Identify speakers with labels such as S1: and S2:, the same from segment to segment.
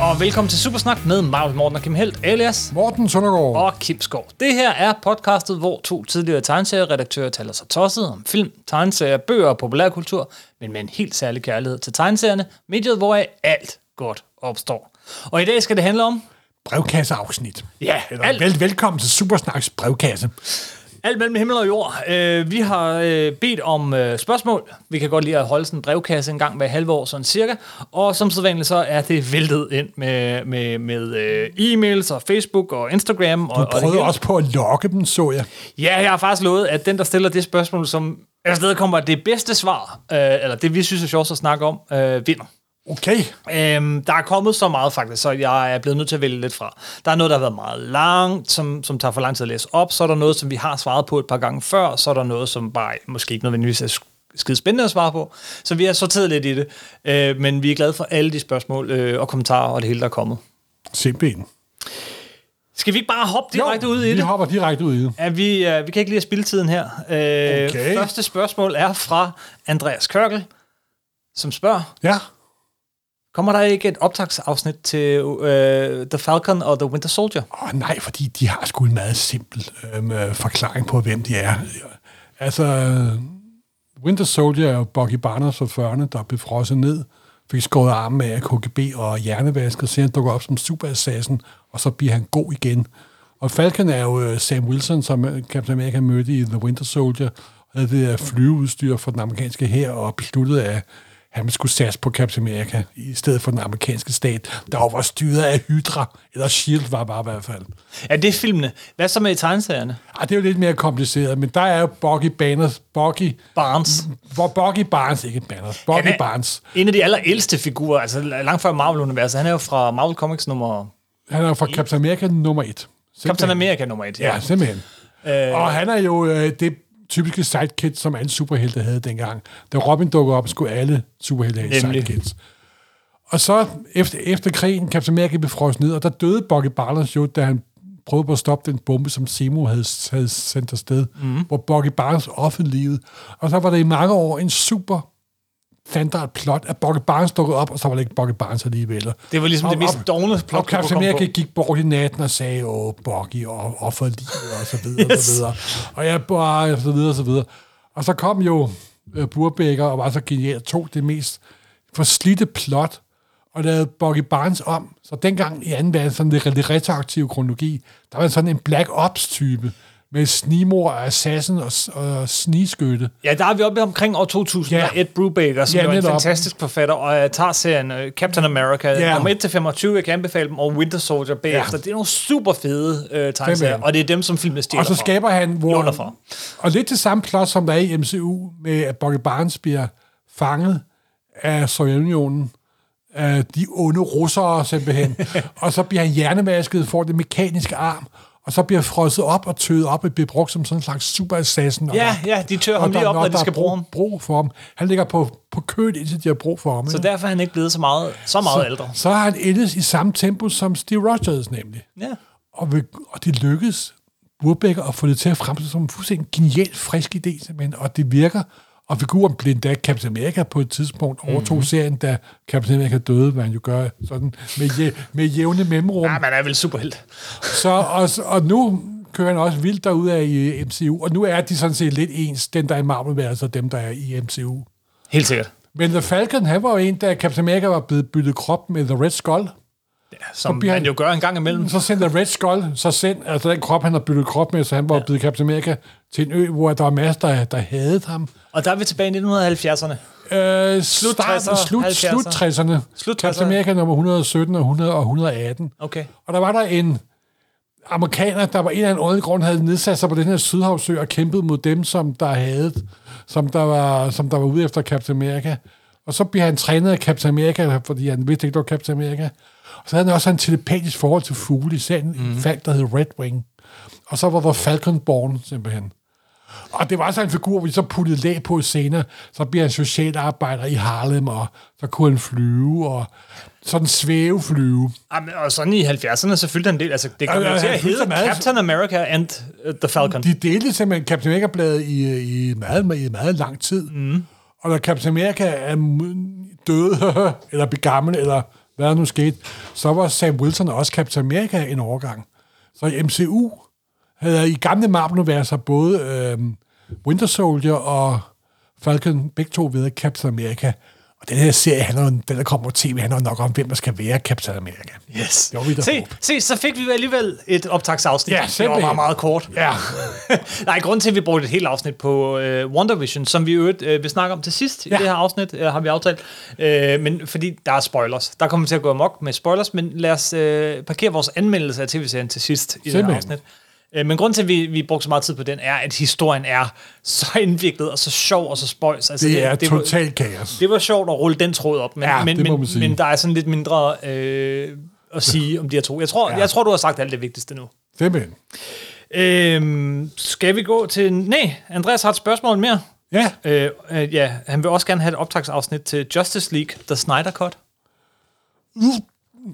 S1: og velkommen til Supersnak med mig, Morten og Kim Helt, alias
S2: Morten Søndergaard.
S1: og Kim Skov. Det her er podcastet, hvor to tidligere tegneserieredaktører taler sig tosset om film, tegneserier, bøger og populærkultur, men med en helt særlig kærlighed til tegneserierne, mediet, hvor alt godt opstår. Og i dag skal det handle om
S2: Brevkasseafsnit.
S1: Ja,
S2: Eller,
S1: alt.
S2: vel, velkommen til Supersnaks brevkasse.
S1: Alt mellem himmel og jord. Øh, vi har øh, bedt om øh, spørgsmål. Vi kan godt lide at holde sådan en brevkasse en gang hver halve år, sådan cirka. Og som sædvanligt så er det væltet ind med, med, med øh, e-mails og Facebook og Instagram. Og, og det
S2: Prøvede
S1: hele.
S2: også på at lokke dem, så jeg.
S1: Ja, jeg har faktisk lovet, at den, der stiller det spørgsmål, som kommer det bedste svar, øh, eller det, vi synes er sjovt at snakke om, øh, vinder.
S2: Okay.
S1: Øhm, der er kommet så meget faktisk, så jeg er blevet nødt til at vælge lidt fra. Der er noget, der har været meget langt, som, som tager for lang tid at læse op. Så er der noget, som vi har svaret på et par gange før. Så er der noget, som bare måske ikke nødvendigvis er sk- skide spændende at svare på. Så vi har sorteret lidt i det. Øh, men vi er glade for alle de spørgsmål øh, og kommentarer og det hele, der er kommet.
S2: Simpelthen.
S1: Skal vi ikke bare hoppe direkte ud i
S2: vi
S1: det?
S2: hopper direkte ud i det.
S1: Ja, vi, øh, vi kan ikke lige at spille tiden her. Øh,
S2: Okay.
S1: Første spørgsmål er fra Andreas Kørkel, som spørger,
S2: Ja.
S1: kommer der ikke et optagsafsnit til øh, The Falcon og The Winter Soldier?
S2: Åh nej, fordi de har sgu en meget simpel øhm, øh, forklaring på, hvem de er. Altså, Winter Soldier er jo Bucky Barnes fra 40'erne, der blev frosset ned, fik skåret armen af af KGB og hjernevasket, så han dukker op som superassassin, og så bliver han god igen. Og Falcon er jo øh, Sam Wilson, som øh, Captain America mødte i The Winter Soldier, havde det der flyveudstyr for den amerikanske her og besluttede, at han skulle satse på Captain America i stedet for den amerikanske stat, der jo var styret af Hydra, eller S.H.I.E.L.D. var bare i hvert fald.
S1: Ja, det er filmene. Hvad så med i tegneserierne?
S2: Ej, det er jo lidt mere kompliceret, men der er jo Bucky Barnes, Bucky,
S1: Barnes.
S2: hvor Bucky Barnes, ikke Barnes, Bucky
S1: Mm. Han er-
S2: Barnes,
S1: En af de allerældste figurer, altså langt før Marvel-universet. Han er jo fra Marvel Comics nummer...
S2: han er jo fra Captain America nummer et.
S1: Captain
S2: Simpelthen.
S1: America nummer 1.
S2: Ja, simpelthen. Øh. Og han er jo øh, det typiske sidekick, som alle superhelte havde dengang. Da Robin dukkede op, skulle alle superhelte have
S1: Nemlig.
S2: sidekicks. Og så efter, efter krigen, Captain America blev frosset ned, og der døde Bucky Barnes jo, da han prøvede på at stoppe den bombe, som Simo havde, havde sendt afsted,
S1: Mhm.
S2: mm. hvor Bucky Barnes offede livet. Og så var der i mange år en super standard plot, at Bucky Barnes dukkede op, og så var det ikke Bucky Barnes alligevel.
S1: Det var ligesom
S2: Og-
S1: det mest
S2: og-
S1: dogne plot,
S2: og
S1: du kunne
S2: Captain
S1: komme
S2: America
S1: på.
S2: gik bort i natten og sagde, åh, Bucky, og offer livet, og så videre, yes. og så videre. Og jeg bare, og så videre, og så videre. Og så kom jo øh, Burbækker og var så genial, tog det mest forslidte plot, og lavede Bucky Barnes om. Så dengang i anden verden, sådan lidt lidt retroaktiv kronologi, der var sådan en Black Ops-type, med snimor og assassin og, s- og snigskytte.
S1: Ja, der er vi oppe omkring år 2000,
S2: Ja.
S1: yeah. Ed Brubaker, som
S2: Ja,
S1: yeah, er en
S2: netop.
S1: fantastisk forfatter, og jeg tager serien øh, Captain America
S2: Ja.
S1: yeah. nummer 1-25, jeg kan anbefale dem, og Winter Soldier bagefter. Det er nogle super fede øh, tegneserier,
S2: Simpelthen.
S1: og det er dem, som filmene stjæler
S2: Og så
S1: fra.
S2: skaber han...
S1: Låner fra.
S2: Hvor, og lidt det samme plot, som der er i MCU, med at Bucky Barnes bliver fanget af Sovjetunionen, af de onde russere simpelthen, og så bliver han hjernevasket, får det mekaniske arm, og så bliver frosset op og tøet op, og bliver brugt som sådan en slags superassassin. og
S1: Ja,
S2: der-
S1: ja, de tør ham
S2: og der-
S1: lige op, når
S2: der
S1: de skal
S2: er
S1: bruge ham.
S2: brug, brug for ham. Han ligger på, på kødet, indtil de har brug for ham.
S1: Så
S2: ikke?
S1: derfor er han ikke blevet så meget, så meget så, ældre.
S2: Mm. så har han endes i samme tempo som Steve Rogers nemlig
S1: Ja.
S2: og, vil, og det lykkedes Burbecker at få det til at fremstå som en fuldstændig genial, frisk idé, simpelthen, og det virker. Og figuren blev endda Captain America på et tidspunkt, overtog mm-hmm. serien, da Captain America døde, hvad han jo gør sådan med, jæ- med jævne mellemrum.
S1: Ja, Ah, man er vel superhelt.
S2: Så, og, og nu kører han også vildt derude i øh, MCU, og nu er de sådan set lidt ens, den der er i marvel altså dem, der er i MCU.
S1: Helt sikkert.
S2: Men The Falcon, han var jo en, da Captain America var blevet byttet krop med The Red Skull,
S1: Som
S2: bliver
S1: man
S2: han-
S1: jo gør en gang imellem.
S2: så sendte Red Skull så send, altså den krop, han har byttet krop med, så han var ja. blevet Captain America, til en ø, hvor der var masser, der, der havde ham.
S1: Og der er vi tilbage i 1970'erne.
S2: Øh,
S1: Slut
S2: slut
S1: 60'er,
S2: 60'erne. Slut,
S1: 70'erne.
S2: slut 60'erne.
S1: Slut 60'erne.
S2: Captain America nummer 117 og 100 og 118.
S1: Okay.
S2: Og der var der en amerikaner, der var en eller anden åndelig grund, havde nedsat sig på den her Sydhavsø og kæmpet mod dem, som der havde, som der var, som der var ude efter Captain America. Og så blev han trænet af Captain America, fordi han vidste ikke, det var Captain America. Og så havde han også en telepatisk forhold til fugle, især en mm. falk, der hed Red Wing. Og så var der Falconborn, simpelthen. Og det var så en figur, vi så puttede lag på senere. Så bliver han socialarbejder i Harlem, og så kunne han flyve, og sådan svæveflyve.
S1: Jamen, Ah, og sådan i 70'erne, så fyldte han en del. Altså, det kom
S2: Ja,
S1: jo
S2: ja,
S1: til
S2: han
S1: at
S2: fyldte
S1: hedde
S2: så meget.
S1: Captain America and uh, the Falcon.
S2: De delte simpelthen Captain America-bladet i, øh, i, meget, i meget lang tid. Mm. Og da Captain America er m- død, eller blev gammel, eller hvad der nu skete, så var Sam Wilson også Captain America en overgang. Så i MCU havde i gamle Marvel-universer både øh, Winter Soldier og Falcon, begge to ved Captain America. Og den her serie, handler, om- den der kommer på tv, handler nok om, hvem der skal være Captain America.
S1: Yes.
S2: Jo, vi er der
S1: se,
S2: håb.
S1: se, så fik vi alligevel et optagsafsnit.
S2: Ja,
S1: det var
S2: simpelthen.
S1: meget, meget kort.
S2: Ja,
S1: Nej, grund til, at vi brugte et helt afsnit på øh, WandaVision, som vi i øvrigt øh, vil snakke om til sidst ja. i
S2: Ja.
S1: det her afsnit, øh, har vi aftalt. Øh, men fordi der er spoilers. Der kommer vi til at gå amok med spoilers, men lad os øh, parkere vores anmeldelse af tv-serien til sidst i det her
S2: Simpelthen.
S1: afsnit. Øh, Men grunden til, at vi, vi brugte så meget tid på den, er, at historien er så indviklet og så sjov og så spøjs. Altså,
S2: det er
S1: var-
S2: totalt kaos.
S1: det var sjovt at rulle den tråd op, men,
S2: Ja,
S1: men,
S2: det må
S1: men,
S2: man sige.
S1: men der er sådan lidt mindre øh, at sige om de her to. Jeg tror, ja.
S2: Ja.
S1: jeg tror, du har sagt alt det vigtigste nu.
S2: Simpelthen.
S1: Øhm, skal vi gå til... Nej, Andreas har et spørgsmål mere.
S2: Ja,
S1: Øh, øh, ja, han vil også gerne have et optagsafsnit til Justice League, The Snyder Cut.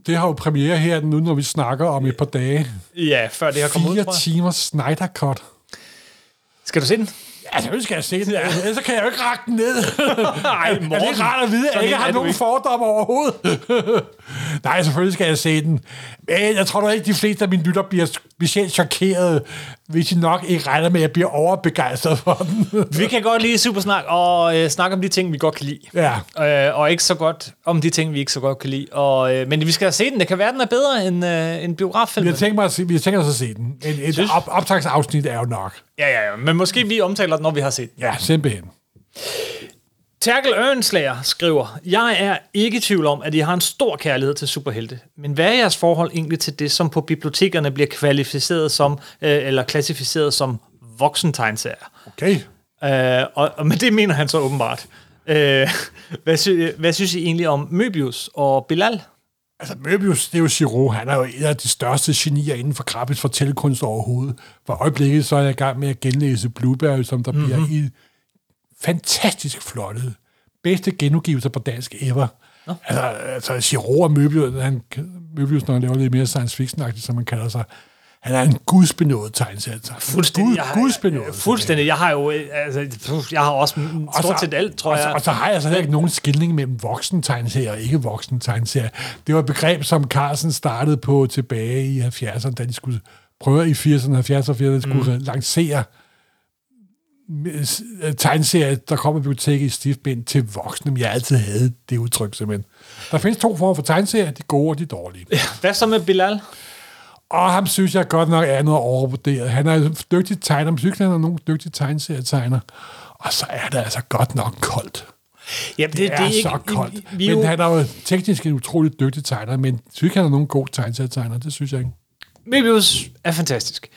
S2: det har jo premiere her nu, når vi snakker om et par dage.
S1: Ja, før det her kommer ud,
S2: Fire
S1: tror jeg.
S2: timer Snyder Cut.
S1: Skal du se den?
S2: Ja, så skal jeg se den. Altså, ellers så kan jeg jo ikke række den ned.
S1: Nej,
S2: Ej, er det ikke rart at vide, at jeg ikke har nogen fordomme overhovedet? Nej, selvfølgelig skal jeg se den. Men jeg tror da ikke, de fleste af mine lytter bliver specielt chokeret, hvis de nok ikke regner med, at jeg bliver overbegejstret for den.
S1: Vi kan godt lide Supersnak og øh, snakke om de ting, vi godt kan lide.
S2: ja.
S1: Øh, og ikke så godt om de ting, vi ikke så godt kan lide. Og, øh, men vi skal se den. Det kan være, den er bedre end, øh, end biograffilmen.
S2: Vi har tænkt, mig at se, vi har tænkt os at se den. En, et
S1: Synes-
S2: op, optagsafsnit er jo nok.
S1: Ja, ja, ja. Men måske vi omtaler den, når vi har set den.
S2: Ja, simpelthen.
S1: Terkel Ørnslager skriver, Jeg er ikke i tvivl om, at I har en stor kærlighed til superhelte. Men hvad er jeres forhold egentlig til det, som på bibliotekerne bliver kvalificeret som, øh, eller klassificeret som voksentegnserier?
S2: Okay.
S1: Øh, og, og, men det mener han så åbenbart. Øh, hvad, sy- hvad synes I egentlig om Möbius og Bilal?
S2: Altså, Möbius, det er jo Giro. Han er jo en af de største genier inden for grafisk fortællekunst overhovedet. For øjeblikket, så er jeg i gang med at genlæse Blueberry, som der mm-hmm.
S1: Mhm.
S2: bliver i fantastisk flottet. Bedste genudgivelser på dansk ever. Nå. Altså, altså Giro og Möbius, han, Möbius, når han laver lidt mere science fiction som man kalder sig, han er en gudsbenået tegnsætter.
S1: Fuldstændig.
S2: Gud, gudsbenået.
S1: Fuldstændig. Jeg har jo øh, altså, puh, jeg har også mm,
S2: Og
S1: stort
S2: så-
S1: set alt, tror
S2: og så,
S1: jeg.
S2: Og så har jeg så heller ikke nogen skilling mellem voksen tegneserie og ikke voksen tegneserie. Det var et begreb, som Carlsen startede på tilbage i 70'erne, da de skulle prøve i 80'erne, 70'erne, 80'erne, de skulle mm. lancere tegneserier, der kommer biblioteket i stiftbind til voksne, men jeg altid havde det udtryk simpelthen. Der findes to former for tegneserier, de gode og de dårlige.
S1: Hvad så med Bilal?
S2: Og ham synes jeg godt nok er noget overvurderet. Han er en dygtig tegner, men synes, han er nogle dygtige tegneserietegner. Og så er det altså godt nok koldt.
S1: Jamen,
S2: Det, det er, er ikke, så koldt.
S1: Vi, vi, men
S2: Men han er jo teknisk en utrolig dygtig tegner, men synes ikke, han er nogen god tegneserietegner. Det synes jeg ikke.
S1: Möbius er fantastisk.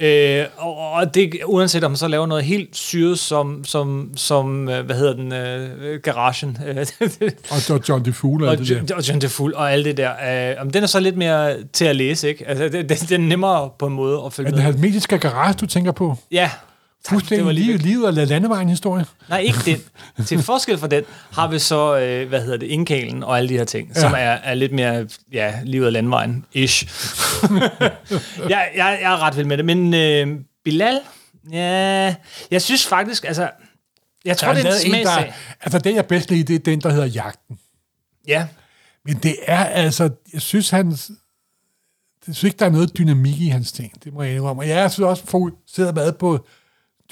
S1: Øh, og, og det, uanset om man så laver noget helt syret som, som, som øh, hvad hedder den, øh, garagen, øh,
S2: Og så John DeFool og
S1: og,
S2: det der.
S1: John- og John DeFul og alt det der. Øh, om den er så lidt mere til at læse, ikke? Altså, det, det, den er nemmere på en måde at følge
S2: Er det
S1: med.
S2: hermetiske garage, du tænker på?
S1: Ja. Det var
S2: Fuldstændig
S1: lige-
S2: livet, livet og landevejen-historie.
S1: Nej, ikke den. Til forskel fra den har vi så, øh, hvad hedder det, indkalen og alle de her ting, ja. som er, er lidt mere, ja, livet af landvejen-ish. jeg, jeg, jeg er ret vild med det, men øh, Bilal, ja, jeg synes faktisk, altså, jeg tror,
S2: Der er
S1: det er en
S2: lavet en, der,
S1: smagsag.
S2: altså, den, jeg bedst lide, det er den, der hedder Jagten.
S1: Ja,
S2: Men det er altså, jeg synes, han, jeg synes ikke, der er noget dynamik i hans ting. Det må jeg indrømme. Og jeg synes også fokuseret meget på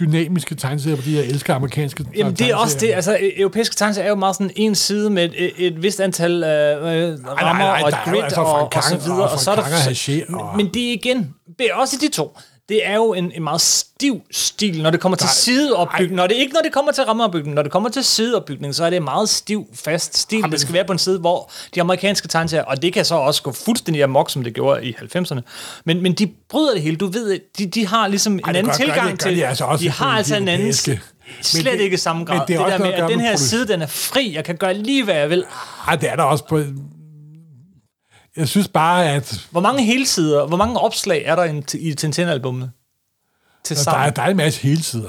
S2: dynamiske tegneserier, fordi jeg elsker amerikanske
S1: jamen det er også det,
S2: tegneserier.
S1: altså, ø- europæiske tanker er jo meget sådan en side med et, et vist antal øh, øh, rammer
S2: Nej, nej, nej,
S1: og
S2: der er jo
S1: grid
S2: altså
S1: og,
S2: Frank
S1: og så
S2: Kang
S1: videre,
S2: og
S1: og, så er der
S2: Frank Kang og Haché og-
S1: Men det er igen, det er også de to. Det er jo en, en meget stiv stil, når det kommer til sideopbygning. Når det ikke når det kommer til rammeopbygning, når det kommer til sideopbygning, så er det en meget stiv, fast stil. Det skal være på en side, hvor de amerikanske tegneserier, og det kan så også gå fuldstændig amok, som det gjorde i 90'erne, men, men de bryder det hele. Du ved, de, de har ligesom en
S2: det
S1: anden
S2: gør- gør
S1: tilgang
S2: de- gør
S1: til...
S2: de altså også
S1: de har
S2: på
S1: altså
S2: de
S1: en anden...
S2: europæiske.
S1: Slet
S2: Men det-
S1: ikke i samme
S2: men
S1: grad.
S2: det
S1: Det,
S2: er også
S1: der
S2: noget
S1: med,
S2: at gøre
S1: at den
S2: med
S1: her
S2: produ-
S1: side, den er fri, jeg kan gøre lige, hvad jeg vil.
S2: Ej, det er der også på... Jeg synes bare, at
S1: Hvor mange helsider, hvor mange opslag er der i en- i Tintin-albumene? Til
S2: der er,
S1: sammen.
S2: der er en masse hele sider.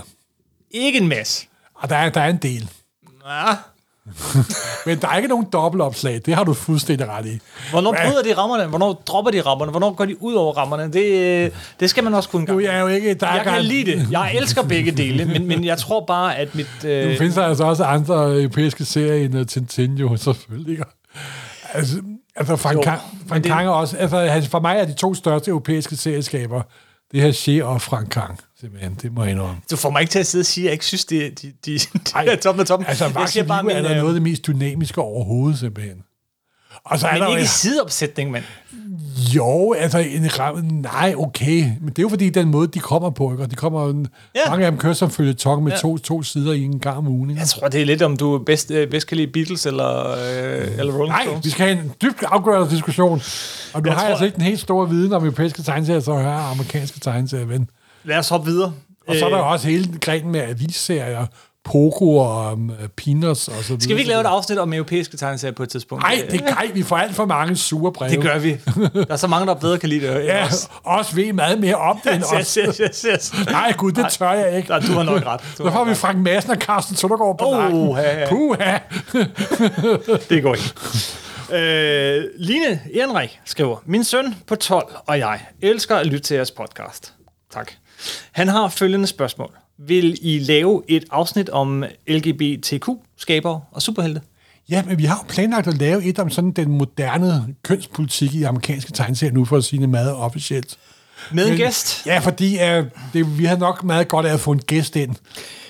S1: Ikke en masse.
S2: Og der er, der er en del.
S1: Ja.
S2: Men der er ikke nogen dobbeltopslag. Det har du fuldstændig ret i.
S1: Hvornår bryder de rammerne? Hvornår dropper de rammerne? Hvornår går de ud over rammerne? Det, øh, det skal man også kunne
S2: Nu er
S1: gøre.
S2: jeg jo ikke... Der er
S1: Jeg kan
S2: gar-
S1: lide det. Jeg elsker begge dele, men, men jeg tror bare, at mit...
S2: Nu
S1: Øh,
S2: uh, findes der altså også andre europæiske serier end øh, Tintin, jo selvfølgelig. Altså, altså Frank, Ka- Frank
S1: det-
S2: Kang er også... Altså, altså, for mig er de to største europæiske serieskaber, det her Shea og Frank Kang, simpelthen. Det må jeg indrømme.
S1: Du får mig ikke til at sidde og sige, at jeg ikke synes, det er- de, de, de
S2: Ej,
S1: er toppen af toppen.
S2: Altså,
S1: jeg
S2: Vaxe Live er
S1: men,
S2: der
S1: øh,
S2: noget af det mest dynamiske overhovedet, simpelthen. Og så er der
S1: Men
S2: jo-
S1: ikke i sideopsætning, mand.
S2: Jo, altså, en, ram- nej, okay. Men det er jo fordi, den måde, de kommer på, ikke? Og de kommer,
S1: Ja.
S2: ja. mange af dem kører som følge tong med ja. to, to sider i en gang om ugen. Ikke?
S1: Jeg tror, det er lidt, om du bedst, øh, bedst kan lide Beatles eller, øh, eller Rolling
S2: Nej,
S1: Stones.
S2: vi skal have en dybt afgørende diskussion. Og du
S1: Jeg
S2: har
S1: tror-
S2: altså ikke den helt store viden om europæiske tegneserier, så her er amerikanske tegneserier, ven.
S1: Lad os hoppe videre.
S2: Og så er der
S1: Øh,
S2: jo også hele grenen med avisserier, Pogo og um, Peanuts og så videre.
S1: Skal vi ikke lave et afsnit om europæiske tegneserier på et tidspunkt?
S2: Nej, det gør vi får alt for mange sure breve.
S1: det gør vi. Der er så mange, der bedre kan lide det. end
S2: Ja,
S1: os.
S2: også ved meget mere om det end
S1: Yes, yes,
S2: os.
S1: yes, yes, yes.
S2: Nej, gud, det tør jeg ikke.
S1: Nej, du har nok ret. Du
S2: Så
S1: har
S2: får vi
S1: nok
S2: Frank Madsen og Carsten Søndergaard på
S1: Oh,
S2: nakken.
S1: ja, ja.
S2: Puha.
S1: ret. Det går ikke. Øh, Line Ehrenreich skriver, Min søn på 12 og jeg elsker at lytte til jeres podcast. Tak. Han har følgende spørgsmål. Vil I lave et afsnit om LGBTQ-skabere og superhelte?
S2: Ja, men vi har jo planlagt at lave et om sådan den moderne kønspolitik i amerikanske tegneserier nu, for at sige det meget officielt.
S1: Med en
S2: Men-
S1: gæst?
S2: Ja, fordi øh, det, vi har nok meget godt af at få en gæst ind.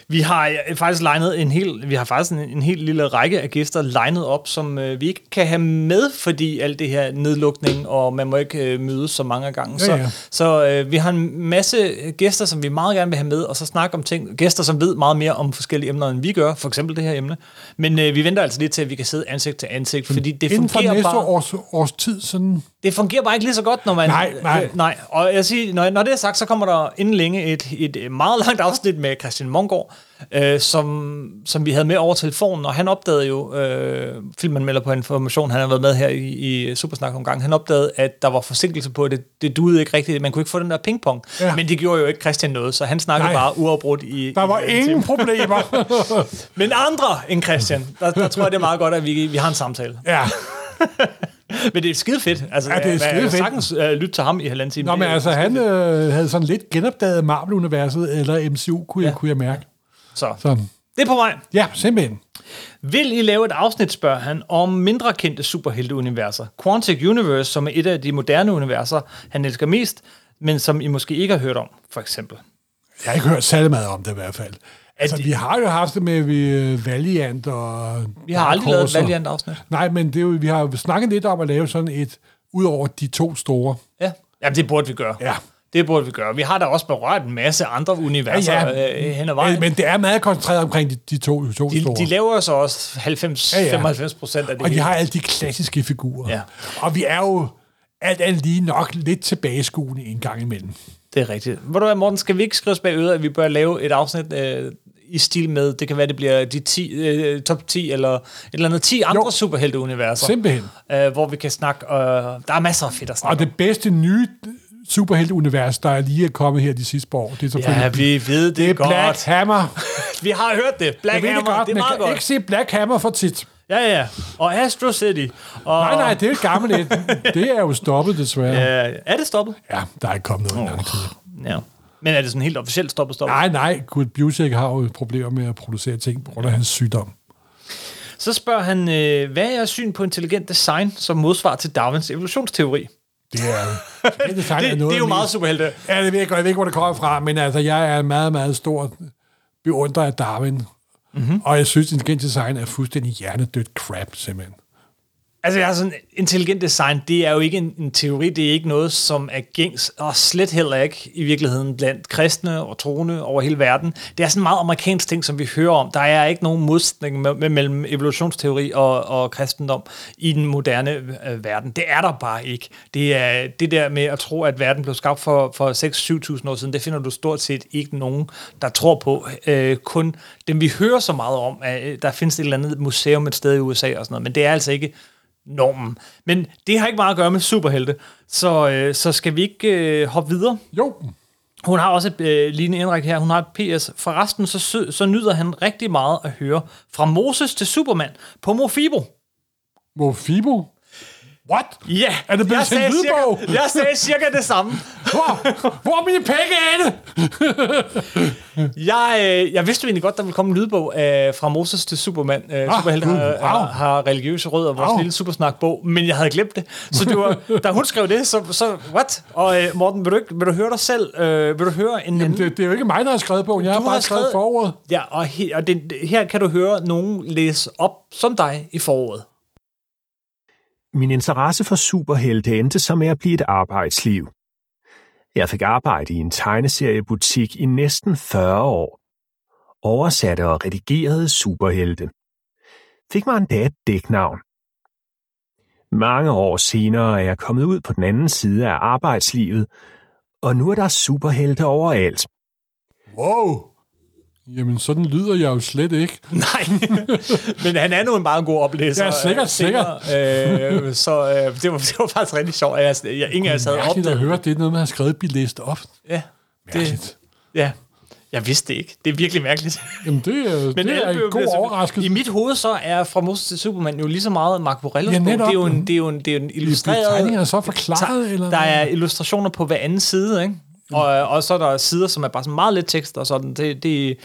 S1: Vi har øh, faktisk legnet en hel, vi har faktisk en, en helt lille række af gæster legnet op, som øh, vi ikke kan have med, fordi alt det her nedlukning, og man må ikke øh, mødes så mange gange.
S2: Ja, ja.
S1: Så, så øh, vi har en masse gæster, som vi meget gerne vil have med, og så snakke om ting. Gæster, som ved meget mere om forskellige emner, end vi gør, for eksempel det her emne. Men øh, vi venter altså lidt til, at vi kan sidde ansigt til ansigt, fordi det
S2: Inden for
S1: fungerer
S2: næste
S1: bare...
S2: års, års tid, sådan...
S1: Det fungerer bare ikke lige så godt, når man...
S2: Nej, nej.
S1: Øh, nej. Og jeg siger, når, når det er sagt, så kommer der inden længe et, et meget langt afsnit med Christian Mongård, øh, som, som vi havde med over telefonen, og han opdagede jo, øh, filmanmelder på Information, han har været med her i, i Supersnak nogle gange, han opdagede, at der var forsinkelse på det. Det duede ikke rigtigt. Man kunne ikke få den der pingpong. Ja.
S2: Ja.
S1: Men det gjorde jo ikke Christian noget, så han snakkede
S2: Nej.
S1: bare uafbrudt i...
S2: Der
S1: i
S2: var
S1: en time.
S2: ingen problemer.
S1: Men andre end Christian, der, der tror jeg, det er meget godt, at vi, vi har en samtale.
S2: ja.
S1: Men det er skide fedt. Altså,
S2: Ja, det er
S1: man kan
S2: skide fedt.
S1: sagtens øh, lytte til ham i halvanden time.
S2: Nå,
S1: Det
S2: men
S1: er-
S2: altså, han øh, havde sådan lidt genopdaget Marvel-universet, eller MCU, kunne, ja.
S1: Ja.
S2: jeg, kunne jeg mærke.
S1: Så.
S2: Så,
S1: Det er på vej.
S2: ja, simpelthen.
S1: Vil I lave et afsnit, spørger han, om mindre kendte superhelteuniverser? Quantic Universe, som er et af de moderne universer, han elsker mest, men som I måske ikke har hørt om, for eksempel.
S2: Jeg har ikke hørt særlig meget om det i hvert fald. Altså, vi har jo haft det med vi, øh, Valiant og...
S1: Vi har
S2: Dark
S1: aldrig lavet et
S2: Horse og-
S1: Valiant-afsnit.
S2: Nej, men det er jo, vi har jo snakket lidt om at lave sådan et, ud over de to store.
S1: Ja. Jamen, det burde vi gøre.
S2: Ja.
S1: Det burde vi gøre. Vi har da også berørt en masse andre universer ja, ja. Øh, hen ad vejen.
S2: Øh, Men det er meget koncentreret omkring de, de to, de to
S1: de,
S2: store.
S1: de laver så også 90-95
S2: Ja, ja.
S1: procent af det
S2: og de
S1: hele.
S2: har alle de klassiske figurer.
S1: Ja.
S2: Og vi er jo alt andet lige nok lidt tilbageskuende en gang imellem.
S1: Det er rigtigt. Hvor du er, Morten, skal vi ikke skrive os bag øret, at vi bør lave et afsnit øh, i stil med, det kan være, det bliver de 10, øh, top 10 eller et eller andet 10 andre
S2: Jo.
S1: superhelteuniverser,
S2: Simpelthen.
S1: øh, hvor vi kan snakke, øh, der er masser af fedt at
S2: Og
S1: snakke om.
S2: Ah, det bedste nye superhelteunivers, der er lige er kommet her de sidste par år, det er selvfølgelig...
S1: Ja, vi ved det,
S2: det er
S1: godt.
S2: Black Hammer.
S1: Vi har hørt det.
S2: Jeg
S1: Black
S2: ved
S1: Hammer,
S2: det godt,
S1: det er
S2: men
S1: meget
S2: jeg kan
S1: godt.
S2: ikke se Black Hammer for tit.
S1: Ja, ja. Og Astro City. Og,
S2: Nej, nej, det er jo et gammelt et. Det er jo stoppet, desværre. Ja,
S1: Øh, er det stoppet?
S2: der er ikke kommet noget oh. lang tid.
S1: Ja. Men er det sådan helt officielt stoppet, stoppet?
S2: Nej, nej, Kurt Busiek har jo problemer med at producere ting på grund af hans sygdom.
S1: Så spørger han, øh, hvad er jeres syn på intelligent design som modsvar til Darwins evolutionsteori?
S2: Det er, det, design
S1: Det, det er jo
S2: af
S1: meget
S2: mest-
S1: superhelte.
S2: Ja, det ved jeg godt. Jeg ved ikke, hvor det kommer fra, men altså, jeg er en meget, meget stor beundrer af Darwin.
S1: Mhm.
S2: Mm-hmm. Og jeg synes, intelligent design er fuldstændig hjernedødt crap, simpelthen.
S1: Altså, jeg har sådan, intelligent design, det er jo ikke en, en teori, det er ikke noget, som er gængs, og slet heller ikke i virkeligheden blandt kristne og troende over hele verden. Det er sådan en meget amerikansk ting, som vi hører om. Der er ikke nogen modsætning me- me- mellem evolutionsteori og, og kristendom i den moderne øh, verden. Det er der bare ikke. Det er det der med at tro, at verden blev skabt for, for 6-7.000 år siden, det finder du stort set ikke nogen, der tror på. Øh, kun dem, vi hører så meget om, at, øh, der findes et eller andet museum et sted i USA og sådan noget, men det er altså ikke normen. Men det har ikke meget at gøre med superhelte, så, øh, så skal vi ikke øh, hoppe videre.
S2: Jo,
S1: Hun har også et, øh, Line Indrik her, hun har et PS. Forresten, så, sø- så nyder han rigtig meget at høre fra Moses til Superman på Mofibo.
S2: Mofibo. What?
S1: Ja,
S2: Er det blevet
S1: jeg
S2: til en
S1: sagde
S2: lydbog?
S1: cirka- Jeg sagde cirka det samme.
S2: Hvor, hvor er mine penge henne?
S1: Jeg, øh, jeg vidste jo egentlig godt, der ville komme en lydbog øh, fra Moses til Superman. Øh, ah, Superhelten
S2: mm,
S1: har,
S2: wow.
S1: har, har religiøse rødder, vores
S2: Wow.
S1: lille supersnak-bog, men jeg havde glemt det. Så det var, da hun skrev det, så, så what? Og øh, Morten, vil du, ikke, vil du høre dig selv? Øh, vil du høre en
S2: Jamen,
S1: anden?
S2: det, det er jo ikke mig, der har skrevet bogen. Jeg har
S1: Du
S2: bare skrevet forordet.
S1: Ja, og, he, og det, det- her kan du høre nogen læse op som dig i foråret.
S3: Min interesse for superhelte endte så med at blive et arbejdsliv. Jeg fik arbejde i en tegneseriebutik i næsten 40 år. Oversatte og redigerede superhelte. Fik mig endda et dæknavn. Mange år senere er jeg kommet ud på den anden side af arbejdslivet, og nu er der superhelte overalt.
S2: Wow. Jamen, sådan lyder jeg jo slet ikke.
S1: Nej, men han er nu en meget god oplæser.
S2: Ja, sikkert,
S1: øh, senere. Øh, så øh, det, var, det var faktisk rigtig sjovt. at Jeg, jeg, ingen af os havde
S2: Mærkeligt at
S1: opdaget.
S2: høre, det er noget, man har skrevet bilist op.
S1: Ja,
S2: Mærkeligt.
S1: ja, jeg vidste det ikke. Det er virkelig mærkeligt.
S2: Jamen, det, er-
S1: Men
S2: det er
S1: alle
S2: en
S1: bliver
S2: god
S1: så-
S2: overraskelse.
S1: I mit hoved så er Fra Moses til Superman jo lige så meget Mark Borellos
S2: Ja,
S1: bog. Det
S2: netop.
S1: er jo en, det er jo en, det er en
S2: Bliver
S1: illustreret...
S2: tegningerne så forklaret? Eller
S1: Der
S2: hvad?
S1: er illustrationer på hver anden side, ikke? Og, og så er der sider, som er bare sådan meget lidt tekst og sådan. Det, det,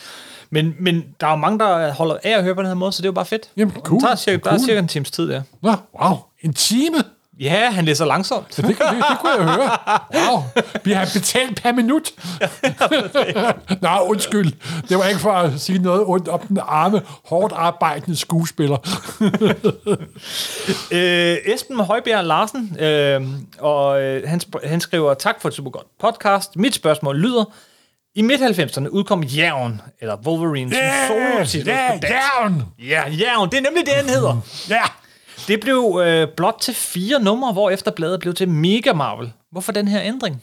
S1: men, men der er jo mange, der holder af at høre på den her måde, så det er jo bare fedt.
S2: Jamen, cool.
S1: Der er cirka, der er
S2: Cool.
S1: cirka en times tid, ja.
S2: Nå, wow, en time?
S1: Ja, han læser langsomt.
S2: Det, det, det, det kunne jeg høre. Wow, vi har betalt per minut. Nå, undskyld. Det var ikke for at sige noget ondt om den arme, hårdt arbejdende skuespiller.
S1: Øh, Esben Højbjerg Larsen, øh, og øh, han, sp- han skriver, tak for et super godt podcast. Mit spørgsmål lyder, i midt-90'erne udkom Jævn, eller Wolverine, som solotitel
S2: ja,
S1: på dansk.
S2: jævn.
S1: Ja, Jævn, det er nemlig det, han hedder.
S2: Ja.
S1: Det blev øh, blot til fire numre, hvor efter bladet blev til Mega Marvel. Hvorfor den her ændring?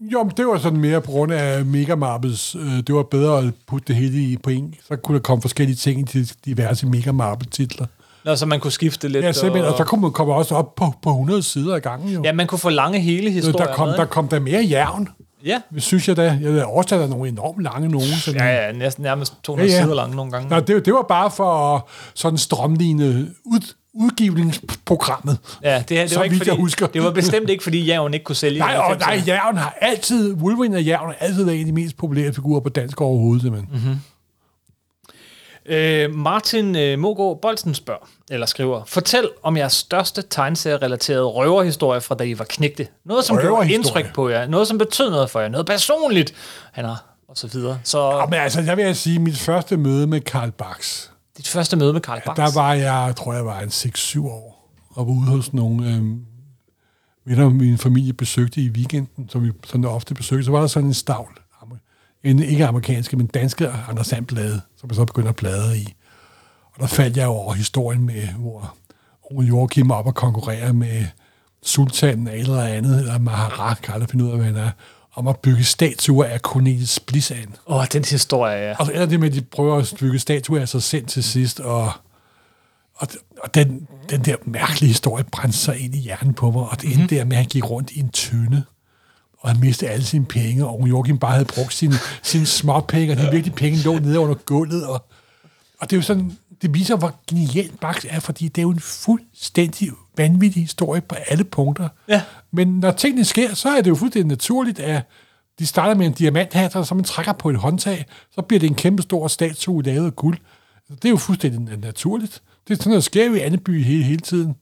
S2: Jo, men det var sådan mere på grund af Megamappets. øh, Det var bedre at putte det hele i på en. Så kunne der komme forskellige ting i de diverse Megamappet-titler.
S1: Nå, så man kunne skifte lidt.
S2: Ja, simpelthen. Og så
S1: og,
S2: kunne man komme også op på, på 100 sider ad gangen, jo.
S1: ja, man kunne få lange hele historier.
S2: der, kom,
S1: med,
S2: der kom der mere jævn.
S1: ikke? Ja.
S2: synes jeg da. Jeg ved, oversat er nogle enormt lange nogen. Sådan.
S1: Ja, ja, næsten nærmest 200
S2: Ja,
S1: ja,
S2: ja.
S1: sider lange nogle gange.
S2: Nå, det, det var bare for at sådan strømligne ud, udgivningsprogrammet.
S1: Ja, det, her- det
S2: Så
S1: var ikke
S2: vidt
S1: fordi,
S2: jeg husker.
S1: Det var bestemt ikke, fordi Jævn ikke kunne sælge. i
S2: Nej, og
S1: 90'erne.
S2: nej, Jævn har altid, Wolverine og Jævn har altid været en af de mest populære figurer på dansk overhovedet, simpelthen. Mm-hmm.
S1: Øh, Martin øh, Mogård Bolsen spørger, eller skriver, fortæl om jeres største tegneserierelaterede røverhistorie fra da I var knægte. Noget, som gjorde
S2: Røverhistorie?
S1: indtryk på jer. Noget, som betød noget for jer. Noget personligt. Han har, og så videre. Så
S2: Og, men altså, jeg vil jeg sige, mit første møde med Karl Bax,
S1: dit første møde med Karl Barks.
S2: der var jeg, tror jeg var en 6-7 år, og var ude hos nogle øh, venner, min familie besøgte i weekenden, som vi sådan ofte besøgte, så var der sådan en stavl, amer- en, ikke amerikanske, men danske Anders Sandblade, som jeg så begyndte at bladre i. Og der faldt jeg over historien med, hvor Ole Joachim er op og konkurrerer med sultanen af et eller andet, eller Mahara, kan aldrig finde ud af, hvad han er, om at bygge statuer af Cornelis Blisand.
S1: Åh, oh, den historie, ja.
S2: Og så ender det med, at de prøver at bygge statuer af sig selv til sidst, og, og, og den, den der mærkelige historie brændte sig ind i hjernen på mig, og det endte der med, at han gik rundt i en tynde, og han mistede alle sine penge, og Joachim bare havde brugt sine, sine småpenge, og de virkelig penge lå nede under gulvet, og, og det er jo sådan, det viser, hvor genialt Bax er, fordi det er jo en fuldstændig vanvittig historie på alle punkter.
S1: Ja.
S2: Men når tingene sker, så er det jo fuldstændig naturligt, at de starter med en diamanthat, og så man trækker på et håndtag, så bliver det en kæmpe stor statue lavet af guld. Det er jo fuldstændig naturligt. Det er sådan noget, der sker jo i Anneby hele, hele tiden.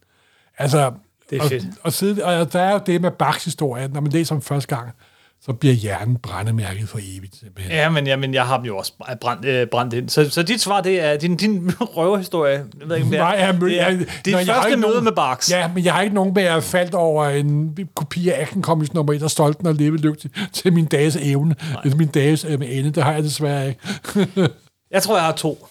S2: Altså,
S1: Det er
S2: og,
S1: fedt.
S2: Og, sidde, og der er jo det med Bachs historie, at når man læser om første gang, så bliver hjernen brændemærket for evigt. Simpelthen.
S1: Ja, men, ja, men jeg har dem jo også brændt, øh, brændt ind. Så, så dit svar, det er din, din røverhistorie. Jeg ved ikke, om det er.
S2: Nej, jeg,
S1: det er
S2: jeg,
S1: dit
S2: når jeg har
S1: første
S2: ikke
S1: møde
S2: nogen-
S1: med Barks.
S2: Ja, men jeg har ikke nogen, hvor jeg faldt over en kopi af Action Comics nummer 1 og Stolten og Leve Lykke til min dages evne, Nej. eller min dages øh, ende. Det har jeg desværre ikke.
S1: Jeg tror, jeg har to.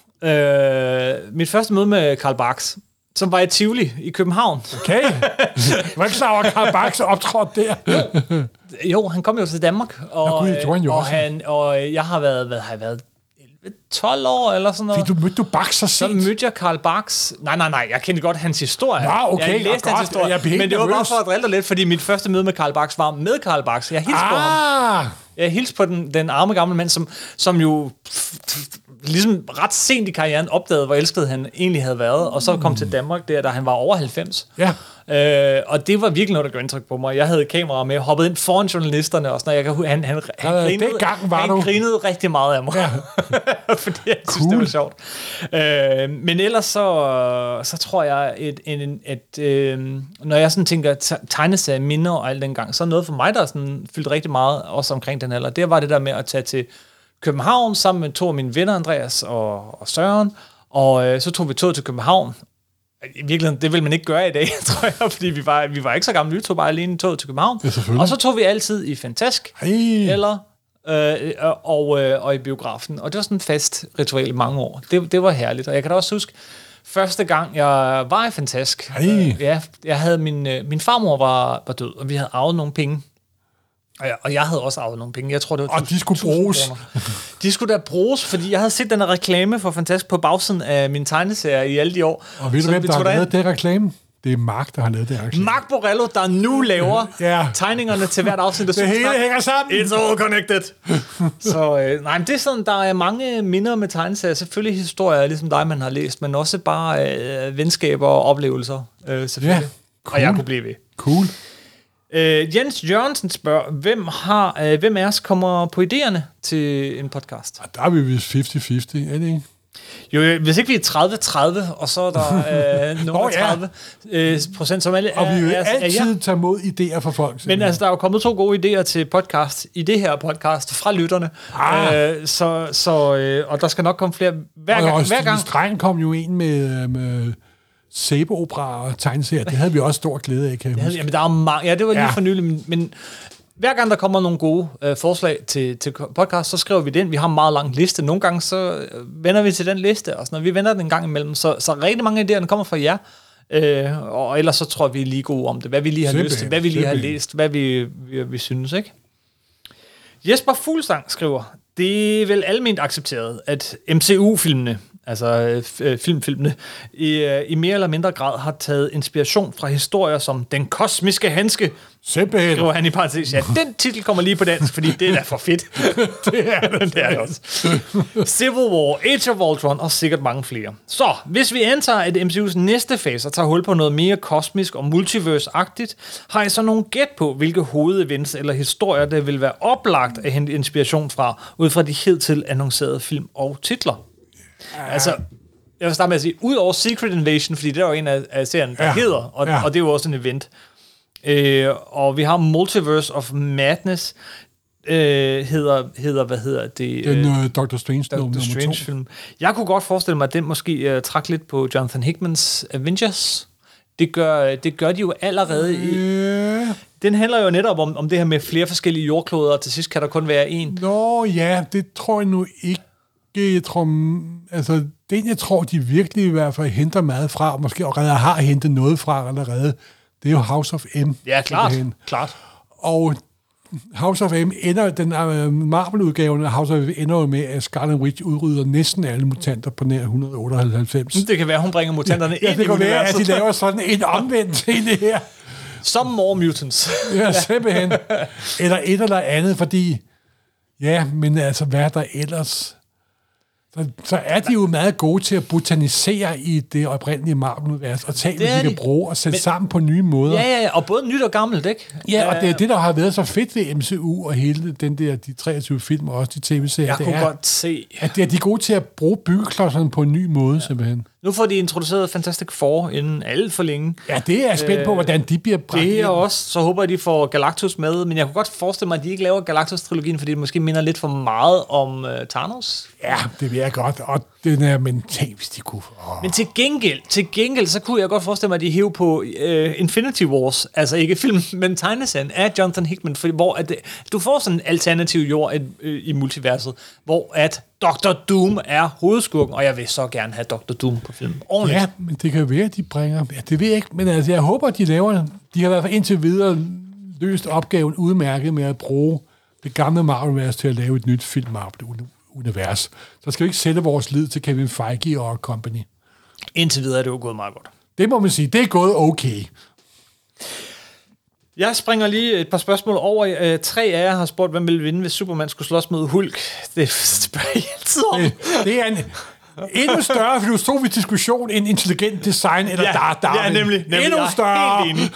S1: Øh, mit første møde med Karl Barks, som var i Tivoli i København.
S2: Okay. Jeg var ikke klar over, at Carl Bax optrådte der.
S1: Jo, han kom jo til Danmark, og,
S2: Nå, gud, det gjorde han jo
S1: og,
S2: også.
S1: han, og øh, jeg har været, hvad har jeg været, 12 år eller sådan noget.
S2: Fordi du mødte du Bax så
S1: Så
S2: sent.
S1: mødte jeg Karl Barks. Nej, nej, nej, jeg kendte godt hans historie.
S2: Nå, okay,
S1: jeg læste
S2: nå,
S1: hans
S2: godt.
S1: historie,
S2: Jeg blev helt
S1: men det var bare
S2: nervøs.
S1: for at drille dig lidt, fordi mit første møde med Karl Barks var med Karl Barks. Jeg hilste på ham.
S2: Ah,
S1: Jeg hilste på den, den arme gamle mand, som, som jo pff, pff, ligesom ret sent i karrieren opdagede, hvor elsket han egentlig havde været, og så kom til Danmark der, da han var over 90.
S2: ja.
S1: Øh, og det var virkelig noget, der gjorde indtryk på mig. Jeg havde kamera med, hoppede ind foran journalisterne og sådan noget. Jeg kan, hu- han, han, han,
S2: Ja,
S1: grinede,
S2: dengang var
S1: han
S2: du-
S1: grinede rigtig meget af mig.
S2: Ja.
S1: Fordi jeg synes, det var
S2: Cool.
S1: sjovt. Øh, men ellers så, så tror jeg, at, en, at øh, når jeg sådan tænker te- tegneserie minder og alt dengang, så er noget for mig, der sådan fyldte rigtig meget, også omkring den alder, det var det der med at tage til København sammen med to af mine venner, Andreas og, og Søren, og øh, så tog vi toget til København, i virkeligheden, det vil man ikke gøre i dag, tror jeg, fordi vi var, vi var ikke så gamle, vi tog bare alene toget til København.
S2: Ja, selvfølgelig.
S1: og så tog vi altid i Fantask,
S2: Ej.
S1: eller øh, og, øh, og i biografen. Og det var sådan en fast ritual i mange år. Det, det var herligt, og jeg kan da også huske, første gang jeg var i Fantask, øh,
S2: Ej.
S1: ja, jeg havde min, øh, min farmor var, var død, og vi havde arvet nogle penge. Og jeg, og jeg havde også arvet nogle penge. Jeg tror, det var
S2: Og
S1: tusind-
S2: de skulle
S1: tusind
S2: bruges.
S1: kroner. De skulle da bruges, fordi jeg havde set den her reklame for Fantastisk på bagsiden af min tegneserie i alle de år.
S2: Og ved du,
S1: Så
S2: hvem
S1: vi
S2: der har
S1: tog derind.
S2: lavet det reklame? Det er Mark, der har lavet det reklame.
S1: Mark Borello, der nu laver
S2: Ja.
S1: tegningerne til hvert afsnit. af
S2: det hele
S1: Supersnak.
S2: hænger sammen.
S1: It's all connected. så øh, nej, men det er sådan, der er mange minder med tegneserier. Selvfølgelig historier, ligesom dig, man har læst, men også bare øh, venskaber og oplevelser, øh, selvfølgelig.
S2: Ja,
S1: Og jeg
S2: cool.
S1: kunne blive ved.
S2: Cool.
S1: Øh, Jens Jørgensen spørger, hvem, har, øh, hvem af os kommer på idéerne til en podcast?
S2: Og der er vi vist 50-50, er det ikke?
S1: Jo, øh, hvis ikke vi er 30-30, og så er der øh, nogle
S2: Nå,
S1: oh,
S2: ja.
S1: 30 øh, procent, som alle
S2: Og vi vil
S1: er, er, er, jer.
S2: altid tage mod idéer fra
S1: altså,
S2: folk.
S1: Men
S2: simpelthen.
S1: altså, der er jo kommet to gode idéer til podcast i det her podcast fra lytterne.
S2: Ah.
S1: Øh, så, så, øh, og der skal nok komme flere. Hver
S2: og
S1: gang,
S2: også
S1: hver
S2: Stine
S1: gang
S2: Streng kom jo ind med, øh, med sæbeopera og tegneserier. Det havde vi også stor glæde af, kan jeg huske.
S1: jamen, der er mange. Ja, det var lige
S2: Ja.
S1: ja. for nylig, men, men hver gang der kommer nogle gode øh, forslag til, til podcast, så skriver vi den. Vi har en meget lang liste. Nogle gange så øh, vender vi til den liste, og sådan noget. vi vender den en gang imellem. Så, så rigtig mange af idéerne kommer fra jer. Øh, og ellers så tror jeg, vi er lige gode om det. Hvad vi lige har
S2: Simpelthen,
S1: lyst til, hvad vi lige har
S2: simpelthen.
S1: læst, hvad vi, vi, vi synes, ikke? Jesper Fuglsang skriver, det er vel almindeligt accepteret, at MCU-filmene, altså øh, f- øh, filmfilmene, i, øh, i mere eller mindre grad har taget inspiration fra historier som Den Kosmiske Handske,
S2: Simpelthen.
S1: skriver han i parentes. Ja, den titel kommer lige på dansk, fordi det er da for fedt. det er det, det er det også. Civil War, Age of Ultron og sikkert mange flere. Så, hvis vi antager, at MCU's næste fase tager hul på noget mere kosmisk og multiverse-agtigt, har I så nogle gæt på, hvilke hovedevents eller historier, der vil være oplagt at hente inspiration fra, ud fra de hidtil annoncerede film og titler? Altså, jeg vil starte med at sige, ud over Secret Invasion, fordi det er jo en af, af serien, der
S2: Ja.
S1: ja. hedder, og,
S2: Ja.
S1: ja. og det er jo også en event. Øh, og vi har Multiverse of Madness, øh, hedder, hedder, hvad hedder det?
S2: Den
S1: øh,
S2: øh, Dr. Strange Dr. nummer
S1: Doctor
S2: Strange.
S1: Strange
S2: to.
S1: film. Jeg kunne godt forestille mig, at den måske uh, trak lidt på Jonathan Hickmans Avengers. Det gør, det gør de jo allerede i.
S2: Øh,
S1: Den handler jo netop om, om det her med flere forskellige jordkloder, og til sidst kan der kun være en.
S2: nå ja, det tror jeg nu ikke. Jeg tror, mm, altså, den jeg tror, de virkelig i hvert fald henter meget fra, og måske allerede har hentet noget fra allerede, det er jo House of M.
S1: Ja, klart.
S2: simpelthen.
S1: klart.
S2: Og House of M ender, den øh, Marvel-udgaven af House of M ender jo med, at Scarlet Witch udrydder næsten alle mutanter på nær 198.
S1: Det kan være, hun bringer mutanterne
S2: Ja,
S1: Mm. ind i
S2: det kan være, at de
S1: universet.
S2: laver sådan en omvendt i det her.
S1: Som More Mutants.
S2: Ja, simpelthen. Eller et eller andet, fordi... Ja, men altså, hvad er der ellers? Så, så er de jo meget gode til at botanisere i det oprindelige Marvel-univers, og tage,
S1: Det
S2: hvad
S1: er
S2: de kan
S1: de.
S2: bruge, og sætte sammen på nye måder.
S1: ja, ja, ja, og både nyt og gammelt, ikke?
S2: Ja, og det
S1: Øh.
S2: er det, der har været så fedt ved MCU og hele den der, de 23 film og også de tv-serier,
S1: Jeg
S2: det
S1: kunne
S2: er,
S1: godt se.
S2: at det er de er gode til at bruge byggeklodserne på en ny måde, ja. simpelthen.
S1: Nu får de introduceret Fantastic Four inden alt for længe.
S2: Ja, det er jeg spændt på, hvordan de bliver bragt
S1: Øh, Det er
S2: ind.
S1: også. Så håber jeg, de får Galactus med. Men jeg kunne godt forestille mig, at de ikke laver Galactus-trilogien, fordi det måske minder lidt for meget om uh, Thanos.
S2: Ja, det vil jeg godt, og den er mentalt, hvis de kunne. Åh.
S1: Men til gengæld, til gengæld, så kunne jeg godt forestille mig, at de hæv på uh, Infinity Wars. Altså ikke film, men tegneserien af Jonathan Hickman. For, hvor at, øh, du får sådan en alternativ jord et, øh, i multiverset, hvor at Dr. Doom er hovedskurken, og jeg vil så gerne have Dr. Doom på filmen. Ordentligt.
S2: Ja, men det kan jo være, at de bringer... Ja, det ved jeg ikke, men altså, jeg håber, at de laver... De har i hvert fald indtil videre løst opgaven udmærket med at bruge det gamle Marvel-univers til at lave et nyt film Marvel-univers. Så skal vi ikke sætte vores lid til Kevin Feige og company.
S1: Indtil videre er det jo gået meget godt.
S2: Det må man sige, det er gået okay.
S1: Jeg springer lige et par spørgsmål over. Øh, tre af jer har spurgt, hvem ville vinde, hvis Superman skulle slås mod Hulk. Det spørger jeg altid om.
S2: Det, det er en, Endnu større filosofisk diskussion end intelligent design eller
S1: Ja,
S2: dar, Darwin.
S1: ja, nemlig, nemlig. Jeg
S2: Endnu
S1: er
S2: større.
S1: helt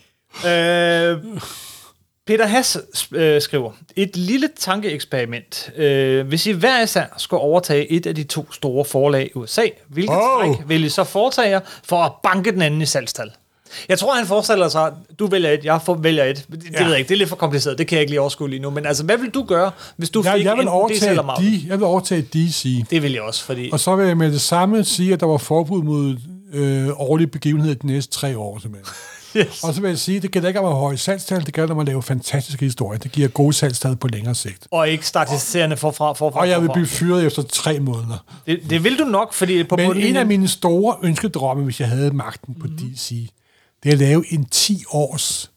S1: Øh, Peter Hass øh, skriver, et lille tankeeksperiment. Øh, hvis I hver især skulle overtage et af de to store forlag i USA, hvilket
S2: Oh.
S1: oh. træk vil I så foretage jer for at banke den anden i salgstal? Jeg tror, han forestiller sig, at du vælger et, jeg for- vælger et. Det, det
S2: Ja.
S1: ved jeg ikke, det er lidt for kompliceret, det kan jeg ikke lige overskue lige nu. Men altså, hvad vil du gøre, hvis du
S2: Jeg,
S1: fik
S2: jeg, vil
S1: enten DC
S2: overtage
S1: eller Marvel?
S2: de, jeg vil overtage DC.
S1: Det vil jeg også, fordi...
S2: Og så vil jeg med det samme sige, at der var forbud mod øh, årlige begivenheder de næste tre år, simpelthen.
S1: Yes.
S2: Og så vil jeg sige, det gælder ikke om at have høje salgstal, det gælder om at lave fantastiske historier. Det giver gode salgstal på længere sigt.
S1: Og ikke statistiserende forfra. forfra
S2: Og jeg vil
S1: forfra.
S2: blive fyret efter tre måneder.
S1: Det, det vil du nok, fordi på
S2: Men
S1: bundlinjen-
S2: en af mine store ønskedrømme, hvis jeg havde magten på mm-hmm. DC, det er at lave en 10-års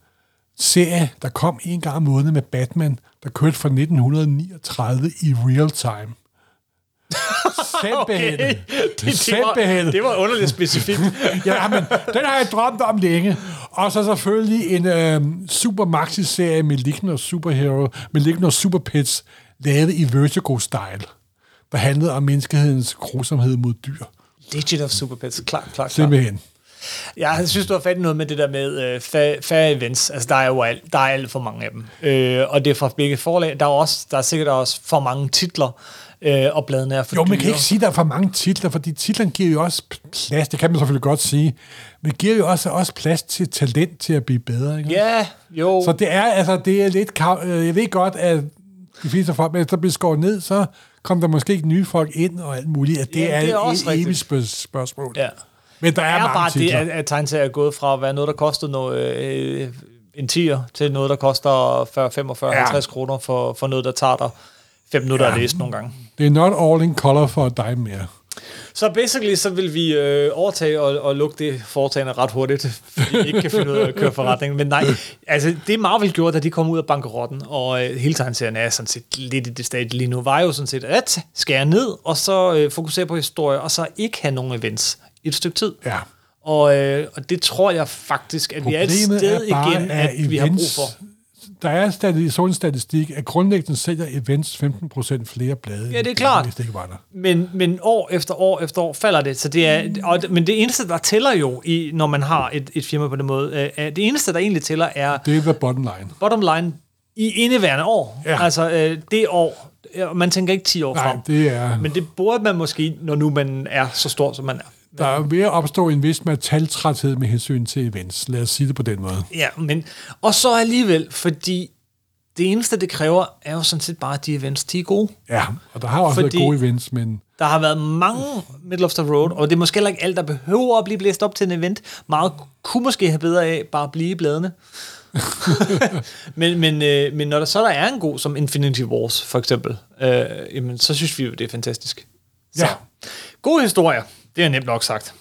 S2: serie, der kom en gang om måneden med Batman, der kørte fra 1939 i real time. Sætbehalet.
S1: Okay. Det, det, var,
S2: Sætbehalet.
S1: det var underligt specifikt.
S2: ja, men den har jeg drømt om længe. Og så selvfølgelig en øh, super maxi-serie med Ligner Superhero, med Ligner Super Pets, lavet i Vertigo-style, der handlede om menneskehedens grusomhed mod dyr.
S1: Legend of Super Pets, klart, klart, klart.
S2: Simpelthen.
S1: Jeg synes, du har fat i noget med det der med øh, fa- færre events. Altså, der er jo alt, der er alt for mange af dem. Øh, og det er fra begge forlag. Der er, også, der er sikkert også for mange titler, øh, og bladene er for
S2: Jo, man
S1: dyre.
S2: kan ikke sige, at der er for mange titler, fordi titlerne giver jo også plads, det kan man selvfølgelig godt sige, men giver jo også, også plads til talent til at blive bedre. Ikke?
S1: Ja, jo.
S2: Så det er, altså, det er lidt... kav- øh, Jeg ved godt, at de fleste folk, men der blev skåret ned, så kom der måske ikke nye folk ind og alt muligt. At det,
S1: Ja,
S2: ja,
S1: det er
S2: er,
S1: også
S2: et evigt
S1: rigtigt.
S2: spørg- spørgsmål.
S1: Ja.
S2: Men der er,
S1: er
S2: mange
S1: bare det,
S2: titler.
S1: at, at tegneserier er gået fra at være noget, der kostede noget, øh, en tier, til noget, der koster 40, 45,
S2: Ja.
S1: 50 kroner for, for noget, der tager dig fem minutter ja. at læse nogle gange.
S2: Det er not all in color for dig mere.
S1: Så basically, så vil vi øh, overtage og, og lukke det foretagende ret hurtigt, fordi vi ikke kan finde ud af at køre forretningen. Men nej, altså det Marvel gjorde, da de kom ud af bankerotten, og øh, hele tegneserien er sådan set lidt i det stadie lige nu, var jo sådan set at skære ned, og så øh, fokusere på historie, og så ikke have nogen events i et stykke tid.
S2: Ja.
S1: Og, øh, og det tror jeg faktisk, at vi er et
S2: Problemet
S1: sted
S2: er bare,
S1: igen, at, vi har brug
S2: events-
S1: for.
S2: Der er stati- sådan en statistik, at grundlæggende sælger events 15% flere blade.
S1: Ja, det er
S2: end
S1: klart.
S2: Hvis det ikke var der.
S1: Men, men år efter år efter år falder det. Så det er,
S2: Mm.
S1: og, men det eneste, der tæller jo, i, når man har et, et firma på den måde, øh, er, det eneste, der egentlig tæller, er
S2: Det er the bottom line.
S1: bottom line i indeværende år.
S2: Ja.
S1: Altså øh, det år. Og Man tænker ikke 10 år
S2: Nej,
S1: frem.
S2: det er...
S1: Men det burde man måske, når nu man er så stor, som man er.
S2: Der er ved at opstå en vis metaltræthed med hensyn til events. Lad os sige det på den måde.
S1: Ja, men, og så alligevel, fordi det eneste, det kræver, er jo sådan set bare, at de events, de er gode.
S2: Ja, og der har også Fordi...
S1: Fordi-
S2: været gode events, men
S1: Der har været mange middle of the road, og det er måske heller ikke alt, der behøver at blive blæst op til en event. Meget kunne måske have bedre af bare at blive i bladene. men, men, øh, men når der så der er en god som Infinity Wars, for eksempel, øh, jamen, så synes vi jo, det er fantastisk.
S2: ja,
S1: Gode historier, det er nemt nok sagt.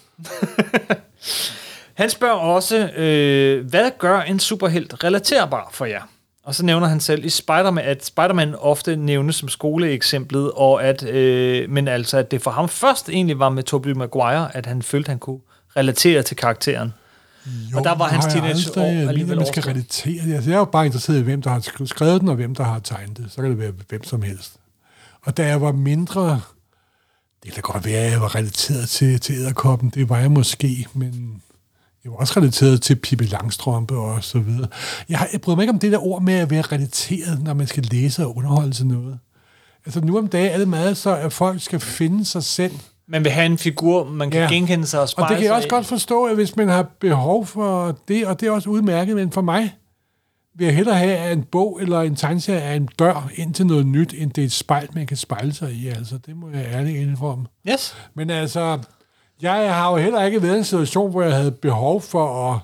S1: han spørger også, øh, hvad gør en superhelt relaterbar for jer? Og så nævner han selv i Spider-Man, at Spider-Man ofte nævnes som skoleeksemplet, og at, øh, men altså, at det for ham først egentlig var med Tobey Maguire, at han følte, han kunne relatere til karakteren.
S2: jo,
S1: Og der var hans
S2: har jeg
S1: teenageår
S2: aldrig- Jeg
S1: alligevel
S2: mener, man skal
S1: overstået.
S2: relatere det. Altså, jeg er jo bare interesseret i, hvem der har sk- skrevet den, og hvem der har tegnet det. Så kan det være hvem som helst. Og da jeg var mindre, det kan da godt være, at jeg var relateret til, til æderkoppen. Det var jeg måske, men jeg var også relateret til Pippi Langstrømpe og så videre. Jeg, har, jeg bryder mig ikke om det der ord med at være relateret, når man skal læse og underholde til noget. Altså nu om dagen er det meget så, at folk skal finde sig selv,
S1: Man vil have en figur, man kan
S2: Ja.
S1: genkende sig og spejle
S2: Og det kan jeg
S1: sig
S2: også
S1: i.
S2: godt forstå, at hvis man har behov for det, og det er også udmærket, men for mig vil jeg hellere have, at en bog eller en tegneserie er en dør ind til noget nyt, end det er et spejl, man kan spejle sig i. Altså, det må jeg ærligt indrømme.
S1: Yes.
S2: Men altså, jeg har jo heller ikke været i en situation, hvor jeg havde behov for at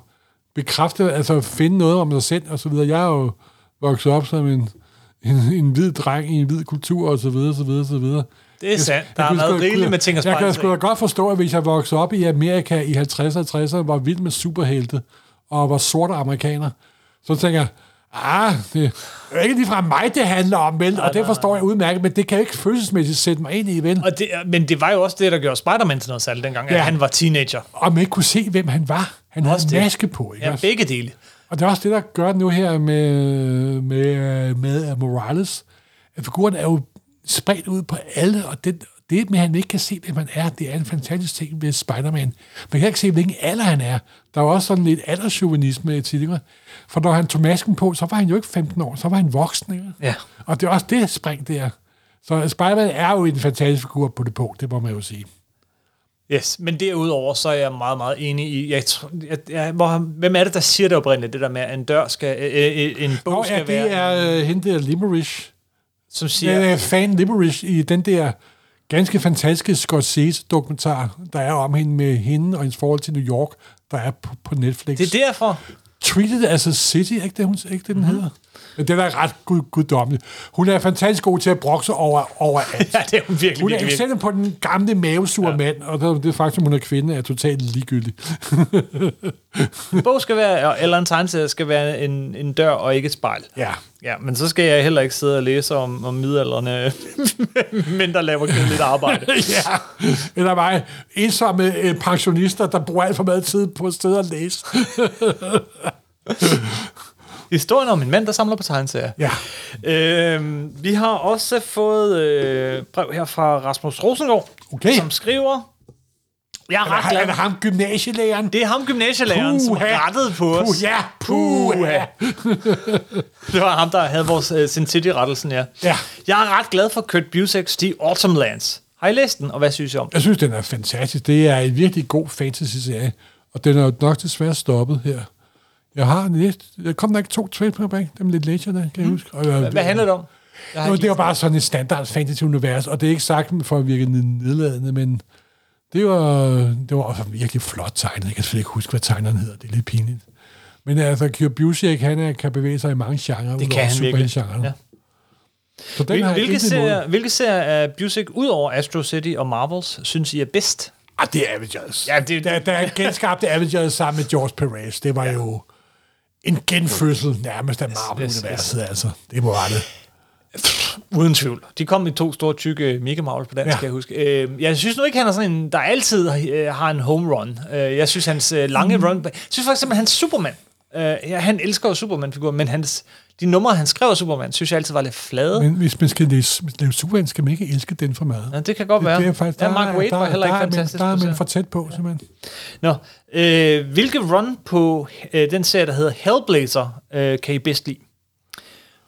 S2: bekræfte, altså finde noget om sig selv og så videre. Jeg er jo vokset op som en, en, en hvid dreng i en hvid kultur og så videre, så videre, så videre.
S1: Det er sandt. Der har
S2: kunne
S1: været
S2: sgu-
S1: rigeligt med ting at
S2: Jeg
S1: spejle
S2: kan
S1: sig
S2: sgu
S1: i.
S2: da godt forstå, at hvis jeg voksede op i Amerika i 50'erne og 60'erne, var vild med superhelte, og var sorte amerikaner, så tænker jeg, ah, det er jo ikke ligefrem mig, det handler om, vel? Og det forstår jeg udmærket, men det kan jeg ikke følelsesmæssigt sætte mig ind i, vel?
S1: Og det, men det var jo også det, der gjorde Spider-Man til noget særligt dengang, ja.
S2: Ja.
S1: at han var teenager.
S2: og man ikke kunne se, hvem han var. Han havde
S1: Også
S2: en
S1: det.
S2: maske på, ikke
S1: Ja,
S2: også?
S1: begge dele.
S2: Og det er også det, der gør det nu her med, øh, med, med Morales. At figuren er jo spredt ud på alle, og det, Det med, at han ikke kan se det, man er, det er en fantastisk ting ved Spider-Man. Man kan ikke se, hvilken alder han er. Der er også sådan lidt aldersjuvenisme til det. For når han tog masken på, så var han jo ikke 15 år, så var han voksen. Ikke?
S1: Ja.
S2: Og det er også det spring der. Så Spider-Man er jo en fantastisk figur på det punkt, det må man jo sige.
S1: Yes, men derudover, så er jeg meget, meget enig i, jeg, tr- jeg, jeg, hvor, hvem er det, der siger det oprindeligt, det der med, at en dør skal, øh, øh, en bog
S2: Nå,
S1: skal
S2: ja,
S1: være,
S2: det er øh, hende der Limerish.
S1: som siger,
S2: Ja. øh, fan Limerish i den der ganske fantastiske Scorsese-dokumentar, der er om hende med hende og hendes forhold til New York, der er på, på Netflix.
S1: det Mhm. er derfor,
S2: Treated as a City, er ikke det, hun, ikke det den hedder? Men den er ret gud, guddommelig. Hun er fantastisk god til at brokse over, over alt.
S1: ja, det er hun virkelig,
S2: Hun er
S1: virkelig, virkelig.
S2: eksempel på den gamle mavesure ja. mand, og det, det faktum, hun er kvinde, er totalt ligegyldig.
S1: En bog skal være, eller en tegneserie skal være en, en dør og ikke et spejl.
S2: ja.
S1: Ja, men så skal jeg heller ikke sidde og læse om, om midalderne, men der laver kedeligt arbejde.
S2: ja. Eller mig. Ensomme øh, pensionister, der bruger alt for meget tid på et sted at læse.
S1: Historien om en mand, der samler på tegneserier.
S2: Ja.
S1: Øhm, vi har også fået øh, brev her fra Rasmus Rosengård,
S2: Okay.
S1: som skriver... Jeg er
S2: Er
S1: ret
S2: han, er
S1: glad.
S2: ham gymnasielæreren?
S1: Det er ham gymnasielæreren, som
S2: Puha.
S1: rettede på os.
S2: Puh, ja, puha.
S1: Det var ham, der havde vores uh, Sin City-rettelsen, ja.
S2: Ja.
S1: Jeg er ret glad for Kurt Busiek's The Autumn Lands. Har I læst den, og hvad synes I om den?
S2: Jeg synes, den er fantastisk. Det er en virkelig god fantasy-serie, og den er jo nok desværre stoppet her. Jeg har lidt... Der kom nok to trade dem lidt læser der, kan jeg huske. Og, jeg-
S1: Mm. Hvad handler det om? Jeg har
S2: Nå,
S1: ikke
S2: det er jo bare sådan et standard fantasy-univers, og det er ikke sagt for at virke ned- nedladende, men det var, det var også virkelig flot tegnet. Jeg kan selvfølgelig ikke huske, hvad tegneren hedder. Det er lidt pinligt. Men altså, Kiyosaki, han er, kan bevæge sig i mange genrer.
S1: Det kan han virkelig.
S2: Ja.
S1: Ja.
S2: Så den har
S1: Hvil,
S2: jeg
S1: hvilke,
S2: intet imod.
S1: serier, hvilke serier af Busek, ud over Astro City og Marvels, synes I er bedst?
S2: Ah, det er Avengers.
S1: Ja, det-
S2: der, der genskabte Avengers sammen med George Perez. Det var ja. jo en genfødsel nærmest af Marvel-universet, altså. Det var det.
S1: Uden tvivl. De kom i to store, tykke Mickey Mouse på dansk,
S2: Ja.
S1: ja. kan jeg huske. Øh, jeg synes nu ikke, han er sådan en, der altid øh, har en home run. Øh, jeg synes, hans øh, lange mm. run... Jeg synes for eksempel, hans Superman. Øh, ja, han elsker jo Superman-figuren, men hans, de numre, han skrev af Superman, synes jeg altid var lidt flade. Men,
S2: Men hvis man skal læse, lave Superman, skal man ikke elske den for meget.
S1: ja, det kan godt være.
S2: Det er faktisk,
S1: ja, Mark Waid var heller ikke
S2: der, er man-
S1: fantastisk. på
S2: Der er man
S1: serien.
S2: for tæt på, simpelthen.
S1: Nå, øh, hvilke run på øh, den serie, der hedder Hellblazer, øh, kan I bedst lide?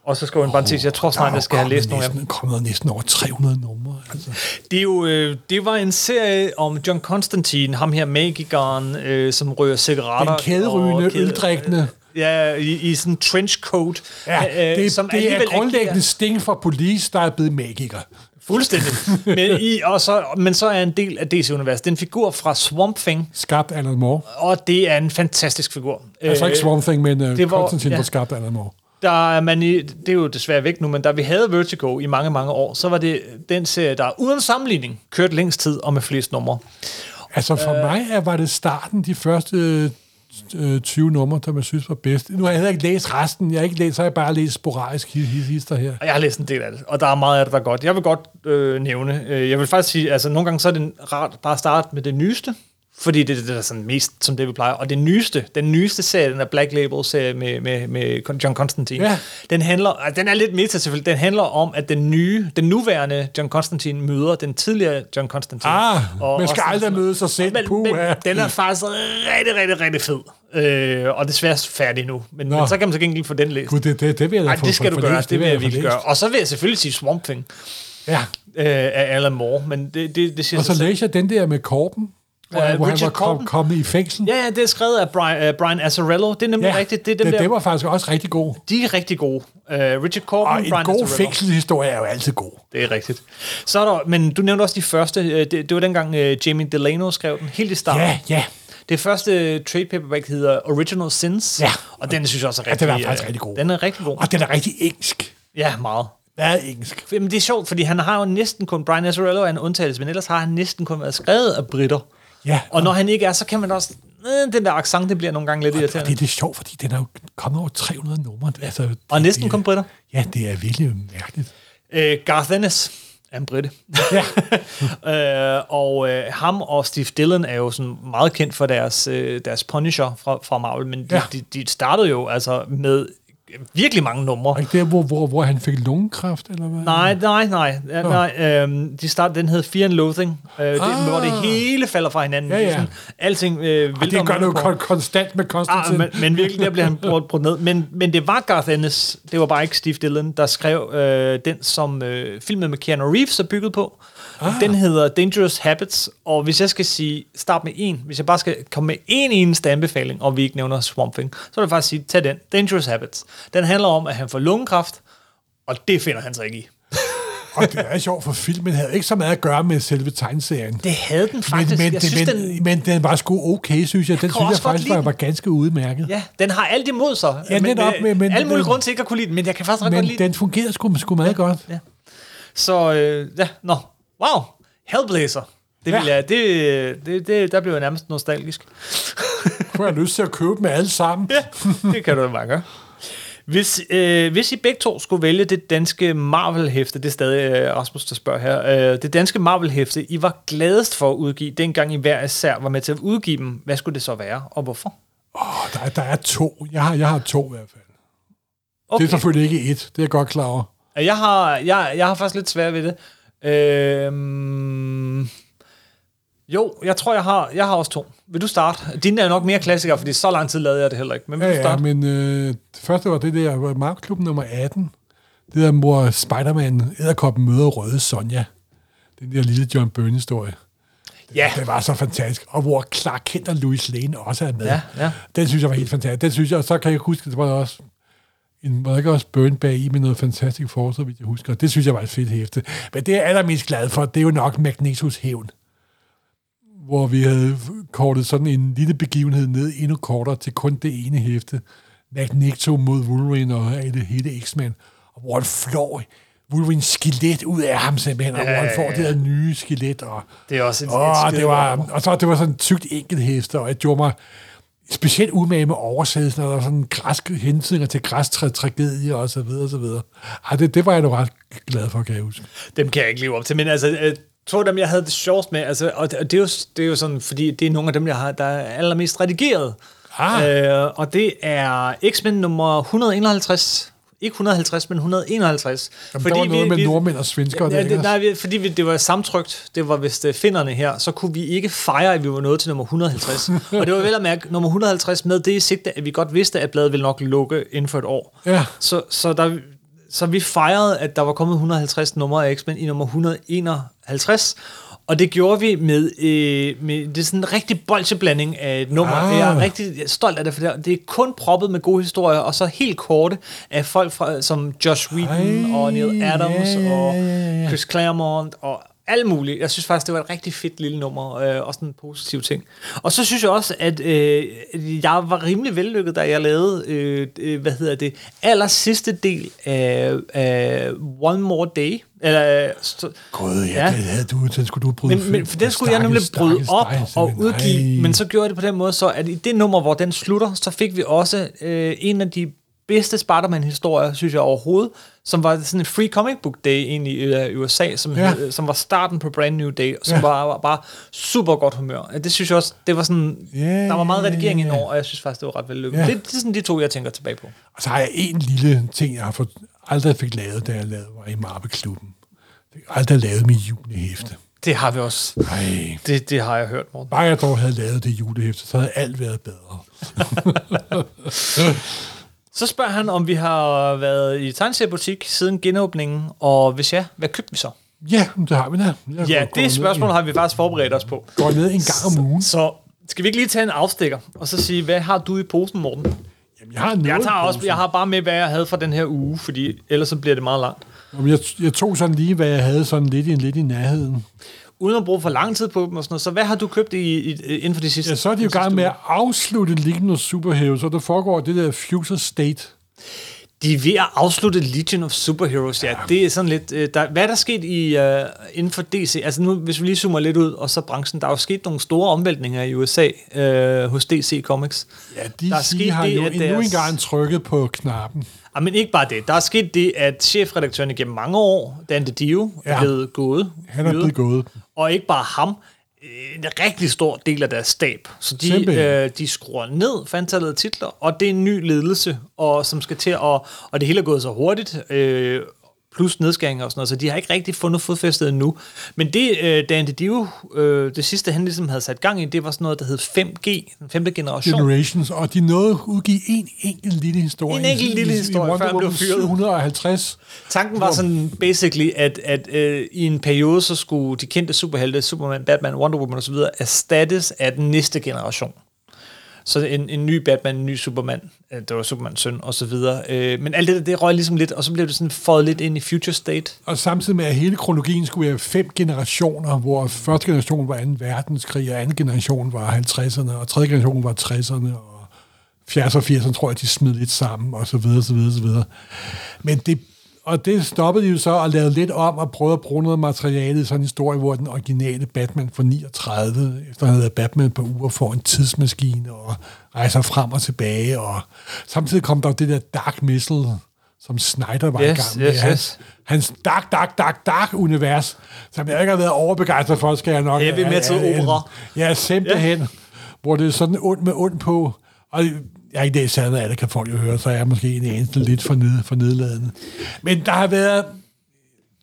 S1: Og så skriver en parentes, jeg tror snart, jeg skal have læst nogle af dem.
S2: Der er jo kommet næsten- kommet næsten over 300 numre. Altså.
S1: Det, er jo, øh, det var en serie om John Constantine, ham her magikeren, øh, som rører cigaretter.
S2: Den kæderygende,
S1: og kæde-
S2: øldrikkende.
S1: Ja, i, i sådan en trenchcoat.
S2: Ja, det, det er
S1: øh, alligevel
S2: grundlæggende sting for police, der er blevet magiker.
S1: Fuldstændig. Men, i, og så, men så er en del af DC-universet. Det er en figur fra Swamp Thing,
S2: Skabt Alan Moore.
S1: og det er en fantastisk figur.
S2: Altså ikke Swamp Thing, men uh,
S1: det var-
S2: Konstantin
S1: ja.
S2: var skabt af Alan Moore.
S1: der er man i, det er jo desværre væk nu, men da vi havde Vertigo i mange, mange år, så var det den serie, der uden sammenligning kørte længst tid og med flest numre.
S2: Altså for øh, mig er, var det starten, de første øh, 20 numre, der man synes var bedst. Nu har jeg heller ikke læst resten. Jeg har ikke læst, så har jeg bare læst sporadisk his, his, hister her.
S1: Og jeg har læst en del af det, og der er meget af det, der er godt. Jeg vil godt øh, nævne, øh, jeg vil faktisk sige, altså nogle gange så er det rart bare at starte med det nyeste, fordi det er det, der er sådan mest, som det vi plejer. Og det nyeste, den nyeste serie, den er Black Label-serie med, med, med John Constantine,
S2: Ja.
S1: den handler, ah, den er lidt meta selvfølgelig, den handler om, at den nye, den nuværende John Constantine møder den tidligere John Constantine.
S2: Ah, man skal
S1: sådan-
S2: aldrig møde sig selv.
S1: men,
S2: Puha.
S1: men den er faktisk rigtig, rigtig, rigtig fed. Øh, og desværre færdig nu. Men,
S2: Nå.
S1: men så kan man så gengæld få den læst.
S2: Gud, det, det, det vil jeg da
S1: Ej,
S2: få-
S1: det skal
S2: få-
S1: du
S2: få
S1: gøre.
S2: læst.
S1: Det vil
S2: vil
S1: jeg
S2: få
S1: virkelig
S2: læst.
S1: gøre. Og så vil jeg selvfølgelig sige Swamp Thing
S2: Ja.
S1: øh, af Alan Moore, men det, det, det siger
S2: Og så
S1: sig selv.
S2: læser jeg den der med Korben, hvor,
S1: Øh,
S2: hvor han
S1: Richard
S2: var kom,
S1: Corben.
S2: kommet i fængsel.
S1: Ja, ja, det er skrevet af Brian, uh, Brian Azzarello. Det er nemlig rigtigt. Det er dem
S2: det,
S1: der,
S2: det var faktisk også rigtig god.
S1: De er rigtig gode. Uh, Richard Corben,
S2: Og en
S1: Brian
S2: god
S1: Azzarello.
S2: fængselshistorie er jo altid god.
S1: Det er rigtigt. Så er der, men du nævnte også de første. øh, Det, det var dengang uh, Jamie Delano skrev den, helt i starten.
S2: Ja, ja.
S1: Det første øh, trade paperback hedder Original Sins,
S2: Ja.
S1: og den synes jeg også er
S2: Ja,
S1: rigtig,
S2: den er
S1: øh,
S2: faktisk rigtig god.
S1: Den er rigtig god.
S2: Og den er rigtig engelsk.
S1: Ja, meget.
S2: Meget engelsk.
S1: Jamen, det er sjovt, fordi han har jo næsten kun, Brian Azzarello er en undtagelse, men ellers har han næsten kun været skrevet af britter.
S2: Ja,
S1: Og når han ikke er, så kan man også... Øh, den der accent, det bliver nogle gange lidt
S2: og det er
S1: irriterende.
S2: lidt sjovt, fordi den er jo kommet over 300 numre. Altså, det-
S1: Og næsten
S2: det-
S1: kun britter.
S2: Ja, det er virkelig mærkeligt.
S1: Øh, Garth Ennis er en britte.
S2: Ja.
S1: øh, og øh, ham og Steve Dillon er jo sådan meget kendt for deres, øh, deres Punisher fra, fra Marvel, men de,
S2: Ja.
S1: ja. de, de startede jo altså med virkelig mange numre.
S2: Og ikke der, hvor, hvor, hvor han fik lungekræft, eller hvad?
S1: Nej, nej, nej. Ja, nej øhm, de start, den hed Fear and Loathing, øh, det,
S2: Ah.
S1: hvor det hele falder fra hinanden.
S2: Ja,
S1: Det er
S2: ja.
S1: Sådan, alting øh,
S2: det
S1: vælter om
S2: gør noget
S1: underkår.
S2: kon- konstant med Konstantin.
S1: Ah, men, men virkelig, der blev han brudt, brudt ned. Men, men det var Garth Ennis, det var bare ikke Steve Dillon, der skrev øh, den, som øh, filmen med Keanu Reeves er bygget på. Ah. Den hedder Dangerous Habits, og hvis jeg skal sige, start med en, hvis jeg bare skal komme med en eneste anbefaling, og vi ikke nævner Swamp Thing, så vil jeg faktisk sige, tag den, Dangerous Habits. Den handler om, at han får lungekræft, og det finder han sig ikke i.
S2: og det er sjovt, for filmen havde ikke så meget at gøre med selve tegneserien.
S1: Det havde den faktisk.
S2: men, men,
S1: jeg synes,
S2: men,
S1: den,
S2: men den var sgu okay, synes jeg. Den
S1: kan
S2: synes
S1: også
S2: jeg
S1: godt
S2: faktisk
S1: lide
S2: var,
S1: den.
S2: var ganske udmærket.
S1: ja, den har alt imod sig.
S2: Ja,
S1: men,
S2: netop,
S1: øh,
S2: men- men-
S1: alle mulige
S2: men-
S1: grunde til ikke at kunne lide den, men jeg kan faktisk ret godt lide
S2: Men den fungerede sgu, sgu meget godt.
S1: Ja. Så øh, ja, nå. Wow. Hellblazer. Det
S2: Ja.
S1: ja. ville jeg, det, det, det, der blev jeg nærmest nostalgisk.
S2: Nu har jeg lyst til at købe dem alle sammen.
S1: Ja, det kan du da bare gøre. Hvis, øh, hvis I begge to skulle vælge det danske Marvel-hæfte, det er stadig øh, Rasmus, der spørger her, øh, det danske Marvel-hæfte, I var gladest for at udgive, dengang I hver især var med til at udgive dem, hvad skulle det så være, og hvorfor?
S2: Åh, der, er- der er to. Jeg har, jeg har to i hvert fald. Okay. Det
S1: Okay.
S2: er selvfølgelig ikke et. Det er jeg godt klar over.
S1: Jeg har, jeg, jeg har faktisk lidt svært ved det. Øhm, jo, jeg tror, jeg har, jeg har også to. Vil du starte? Dine er jo nok mere klassikere, fordi så lang tid lavede jeg det heller ikke. Men vil
S2: Ja,
S1: du
S2: ja,
S1: starte?
S2: men øh, det første var det der Markklub nummer 18. Det der, hvor Spider-Man æderkoppen møder røde Sonja. Den der lille John Byrne-historie.
S1: Ja,
S2: Det var så fantastisk. Og hvor Clark Kent og Louis Lane også er med.
S1: Ja, ja.
S2: Den synes jeg var helt fantastisk. Den synes jeg, og så kan jeg huske, at der var også en, var der ikke også Burn bag i med noget fantastisk for, så vidt jeg husker. Det synes jeg var et fedt hæfte. Men det, jeg er allermest glad for, det er jo nok Magnetos hævn. Hvor vi havde kortet sådan en lille begivenhed ned endnu kortere til kun det ene hæfte. Magneto mod Wolverine og hele, hele X-Men. Og hvor han flår Wolverines skelet ud af ham simpelthen, og hvor han får det der nye skelet, og
S1: det er også et, et
S2: Åh,
S1: skide
S2: det
S1: godt
S2: var,
S1: nummer.
S2: og så det var sådan en tykt enkelt heste, og jeg gjorde mig specielt umage med oversættelsen, og der var sådan græske hensninger til græstragedier og så videre og så videre. Ej, det, det var jeg nu ret glad for, kan jeg huske.
S1: Dem kan jeg ikke leve op til, men altså... Øh, to af dem, jeg havde det sjovest med, altså, og, det, og det, er jo, det er jo sådan, fordi det er nogle af dem, jeg har, der er allermest redigeret.
S2: Ah.
S1: Øh, og det er X-Men nummer 151. Ikke 150, men 151.
S2: Jamen, fordi der var noget vi, med nordmænd og svensker.
S1: Ja, det,
S2: nej,
S1: nej, vi- fordi vi, det var samtrykt, det var vist øh, finderne her, så kunne vi ikke fejre, at vi var nået til nummer 150. og det var vel at mærke, nummer 150 med det i sigte, at vi godt vidste, at bladet ville nok lukke inden for et år.
S2: Ja.
S1: Så, så, der, så vi fejrede, at der var kommet 150 numre af X-Men i nummer 151, og det gjorde vi med, øh, med det er sådan en rigtig bolsjeblanding af et nummer.
S2: Ah.
S1: Ah. Jeg er rigtig stolt af det, for det er- det er kun proppet med gode historier, og så helt korte af folk fra, som Josh Whedon
S2: Ej,
S1: og Neil Adams
S2: ja, ja,
S1: og
S2: ja, ja, ja.
S1: Chris Claremont og alt muligt. Jeg synes faktisk, det var et rigtig fedt lille nummer, øh, og sådan en positiv ting. Og så synes jeg også, at øh, jeg var rimelig vellykket, da jeg lavede, øh, øh, hvad hedder det, aller sidste del af, af One More Day. Eller, så,
S2: God, ja,
S1: Ja.
S2: ja. Den, havde du, den skulle du bryde
S1: men, men for den skulle jeg nemlig
S2: Stakkels,
S1: bryde
S2: stakkels
S1: op
S2: dig,
S1: og
S2: simpelthen.
S1: udgive,
S2: Ej.
S1: men så gjorde jeg det på den måde, så at i det nummer, hvor den slutter, så fik vi også øh, en af de bedste Spider-Man-historier, synes jeg overhovedet, som var sådan en Free Comic Book Day egentlig i øh, USA, som,
S2: Ja.
S1: ja. hed, som var starten på Brand New Day, som
S2: Ja.
S1: ja. var, var bare super godt humør. Ja, Det synes jeg også, det var sådan,
S2: Ja,
S1: yeah, der var meget
S2: ja,
S1: redigering
S2: ja, ja.
S1: indover, og jeg synes faktisk, det var ret vellykket.
S2: Ja.
S1: Yeah. Det, det er sådan de to, jeg tænker tilbage på.
S2: Og så har jeg en lille ting, jeg har fået, aldrig fik lavet, da jeg lavede, var i Marbeklubben. Jeg har aldrig lavet min julehæfte.
S1: Det har vi også.
S2: Nej.
S1: Det, det har jeg hørt, Morten.
S2: Bare jeg dog havde lavet det julehæfte, så havde alt været bedre.
S1: Så spørger han, om vi har øh, været i tegneseriebutik siden genåbningen, og hvis ja, hvad købte vi så?
S2: Ja, men det har vi da. Jeg
S1: Ja,
S2: går ned
S1: det spørgsmål
S2: en-
S1: har vi faktisk forberedt os på.
S2: Går ned en gang om ugen.
S1: Så skal vi ikke lige tage en afstikker, og så sige, hvad har du i posen, Morten?
S2: Jamen, jeg har noget
S1: Jeg, tager
S2: i
S1: også,
S2: posen.
S1: jeg har bare med, hvad jeg havde fra den her uge, fordi ellers så bliver det meget langt.
S2: Jamen, jeg, jeg tog sådan lige, hvad jeg havde sådan lidt i, lidt i nærheden.
S1: Uden at bruge for lang tid på dem og sådan noget, så hvad har du købt i, i, inden for de sidste
S2: Ja, så er de jo i
S1: den sidste
S2: gang med
S1: uge?
S2: at afslutte Legion of Superheroes, og der foregår det der Future State.
S1: De er ved at afslutte Legion of Superheroes, ja. Det er sådan lidt... øh, Der, hvad er der sket i, øh, inden for DC? Altså nu, hvis vi lige zoomer lidt ud, og så branchen. Der er jo sket nogle store omvæltninger i USA øh, hos DC Comics.
S2: Ja,
S1: Der er sket
S2: de siger, har
S1: det,
S2: jo
S1: at
S2: endnu
S1: deres-
S2: engang trykket på knappen.
S1: Ja, men ikke bare det. Der er sket det, at chefredaktøren igennem mange år, Dan DiDio,
S2: Ja.
S1: er blevet gået.
S2: Han er
S1: fyret.
S2: blevet gået.
S1: Og ikke bare ham. øh, en rigtig stor del af deres stab. Så de,
S2: Simpelthen.
S1: øh, de skruer ned for antallet af titler, og det er en ny ledelse, og som skal til at, og det hele er gået så hurtigt, øh, plus nedskæringer og sådan noget, så de har ikke rigtig fundet fodfæstet endnu. Men det, øh, Dan DiDio, øh, det sidste han ligesom havde sat gang i, det var sådan noget, der hed 5G, den femte generation.
S2: Generations, og de nåede at udgive en enkelt lille historie.
S1: En enkelt
S2: i-
S1: lille
S2: i- i
S1: historie,
S2: Wonder
S1: før han
S2: Woman
S1: blev fyret.
S2: 750.
S1: Tanken var sådan basically, at, at øh, i en periode, så skulle de kendte superhelte, Superman, Batman, Wonder Woman osv., erstattes af den næste generation. Så en, en ny Batman, en ny Superman, øh, det var Supermans søn osv. Øh, men alt det der, det røg ligesom lidt, og så blev det sådan foldet lidt ind i future state.
S2: Og samtidig med, at hele kronologien skulle være fem generationer, hvor første generation var 2. verdenskrig, og anden generation var 50'erne, og tredje generation var 60'erne, og 70'erne og 80'erne tror jeg, de smed lidt sammen, og så videre, så videre, så videre. Men det, og det stoppede de jo så og lavede lidt om og prøvede at bruge noget materiale i sådan en historie, hvor den originale Batman fra 39, efter han havde været Batman på uger, får en tidsmaskine og rejser frem og tilbage. Og samtidig kom der jo det der Dark Missile, som Snyder var i
S1: Yes,
S2: gang med.
S1: yes,
S2: Hans-
S1: yes.
S2: hans dark, dark, dark, dark univers, som jeg ikke har været overbegejstret for, skal jeg nok...
S1: Heavy metal opera.
S2: Ja, simpelthen. Ja. Hvor det er sådan ondt med ondt på. Og jeg har ikke læst særlig af det, kan folk jo høre, så jeg er måske en eneste lidt for, ned, for nedladende. Men der har været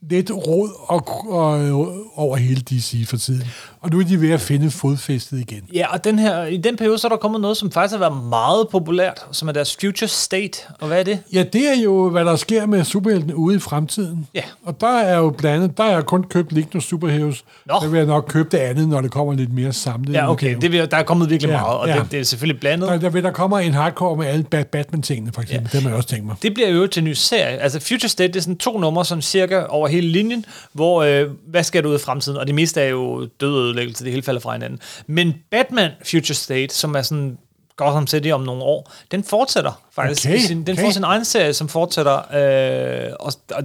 S2: lidt rod og, og, over hele DC for tiden. Og nu er de ved at finde fodfæstet igen.
S1: Ja, og den her, i den periode, så er der kommet noget, som faktisk har været meget populært, som er deres future state. Og hvad er det?
S2: Ja, det er jo, hvad der sker med superhelten ude i fremtiden.
S1: Ja.
S2: Og der er jo blandt andet, der har jeg kun købt Lignos Superheroes.
S1: Nå.
S2: Der vil jeg nok købe det andet, når det kommer lidt mere samlet.
S1: Ja, okay, det, vil- der er kommet virkelig
S2: øh, Ja,
S1: meget, og
S2: ja.
S1: det, det er selvfølgelig blandet.
S2: Der, der, vil, der kommer en hardcore med alle Bat- Batman-tingene, for eksempel. Ja. Det må jeg også tænke mig.
S1: Det bliver jo til en ny serie. Altså Future State, det er sådan to numre, sådan cirka over hele linjen, hvor øh, hvad sker der ud i fremtiden? Og det meste er jo død og ødelæggelse, det hele falder fra hinanden. Men Batman Future State, som er sådan Gotham City om nogle år, den fortsætter faktisk.
S2: Okay,
S1: i sin, den
S2: okay.
S1: får sin egen serie, som fortsætter. Øh, og, og,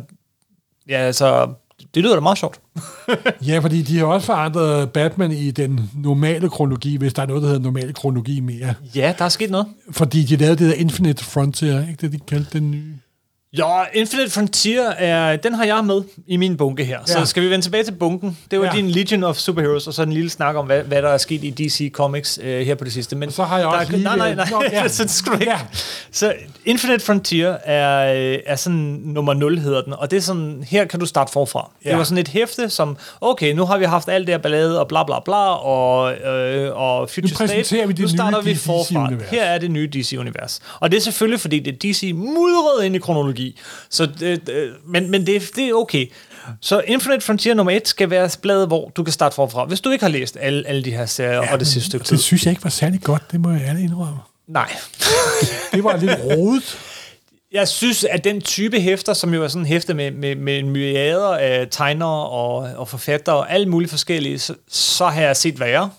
S1: ja, altså, det lyder da meget sjovt.
S2: Ja, fordi de har også forandret Batman i den normale kronologi, hvis der er noget, der hedder normal kronologi mere.
S1: Ja, der er sket noget.
S2: Fordi de lavede det der Infinite Frontier, ikke det, de kaldte den nye?
S1: Ja, Infinite Frontier, er, den har jeg med i min bunke her. Ja.
S2: Ja.
S1: Så skal vi vende tilbage til bunken. Det var
S2: Ja.
S1: ja. din Legion of Superheroes, og så en lille snak om, hvad, hvad der er sket i DC Comics øh, her på det sidste. Men
S2: så har jeg
S1: der,
S2: også lige- øh,
S1: Nej, nej, nej.
S2: Nå, ja.
S1: ja. så, skal du ikke.
S2: Ja.
S1: Ja. så Infinite Frontier er, øh, er sådan nummer 0, hedder den. Og det er sådan, her kan du starte forfra. Ja.
S2: Ja.
S1: Det var sådan et hæfte, som, okay, nu har vi haft alt det her ballade, og bla bla bla, og, øh, og Future
S2: præsenterer
S1: State.
S2: vi det
S1: nu starter
S2: nye
S1: vi
S2: DC
S1: forfra.
S2: univers.
S1: Her er det nye DC-univers. Og det er selvfølgelig, fordi det er DC mudret ind i kronologi. Så, det, det- men men det, er- det er okay. Så Infinite Frontier nummer 1 skal være bladet, hvor du kan starte forfra, hvis du ikke har læst alle, alle de her serier ja, og det sidste stykke tid.
S2: Det synes jeg ikke var særlig godt, det må jeg ærligt indrømme.
S1: Nej.
S2: Det var lidt rodet.
S1: Jeg synes, at den type hæfter, som jo er sådan en hæfte med, med, med en myriader af tegnere og, og forfattere og alle mulige forskellige, så, så har jeg set værre.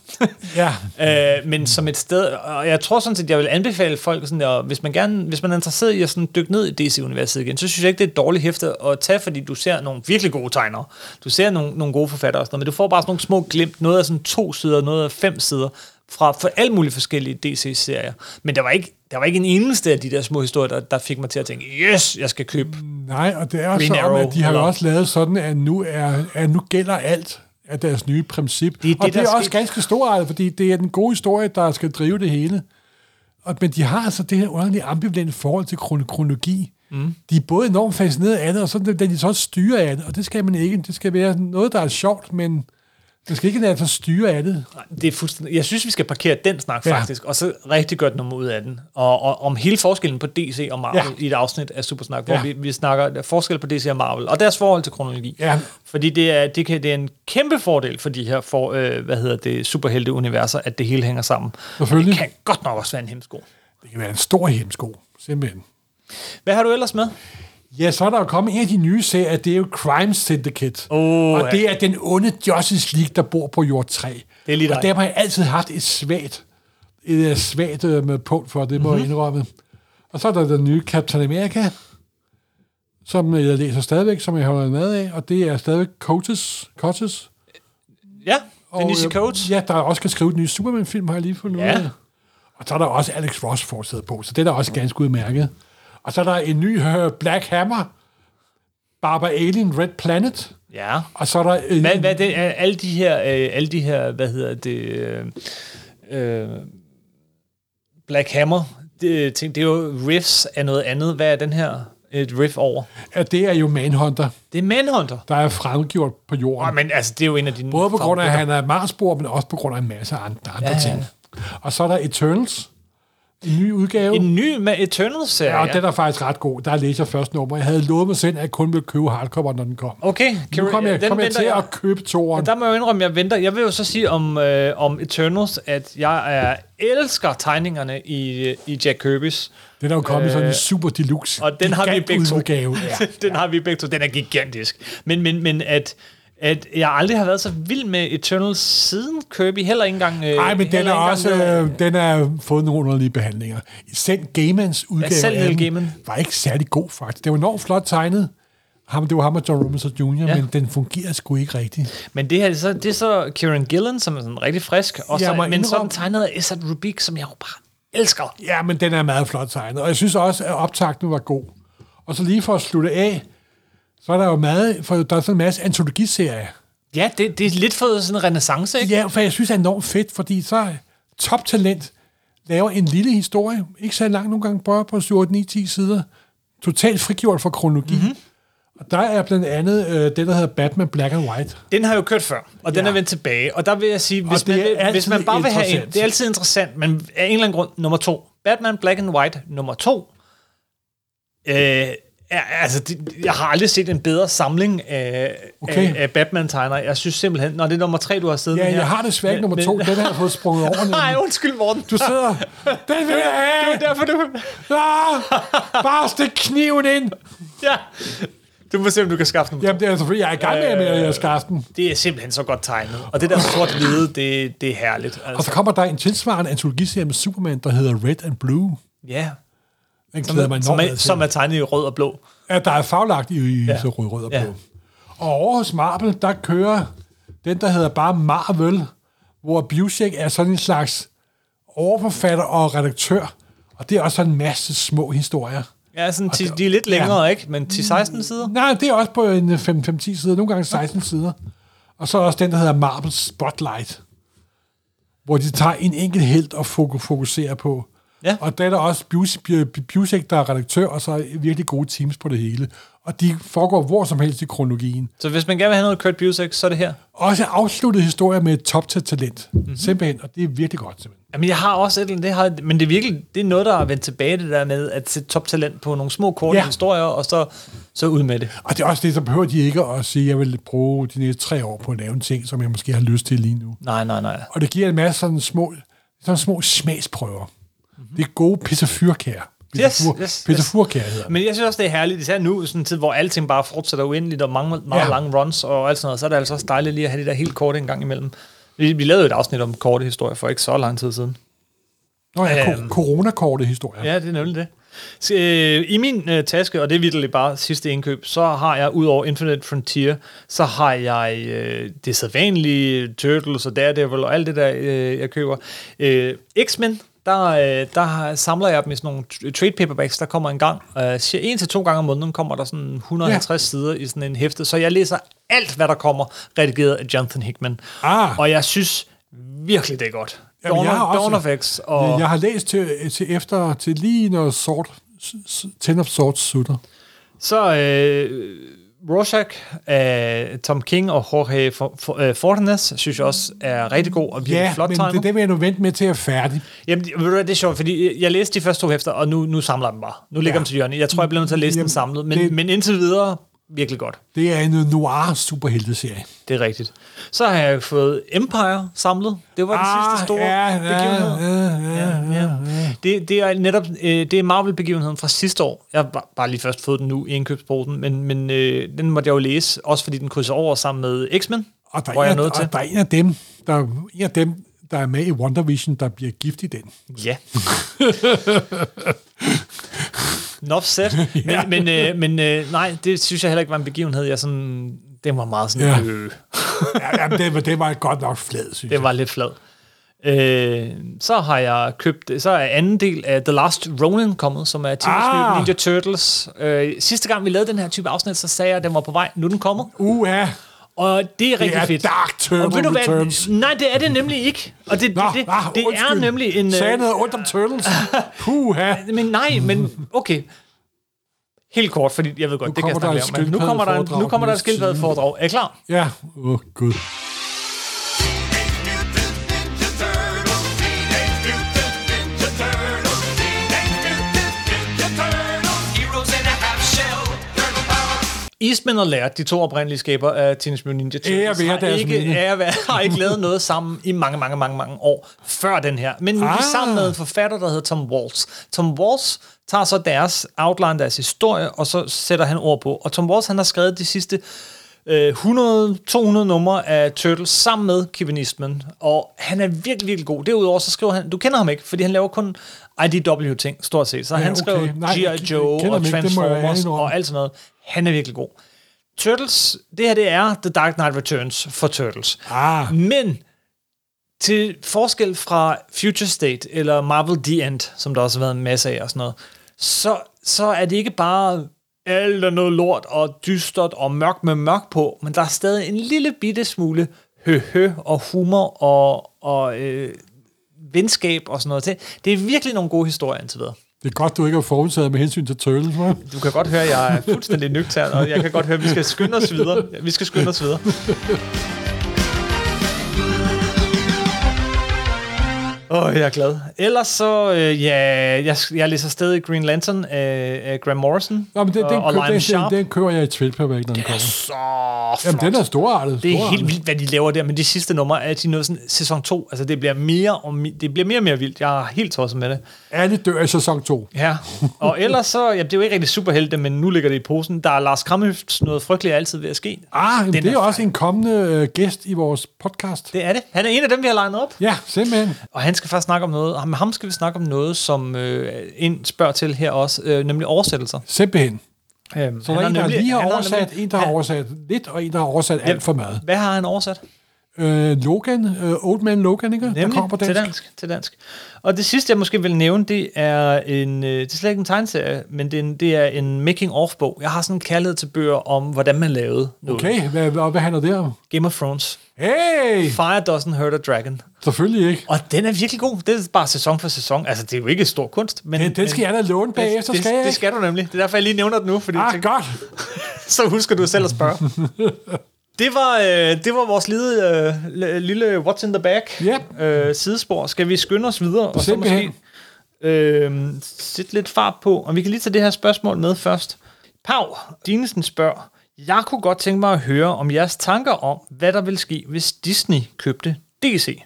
S2: Ja.
S1: Øh, men som et sted, og jeg tror sådan set, jeg vil anbefale folk, sådan, at hvis man, gerne, hvis man er interesseret i at sådan dykke ned i DC-universet igen, så synes jeg ikke, det er et dårligt hæfte at tage, fordi du ser nogle virkelig gode tegnere. Du ser nogle, nogle gode forfattere og sådan noget, men du får bare sådan nogle små glimt, noget af sådan to sider, noget af fem sider, fra for alle mulige forskellige DC-serier. Men der var, ikke, der var ikke en eneste af de der små historier, der, der fik mig til at tænke, yes, jeg skal købe.
S2: Nej, og det er også
S1: Green
S2: sådan,
S1: Arrow,
S2: at de har jo
S1: eller-
S2: også lavet sådan, at nu, er, at nu gælder alt af deres nye princip.
S1: Det er det,
S2: og det
S1: der
S2: er
S1: er
S2: også
S1: sket.
S2: ganske stort, fordi det er den gode historie, der skal drive det hele. Og, men de har altså det her underlige ambivalente forhold til kron- kronologi. Mm. De er både enormt fascineret af det, og så da de så også styrer af det, og det skal man ikke. Det skal være noget, der er sjovt, men man skal ikke lade sig styre af det.
S1: det er fuldstændig, jeg synes, vi skal parkere den snak
S2: Ja.
S1: ja. faktisk, og så rigtig godt nummer ud af den. Og, og om hele forskellen på DC og Marvel
S2: Ja.
S1: ja. i et afsnit af Supersnak, hvor
S2: Ja.
S1: ja. vi, vi snakker forskel på DC og Marvel, og deres forhold til kronologi.
S2: Ja.
S1: Fordi det er, det, kan, det er en kæmpe fordel for de her for, øh, hvad hedder det, superhelte-universer, at det hele hænger sammen.
S2: Selvfølgelig.
S1: Det kan godt nok også være en hemsko.
S2: Det kan være en stor hemsko, simpelthen.
S1: Hvad har du ellers med?
S2: Ja, så er der jo kommet en af de nye serier, det er jo Crime Syndicate.
S1: Åh,
S2: og
S1: ja.
S2: det er den onde Justice League, der bor på jord 3.
S1: Det er lige dig.
S2: og der har jeg altid haft et svagt, et øh, svagt øh, med punkt for, det må
S1: Mhm.
S2: jeg indrømme. Og så er der den nye Captain America, som jeg læser stadigvæk, som jeg holder med af, og det er stadigvæk Coates, Coates.
S1: Ja,
S2: Og,
S1: Denise
S2: øh,
S1: Coates.
S2: Ja, der også kan skrive den nye Superman-film, har jeg lige fundet ud
S1: Ja.
S2: af. Og så er der også Alex Ross fortsat på, så det er da også ganske udmærket. Og så er der en ny øh, Black Hammer, Barbara Alien Red Planet,
S1: Ja.
S2: Og så er der... øh,
S1: Hvad, hvad er det, er alle de her, øh, alle de her, hvad hedder det, øh, øh, Black Hammer, det, øh, ting, det er jo riffs af noget andet. Hvad er den her et riff over?
S2: at det er jo Manhunter,
S1: Det er Manhunter.
S2: der er fremgjort på jorden.
S1: Oh, men altså, det er jo en af dine...
S2: Både på grund af, at
S1: favoritter.
S2: han er Marsbor, men også på grund af en masse andre, andre
S1: Ja.
S2: ja. ting. Og så er der Eternals, en ny udgave.
S1: En ny med Eternal-serie.
S2: Ja, og den er faktisk ret god. Der læser jeg første nummer. Jeg havde lovet mig selv, at jeg kun ville købe hardcover, når den kom.
S1: Okay,
S2: nu kom jeg,
S1: den
S2: kom jeg
S1: venter
S2: til at købe toeren.
S1: Der må jeg jo indrømme, at jeg venter. Jeg vil jo så sige om, øh, om Eternals, at jeg er, elsker tegningerne i, øh, i Jack Kirby's.
S2: Den er jo kommet i sådan en super deluxe.
S1: Øh, Og den har vi begge to.
S2: Udgave. Ja.
S1: den har vi begge to. Den er gigantisk. Men, men, men at, at jeg aldrig har været så vild med Eternals siden Kirby. Heller ikke engang... Øh,
S2: Nej, men den
S1: heller
S2: er
S1: ikke engang
S2: også
S1: der-
S2: øh, den er fået nogle underlige behandlinger. Selv Gaimans udgave
S1: selv
S2: af
S1: Neil
S2: den
S1: Gaiman.
S2: var ikke særlig god, faktisk. Det var enormt flot tegnet. Ham, det var ham og John Robinson Jr.,
S1: Ja.
S2: ja. men den fungerer sgu ikke rigtigt.
S1: Men det, her, så, det er så Kieran Gillen, som er sådan rigtig frisk. Og så,
S2: Jeg må
S1: men så er den
S2: indrømme-
S1: tegnet af Esat Rubik, som jeg jo bare elsker.
S2: Ja, men den er meget flot tegnet. Og jeg synes også, at optakten var god. Og så lige for at slutte af, så er der jo meget, for der er sådan en masse antologiserier.
S1: Ja, det, det er lidt for sådan en renaissance, ikke?
S2: Ja, for jeg synes, det er enormt fedt, fordi så toptalent laver en lille historie, ikke så lang nogle gange, bare på 7, 8, 9, 10 sider, totalt frigjort fra kronologi.
S1: Mhm.
S2: Mm-hmm. Og der er blandt andet øh, det, der hedder Batman Black and White.
S1: Den har jo kørt før, og den
S2: Ja.
S1: er vendt tilbage. Og der vil jeg sige, hvis,
S2: det
S1: man,
S2: er
S1: vil, hvis
S2: altid
S1: man bare vil have en,
S2: interessant.
S1: det er altid interessant, men af en eller anden grund, nummer to. Batman Black and White, nummer to. Øh, er, altså, det, jeg har aldrig set en bedre samling af, okay.
S2: Okay.
S1: af, af Batman-tegner. Jeg synes simpelthen, når det er nummer tre, du har siddet
S2: Ja,
S1: med her.
S2: jeg har desværre ikke
S1: Men-
S2: nummer to.
S1: men-
S2: Den har jeg fået sprunget
S1: Nej,
S2: over. nemlig.
S1: undskyld, Morten.
S2: Du sidder... Den vil jeg have!
S1: Det er derfor, du...
S2: Ah, bare stik kniven ind!
S1: Ja. Du må se, om du kan skaffe den.
S2: Jamen, det er selvfølgelig, jeg er i gang med, at jeg skal skaffe den.
S1: Det er simpelthen så godt tegnet. Og det der sort-hvide, det, det er herligt.
S2: Og
S1: Altså,
S2: så kommer der en tilsvarende antologiserie med Superman, der hedder Red and Blue.
S1: ja.
S2: Den glæder jeg mig
S1: Som, som,
S2: enormt
S1: er,
S2: meget til.
S1: som er tegnet i rød og blå.
S2: Ja, der er faglagt i ja. så rød, rød og blå.
S1: Ja.
S2: Ja. Og over hos Marvel, der kører den, der hedder bare Marvel, hvor Busek er sådan en slags overforfatter og redaktør. Og det er også sådan en masse små historier.
S1: Ja, sådan, til, de er lidt længere, ja. ikke? Men til 16 sider?
S2: Nej, det er også på en 5-10 sider, nogle gange 16 sider. Og så er der også den, der hedder Marvel Spotlight, hvor de tager en enkelt held og fok- fokuserer på.
S1: Ja.
S2: Og der er der også Buse- Busek, der er redaktør, og så er virkelig gode teams på det hele. Og de foregår hvor som helst i kronologien.
S1: Så hvis man gerne vil have noget Kurt Busiek, så er det her.
S2: Også afsluttet historie med et top til talent. Mm-hmm. Simpelthen, og det er virkelig godt simpelthen.
S1: Jamen, jeg har også et eller andet, det har, men det er virkelig, det er noget, der er vendt tilbage, det der med at sætte toptalent på nogle små, korte ja.
S2: Ja.
S1: historier, og så, så ud med det.
S2: Og det er også det, så behøver de ikke at sige, at jeg vil bruge de næste tre år på at lave en ting, som jeg måske har lyst til lige nu.
S1: Nej, nej, nej.
S2: Og det giver en masse sådan små, sådan små smagsprøver. Mm-hmm. Det er gode pissefyrkager.
S1: Mhm. Yes, yes,
S2: Pissefyrkager hedder det.
S1: Men jeg synes også, det er herligt, især nu, i sådan en tid, hvor alting bare fortsætter uendeligt, og mange, meget ja.
S2: Ja.
S1: lange runs og alt sådan noget, så er det altså også dejligt lige at have det der helt korte en gang imellem. Vi, vi lavede et afsnit om korte historier for ikke så lang tid siden.
S2: Nå ja,
S1: Øhm.
S2: ko- coronakorte historier. Ja.
S1: Ja, det er nemlig det. Så, øh, I min øh, taske, og det er virkelig bare sidste indkøb, så har jeg, udover Infinite Frontier, så har jeg øh, det sædvanlige øh, Turtles og Daredevil og alt det der, øh, jeg køber. Øh, X-Men, der, øh, der har- samler jeg dem i sådan nogle t- trade paperbacks, der kommer en gang. Øh, cirka en til to gange om måneden kommer der sådan 150 ja. sider i sådan en hæfte, så jeg læser alt, hvad der kommer, redigeret af Jonathan Hickman.
S2: Ah.
S1: Og jeg synes virkelig, det er godt.
S2: Jamen, jeg har også-
S1: Dawn of X og...
S2: Øh, Jeg har læst til, til efter, til lige når sort, s- s- Ten of Swords sutter.
S1: Så øh, Rorschach af Tom King og Jorge For- For- øh, Fortanes, synes jeg også er rigtig god og virkelig
S2: Ja,
S1: flot
S2: men
S1: tegnet.
S2: det, er det vil jeg nu vente med til at jeg er færdig.
S1: Jamen, det- ved du hvad, det er sjovt, fordi jeg læste de første to hæfter, og nu, nu samler jeg dem bare. Nu ligger ja.
S2: Ja.
S1: dem til hjørne. Jeg tror, jeg bliver nødt til at læse Jamen,
S2: Jamen,
S1: dem samlet, men, det...
S2: det-
S1: men indtil videre, virkelig godt.
S2: Det er en noir superhelteserie.
S1: Det er rigtigt. Så har jeg fået Empire samlet. Det var den sidste store
S2: Ah, ja,
S1: begivenhed.
S2: ja, ja, ja.
S1: Ja. Det, det er netop øh, det er Marvel-begivenheden fra sidste år. Jeg har ba- bare lige først fået den nu i indkøbsposen, men, men øh, den måtte jeg jo læse, også fordi den krydser over sammen med X-Men,
S2: Og der,
S1: hvor jeg
S2: er
S1: er
S2: en,
S1: nået til.
S2: og der er en af dem, der, en af dem, der er med i WandaVision, der bliver gift i den.
S1: Ja. Nof set. Men, ja. men, øh, men øh, nej, det synes jeg heller ikke var en begivenhed. Jeg sådan, den var meget sådan,
S2: Ja.
S1: øh,
S2: Ja, jamen, det, var- det var godt nok flad, synes jeg.
S1: den var lidt flad. Øh, så har jeg købt, så er anden del af The Last Ronin kommet, som er Teenage
S2: Ah!
S1: Mutant Ninja Turtles. Øh, sidste gang vi lavede den her type afsnit, så sagde jeg, at den var på vej. Nu er den kommet.
S2: Uha,
S1: Og det er rigtig
S2: er
S1: fedt.
S2: Dark Turtle
S1: og ved du hvad?
S2: Returns.
S1: Nej, det er det nemlig ikke. Og det,
S2: Nå,
S1: det, det,
S2: ah,
S1: det er
S2: undskyld.
S1: nemlig en... øh,
S2: Sagde jeg noget ondt om Turtles? Puha.
S1: Men nej, men okay. Helt kort, fordi jeg ved godt, det kan jeg
S2: kommer der
S1: snakke
S2: et
S1: lidt om, men nu kommer der, en, nu
S2: skildpaddeforedrag
S1: kommer der et skildpaddet foredrag.
S2: på nettsiden.
S1: Er I klar?
S2: Ja, åh oh, gud.
S4: Teenage Mutant Ninja Turtles. Teenage Mutant Ninja Turtles. Teenage Mutant Ninja Turtles. Heroes in a half shell. Turtle power.
S1: Eastman og Laird, de to oprindelige skaber af Teenage Mutant Ninja Turtles,
S2: Ære være
S1: har,
S2: deres
S1: ikke,
S2: minde.
S1: ære være, har ikke lavet noget sammen i mange, mange, mange, mange år før den her. Men nu er de
S2: Ah.
S1: sammen med en forfatter, der hedder Tom Waltz. Tom Waltz tager så deres outline, deres historie, og så sætter han ord på. Og Tom Waltz, han har skrevet de sidste øh, 100-200 numre af Turtles sammen med Kevin Eastman, og han er virkelig, virkelig god. Derudover så skriver han, du kender ham ikke, fordi han laver kun IDW-ting, stort set. Så ja, han
S2: okay.
S1: skrev
S2: Nej, jeg
S1: G.I.
S2: kender
S1: Joe
S2: ham
S1: og
S2: ikke, det må jeg
S1: Transformers
S2: indrømme.
S1: og alt sådan noget. Han er virkelig god. Turtles, det her det er The Dark Knight Returns for Turtles.
S2: Ah,
S1: Men til forskel fra Future State eller Marvel The End, som der også har været en masse af og sådan noget, så, så er det ikke bare alt er noget lort og dystert og mørkt med mørk på, men der er stadig en lille bitte smule høhø og humor og, og øh, venskab og sådan noget til. Det er virkelig nogle gode historier indtil videre.
S2: det er godt, du ikke har forudtaget med hensyn til Turtles, hva'?
S1: Du kan godt høre, at jeg er fuldstændig nøgtern, og jeg kan godt høre, at vi skal skynde os videre. Vi skal skynde os videre. Åh, oh, jeg er glad. Ellers så, øh, ja, jeg, jeg læser stadig Green Lantern af, af Graham Morrison
S2: Nå, men den, den,
S1: og, og
S2: køb,
S1: Lion
S2: den,
S1: Sharp.
S2: den, den kører jeg i Tvilpervæk, når den kommer.
S1: Så
S2: Jamen, den er storartet.
S1: det er
S2: storartet.
S1: helt vildt, hvad de laver der, men de sidste numre er de noget sådan sæson 2. Altså, det bliver mere og, mi- det bliver mere og mere vildt. Jeg er helt tosset med det.
S2: Alle dør i sæson 2.
S1: Ja, og ellers så, ja, det er jo ikke rigtig superhelte, men nu ligger det i posen. Der er Lars Kramhøfts noget frygteligt er altid ved at ske.
S2: Ah, jamen,
S1: Den
S2: det er,
S1: er
S2: også en kommende øh, gæst i vores podcast. Det.
S1: Det er det. Han er en af dem, vi har legnet op.
S2: Ja, simpelthen.
S1: Og han skal faktisk snakke om noget, og med ham skal vi snakke om noget, som øh, en spørger til her også, øh, nemlig oversættelser.
S2: Simpelthen.
S1: Øhm,
S2: Så der er en, der lige har oversat, en, der har
S1: han,
S2: oversat lidt, og en, der har oversat alt for meget.
S1: Hvad har han oversat?
S2: Øh, Logan, øh, Old Man Logan, ikke? der
S1: Nemlig
S2: kommer
S1: til dansk. Til dansk. Og det sidste, jeg måske vil nævne, det er en, øh, det er slet ikke en tegneserie, men det er en, det er en making-of-bog. Jeg har sådan en kærlighed til bøger om, hvordan man lavede noget.
S2: Okay, hvad, hvad, hvad handler det om?
S1: Game of Thrones.
S2: Hey!
S1: Fire Doesn't Hurt a Dragon.
S2: Selvfølgelig ikke.
S1: Og den er virkelig god. Det er bare sæson for sæson. Altså, det er jo ikke stor kunst. Men,
S2: Den, den skal
S1: men,
S2: jeg da låne bagefter,
S1: det,
S2: skal jeg
S1: det
S2: ikke?
S1: skal du nemlig. Det er derfor, jeg lige nævner det nu, fordi
S2: Ah,
S1: ah,
S2: godt.
S1: så husker du selv at spørge. det, var, øh, det var vores lille, øh, l- lille what's in the bag
S2: Yep.
S1: øh, sidespor. Skal vi skynde os videre? Og så
S2: Simpelthen.
S1: måske øh, sætte lidt fart på. Og vi kan lige tage det her spørgsmål med først. Pau Dinesen spørger, jeg kunne godt tænke mig at høre om jeres tanker om, hvad der ville ske, hvis Disney købte DC.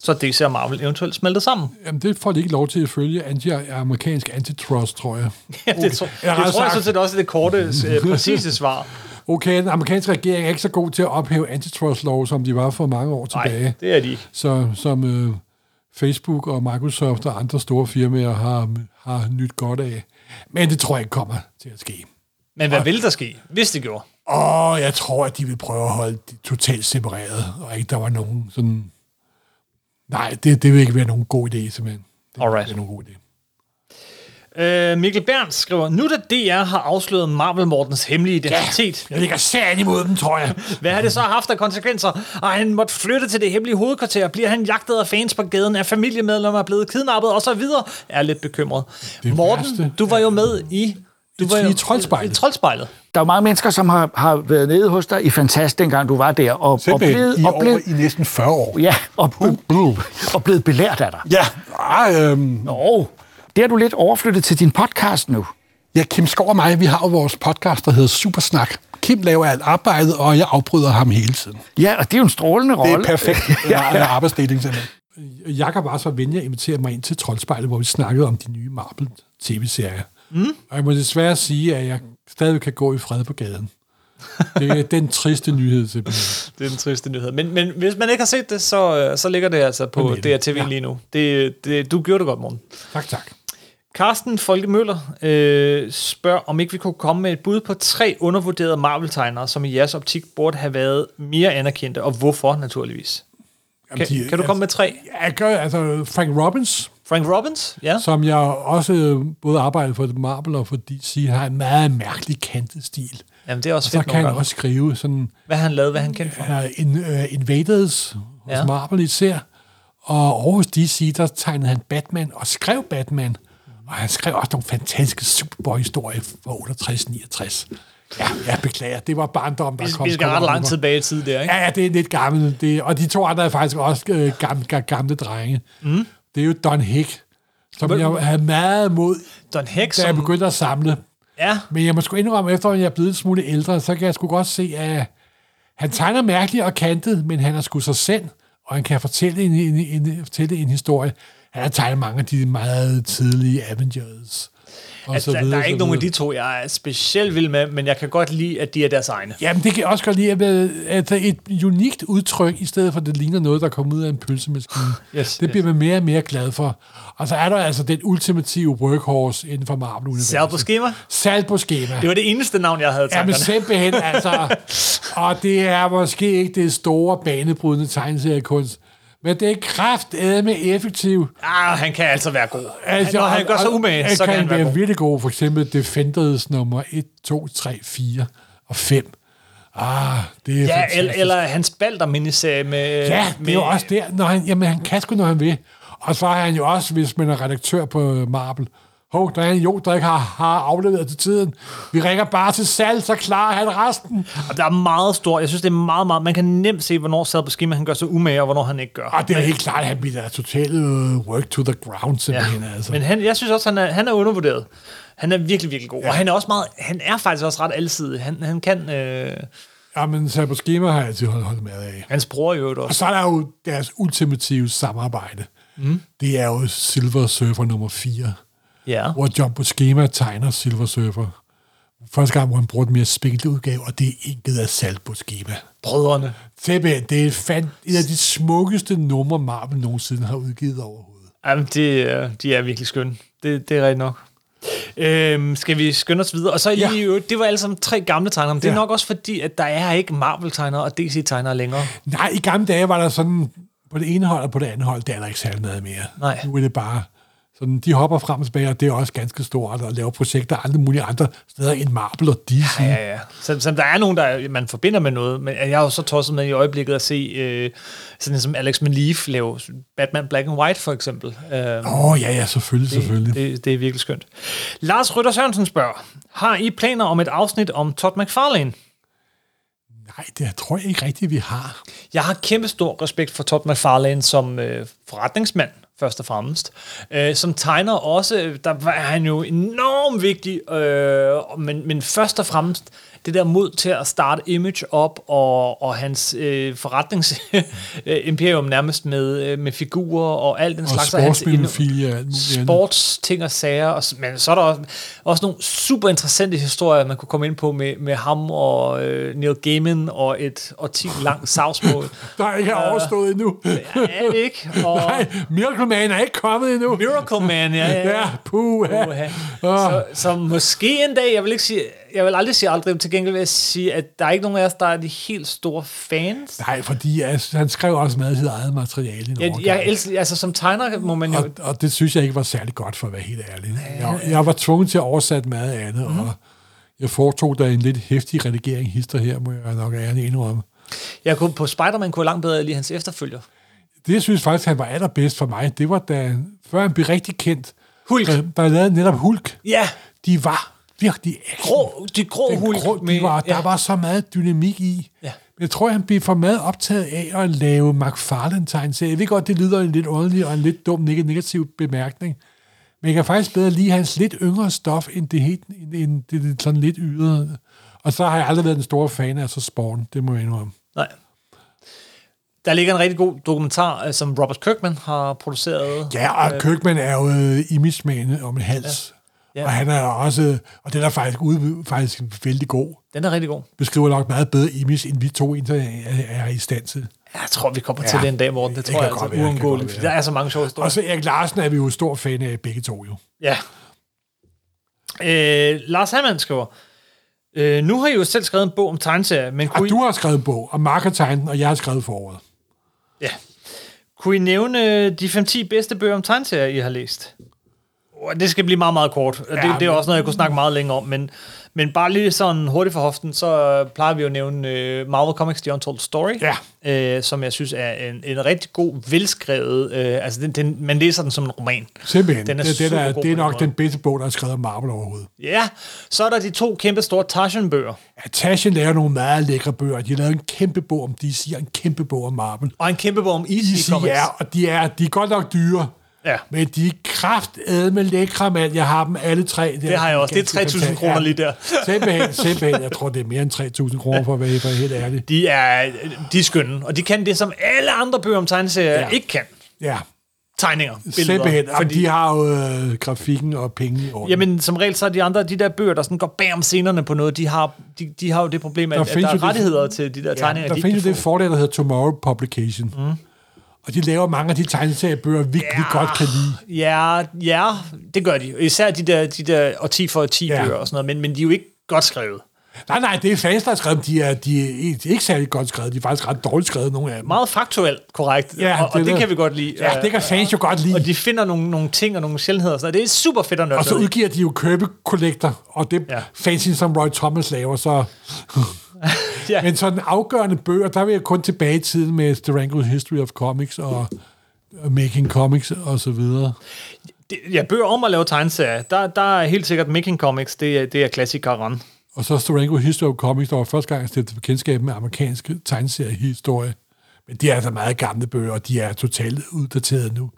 S1: Så DC og Marvel eventuelt smeltede sammen.
S2: Jamen, det får de ikke lov til at følge anti amerikansk antitrust, tror jeg.
S1: Ja, det, tror,
S2: Jeg har
S1: det tror jeg sådan
S2: sagt-
S1: set også er det korte, øh, præcise svar.
S2: Okay, den amerikanske regering er ikke så god til at ophæve antitrust-lov, som de var for mange år tilbage.
S1: Nej, det er de. ikke.
S2: så, som øh, Facebook og Microsoft og andre store firmaer har, har nyt godt af. Men det tror jeg ikke kommer til at ske.
S1: Men hvad ville der ske, hvis det gjorde?
S2: Og jeg tror, at de vil prøve at holde det totalt separeret, og ikke der var nogen sådan... Nej, det, det vil ikke være nogen god idé, simpelthen. Det vil
S1: Alright.
S2: ikke være nogen god idé.
S1: Øh, Mikkel Berndt skriver, nu da DR har afsløret Marvel Mortens hemmelige identitet,
S2: Jeg ligger særlig imod dem, tror jeg.
S1: hvad har det så haft af konsekvenser? Og han måtte flytte til det hemmelige hovedkvarter, bliver han jagtet af fans på gaden, er familiemedlemmer blevet kidnappet og så videre, er lidt bekymret.
S2: Det
S1: Morten,
S2: værste
S1: du var jo med i... Du
S2: I-
S1: var jo,
S2: i Troldspejlet.
S1: I troldspejlet.
S5: Der er jo mange mennesker, som har, har været nede hos dig i Fantast, dengang du var der, og, og blevet,
S2: i,
S5: og,
S2: over,
S5: blevet,
S2: i næsten 40 år.
S5: ja, og, blevet, og blevet belært af dig.
S2: Ja, ah, øhm,
S5: Nå, det er du lidt overflyttet til din podcast nu.
S2: Ja, Kim Skov og mig, vi har jo vores podcast, der hedder Supersnak. Kim laver alt arbejdet, og jeg afbryder ham hele tiden.
S5: Ja, og det er jo en strålende rolle.
S2: perfekt ja. arbejdsdeling, simpelthen. Jakob var så venlig at invitere mig ind til Troldspejlet, hvor vi snakkede om de nye Marvel-tv-serier. Mm. Og jeg må desværre sige, at jeg stadig kan gå i fred på gaden. Det er den triste nyhed simpelthen.
S1: Det er den triste nyhed. Men, men hvis man ikke har set det, så, øh, så ligger det altså på
S2: På nettet.
S1: DRTV
S2: Ja.
S1: lige nu. Det, det, du gjorde det godt, Morten.
S2: Tak, tak.
S1: Carsten Folke Møller øh, spørger, om ikke vi kunne komme med et bud på tre undervurderede Marvel-tegnere, som i jeres optik burde have været mere anerkendte, og hvorfor naturligvis. Kan,
S2: de-
S1: kan du komme med tre?
S2: Jeg gør, altså Frank Robbins,
S1: Frank Robbins? Ja.
S2: som jeg også øh, både arbejder for Marvel og for DC, har en meget mærkelig kantet stil.
S1: Jamen, det er også
S2: Så
S1: fedt
S2: kan
S1: nogle
S2: han
S1: gange.
S2: også skrive sådan
S1: Hvad har han lavet, hvad er han kendt for?
S2: uh, in, uh, Invaders hos
S1: Ja.
S2: ja. Marvel især, og Aarhus DC, der tegnede han Batman og skrev Batman, og han skrev også nogle fantastiske Superboy-historier fra 68-69. Ja, jeg beklager, det var barndom, der kom.
S1: Vi, vi skal
S2: kom
S1: ret
S2: over
S1: langt
S2: mig.
S1: tilbage i tid der, ikke?
S2: Ja, ja, det er lidt gammelt. Det, og de to andre er faktisk også øh, gamle, ga- gamle drenge. Mm. Det er jo Don Hick, som
S1: Hvem-
S2: jeg havde meget mod,
S1: Don Hex,
S2: da jeg
S1: som...
S2: begyndte at samle.
S1: Ja,
S2: Men jeg må sgu indrømme, efter at jeg er blevet en smule ældre, så kan jeg sgu godt se, at han tegner mærkeligt og kantet, men han er sgu sig selv, og han kan fortælle en, en, en, fortælle en historie. Han har tegnet mange af de meget tidlige Avengers. Og
S1: altså, der, der er
S2: så
S1: ikke nogen af
S2: videre.
S1: de to, jeg er specielt vild med, men jeg kan godt lide, at de er deres egne.
S2: Jamen, det kan jeg også godt lide, at være- at der er et unikt udtryk, i stedet for, at det ligner noget, der kommer ud af en pølsemaskine.
S1: Yes,
S2: det bliver man mere og mere glad for. Og så er der altså den ultimative workhorse inden for
S1: Sal på
S2: Marvel-universet.
S1: skema.
S2: Sal på skema.
S1: Det var det eneste navn, jeg havde i
S2: Ja, men
S1: tankerne.
S2: simpelthen, altså. Og det er måske ikke det store banebrydende tegneseriekunst, men det er kraftedme effektiv.
S1: Ah, han kan altså være god. Altså, Når han gør sig umage, så kan han være god.
S2: virkelig god. For eksempel Defenders nummer 1, 2, 3, 4 og 5. Ah, det er
S1: Ja,
S2: fantastisk.
S1: eller, eller hans balder miniserie med...
S2: Ja, det er jo også der. Når han, jamen, han kan sgu, når han vil. Og så er han jo også, hvis man er redaktør på øh, Marvel, hov, der er en jo, der ikke har, har afleveret til tiden. Vi ringer bare til salg, så klarer han resten.
S1: Og der er meget stor... Jeg synes, det er meget, meget... Man kan nemt se, hvornår sad på skema, han gør sig umage, og hvornår han ikke gør.
S2: Og Ah, det er helt klart, at han bliver totalt øh, work to the ground, simpelthen. Ja. Altså.
S1: Men han, jeg synes også, han er, han er undervurderet. Han er virkelig, virkelig god. Ja. Og han er også meget... Han er faktisk også ret alsidig. Han, han kan... Øh,
S2: Ja, men Sabo Schema har jeg altid holdt, holdt med af.
S1: hans bror i øvrigt
S2: Og
S1: også.
S2: så er der jo deres ultimative samarbejde. Mm. Det er jo Silver Surfer nummer 4,
S1: Ja.
S2: hvor Jumbo Schema tegner Silver Surfer. Første gang, hvor han bruger den mere spikkelte udgave, og det er intet af Salbo Schema.
S1: Brødrene.
S2: Simpelthen, det er fandt, et af de smukkeste numre, Marvel nogensinde har udgivet overhovedet.
S1: Jamen, de, øh, de er virkelig skønne. Det, det er rigtigt nok. Øhm, skal vi skynde os videre? Og så lige
S2: Ja.
S1: ja. i øvrigt, det var alle sammen tre gamle tegnere, men det er
S2: Ja.
S1: nok også fordi, at der er ikke Marvel-tegnere og DC-tegnere længere.
S2: Nej, i gamle dage var der sådan, på det ene hold og på det andet hold, der er der ikke særlig meget mere.
S1: Nej.
S2: Nu er det bare, sådan, de hopper frem og tilbage, og det er også ganske stort, og laver projekter alle mulige andre steder end Marvel og DC. Ja,
S1: Ja, ja. Så, så der er nogen, der man forbinder med noget, men jeg er jo så tosset med i øjeblikket at se øh, sådan en som Alex Malief lave Batman Black and White, for eksempel. Øh,
S2: Åh, oh, ja, ja, selvfølgelig, det, selvfølgelig. Det.
S1: det, det er virkelig skønt. Lars Rytter Sørensen spørger, har I planer om et afsnit om Todd McFarlane?
S2: Nej, det tror jeg ikke rigtigt, vi har.
S1: Jeg har kæmpe stor respekt for Todd McFarlane som øh, forretningsmand, først og fremmest. Øh, som tegner også, øh, der var han jo enormt vigtig, øh, men, men først og fremmest det der mod til at starte Image op og, og hans øh, forretningsimperium nærmest med, øh, med figurer og alt den
S2: Og
S1: slags. hans
S2: sportsmenofilie og alt muligt andet.
S1: sportsting og sager, og, s- men så er der også, også nogle super interessante historier, man kunne komme ind på med, med ham og øh, Neil Gaiman og et årti langt savsmål.
S2: Der ikke er overstået endnu.
S1: er det ikke? Og
S2: Nej, Miracle Man er ikke kommet endnu.
S1: Miracle Man, ja. ja.
S2: Ja, puh.
S1: Uha. Så, så måske en dag, jeg vil, ikke sige, jeg vil aldrig sige aldrig, men til gengæld vil jeg sige, at der er ikke nogen af os, der er de helt store fans.
S2: Nej, fordi altså, han skrev også meget af sit eget materiale. en
S1: Jeg,
S2: overgang.
S1: jeg elsker, altså som tegner må man jo...
S2: Og, og det synes jeg ikke var særlig godt, for at være helt ærlig. Jeg, jeg var tvunget til at oversætte meget andet,
S1: Mhm.
S2: mm. og jeg foretog da en lidt hæftig redigering hister her, må jeg nok ærligt indrømme.
S1: Jeg kunne, på Spider-Man kunne jeg langt bedre lige hans efterfølger.
S2: Det, jeg synes faktisk, han var allerbedst for mig, det var da, før han blev rigtig kendt,
S1: Hulk.
S2: der, der lavede netop Hulk.
S1: Ja,
S2: De var virkelig action.
S1: grå, de grå
S2: Den
S1: hulk.
S2: grå, de var,
S1: ja.
S2: der var så meget dynamik i.
S1: Ja.
S2: Jeg tror, han blev for meget optaget af at lave McFarlane-tegneserie. Jeg ved godt, det lyder en lidt underlig og en lidt dum neg- negativ bemærkning, men jeg kan faktisk bedre lide hans lidt yngre stof, end det, helt, end, end det, det sådan lidt ydre. Og så har jeg aldrig været den store fan af så Spawn, det må jeg indrømme.
S1: Nej. Der ligger en rigtig god dokumentar, øh, som Robert Kirkman har produceret.
S2: Ja, og Kirkman er jo øh, image om en hals.
S1: Ja.
S2: Ja. Ja. Og han er også, og den er faktisk, ude, faktisk vældig god.
S1: Den er rigtig god.
S2: Beskriver nok meget bedre image, end vi to inter- er, er i stand til.
S1: Jeg tror, vi kommer
S2: Ja,
S1: til den dag, Morten. Det
S2: det
S1: tror
S2: kan
S1: jeg altså
S2: godt være, det kan
S1: uundgåeligt,
S2: godt
S1: fordi
S2: være.
S1: der er så mange sjove historier.
S2: Og så Erik Larsen er vi jo stor fan af begge to jo.
S1: Ja. Øh, Lars Hammann skriver, øh, nu har I jo selv skrevet en bog om tegneserier, men
S2: Og
S1: kunne I...
S2: du har skrevet en bog, og Mark har tegnet den, og jeg har skrevet foråret.
S1: Ja. Kunne I nævne øh, de 5-10 bedste bøger om tegneserier, I har læst? Uh, Det skal blive meget, meget kort. Ja, det, det er også noget, jeg kunne snakke meget længe om, men, men bare lige sådan hurtigt for hoften, så øh, plejer vi jo at nævne øh, Marvel Comics The Untold Story, ja. øh, som jeg synes er en, en rigtig god, velskrevet... Øh, altså, den, den, man læser den som en roman.
S2: Simpelthen.
S1: Den
S2: Den
S1: er
S2: er det, det, der,
S1: supergod
S2: det er
S1: på den
S2: nok
S1: måde.
S2: den bedste bog, der er skrevet om Marvel overhovedet.
S1: Ja, så er der de to kæmpe store Tarzan-bøger.
S2: Ja, Tasha laver nogle meget lækre bøger. De har lavet en kæmpe bog om DC og en kæmpe bog om Marvel.
S1: Og en kæmpe bog om Easy
S2: DC
S1: Comics.
S2: er, og de er, de er godt nok dyre.
S1: Ja.
S2: Men de er kraftedme lækre, mand. Jeg har dem alle tre. Det,
S1: har jeg også. Det er 3.000 kroner lige der.
S2: simpelthen, simpelthen. Jeg tror, det er mere end 3.000 kroner, for at være for helt ærlig.
S1: De er, de er skønne, og de kan det, som alle andre bøger om tegneserier ja.
S2: Ja.
S1: ikke kan.
S2: Ja,
S1: Tegninger,
S2: simpelthen.
S1: billeder.
S2: Jamen, de har jo øh, grafikken og penge i orden.
S1: Jamen, som regel, så er de andre, de der bøger, der sådan går bag om scenerne på noget, de har, de, de har jo det problem, at
S2: Der
S1: der, at
S2: findes
S1: der
S2: jo
S1: er
S2: det-
S1: rettigheder til de der tegninger,
S2: der
S1: de
S2: findes
S1: ikke
S2: jo det
S1: kan få.
S2: fordel, der hedder Tomorrow Publication. Mm. Og de laver mange af de tegneseriebøger, vi, vi godt kan lide.
S1: Ja, ja, det gør de. Især de der, de der årti for årti ja.
S2: Ja.
S1: bøger og sådan noget, men, men de er jo ikke godt skrevet.
S2: Nej, nej, det er fans, der har skrevet dem. De er, de er ikke særlig godt skrevet. De er faktisk ret dårligt skrevet, nogle af dem.
S1: Meget faktuelt korrekt, ja, og, og det, det kan vi godt lide. Øh,
S2: Ja, det kan fans jo godt lide.
S1: Og de finder nogle, nogle ting og nogle sjældenheder, og sådan noget. det er super fedt at nørde
S2: Og så
S1: ned i.
S2: udgiver de jo købekollekter, og det
S1: Ja.
S2: ja. fancy, som Roy Thomas laver, så...
S1: Ja.
S2: ja. Men sådan afgørende bøger, der vil jeg kun tilbage i tiden med Strangled History of Comics og og Making Comics og så videre.
S1: Det, ja, bøger om at lave tegneserier. Der, der er helt sikkert Making Comics, det, er- det er klassikeren.
S2: Og så Strangled History of Comics, der var første gang, jeg stiftede bekendtskab med amerikansk tegneseriehistorie. Men de er altså meget gamle bøger, og de er totalt uddateret nu.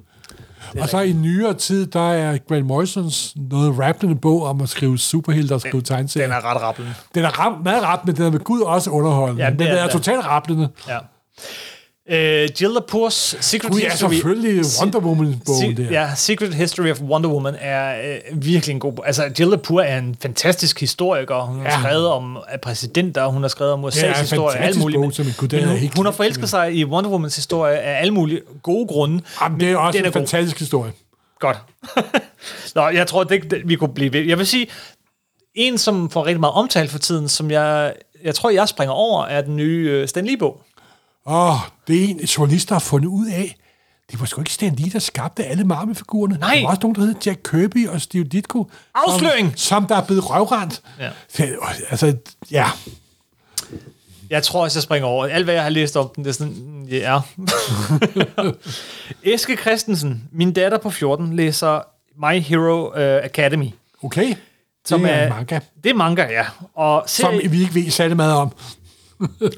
S2: Og så i nyere tid, der er Grant Morrisons noget rappende bog om at skrive superhelte og skrive tegneserier.
S1: Den er ret rappelende.
S2: Den er ram, meget rappende, den er med Gud også underholdende.
S1: Ja,
S2: Ja,
S1: det
S2: den, den
S1: er
S2: er,
S1: den.
S2: totalt rappende.
S1: Ja. Øh, Jill Lepores Secret
S2: Gud, ja,
S1: History...
S2: selvfølgelig Wonder Woman-bogen
S1: Se-
S2: der.
S1: Ja, Secret History of Wonder Woman er øh, virkelig en god bog. Altså, Jill Lepore er en fantastisk historiker. Hun har
S2: Ja.
S1: skrevet om øh, præsidenter, hun har skrevet om USA's
S2: Ja, en
S1: historie, alt
S2: fantastisk
S1: muligt.
S2: bog,
S1: men-
S2: som jeg- Gud, den
S1: men
S2: er
S1: hun,
S2: helt
S1: hun har
S2: glemt,
S1: forelsket sig i Wonder Womans historie af alle mulige gode grunde.
S2: Jamen, det er
S1: men
S2: også
S1: den
S2: en
S1: god.
S2: fantastisk historie.
S1: Godt. Nå, jeg tror, det, det, vi kunne blive ved. Jeg vil sige, en, som får rigtig meget omtale for tiden, som jeg, jeg tror, jeg springer over, er den nye øh, Stan Lee-bog.
S2: Åh, det er en, journalist, der har fundet ud af, det var sgu ikke Stan Lee, der skabte alle Marvel-figurerne.
S1: Nej.
S2: Der var også nogen, der hed Jack Kirby og Steve Ditko.
S1: Afsløring!
S2: Som, som der er blevet røvrendt.
S1: Ja.
S2: Så, Altså, ja.
S1: Jeg tror også, jeg springer over. Alt, hvad jeg har læst om den, det er sådan, mm, ja. Eske Christensen, min datter på 14, læser My Hero øh, Academy.
S2: Okay.
S1: Som
S2: det er,
S1: er-
S2: en manga,
S1: Det er manga, ja. Og
S2: som
S1: serie...
S2: vi ikke ved særlig meget om.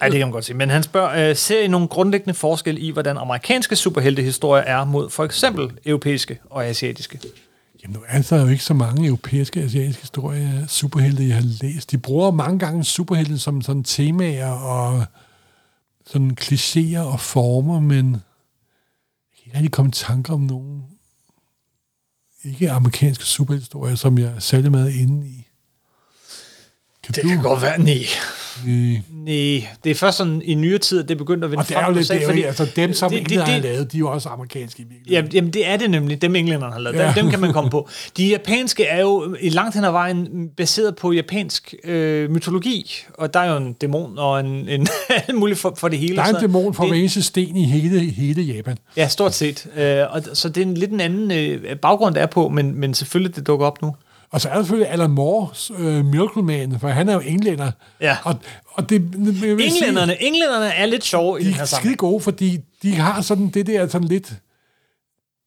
S1: Ej, det kan man godt sige. Men han spørger, øh, ser I nogle grundlæggende forskel i, hvordan amerikanske superheltehistorier er mod for eksempel europæiske og asiatiske?
S2: Jamen, nu er der jo ikke så mange europæiske og asiatiske historier, superhelte, jeg har læst. De bruger mange gange superhelte som sådan temaer og sådan klichéer og former, men jeg kan ikke rigtig komme i tanker om nogen ikke amerikanske superhistorier, som jeg er særlig meget inde i. Kan
S1: Det kan godt være, nej.
S2: Øh,
S1: Nej, det er først sådan i nyere tid, at det begyndte at vinde
S2: Og det er jo
S1: frem i
S2: lidt,
S1: USA,
S2: det er jo,
S1: fordi
S2: altså dem, som
S1: det-
S2: det,
S1: det-
S2: det, har
S1: det-
S2: lavet, de er jo også amerikanske i virkeligheden.
S1: Jamen, jamen, det er det nemlig, dem englænderne har lavet. Ja.
S2: Ja.
S1: Dem, dem kan man komme på. De japanske er jo i langt hen ad vejen baseret på japansk øh, mytologi, og der er jo en dæmon og en, en alt muligt for, for det hele.
S2: Der
S1: og
S2: er en
S1: sådan noget.
S2: dæmon fra
S1: Det-
S2: hver eneste sten i hele, hele Japan.
S1: Ja, stort set. Øh, og, d- så det er en lidt en anden øh, baggrund, der er på, men, men selvfølgelig, det dukker op nu.
S2: Og så er der selvfølgelig Alan Moore's øh, Miracle Man, for han er jo englænder.
S1: Ja.
S2: Og, og det, jeg vil
S1: Englænderne, englænderne er lidt sjove i
S2: sige,
S1: den
S2: de
S1: her
S2: er
S1: sammenhæng.
S2: skide gode, fordi de har sådan det der sådan lidt...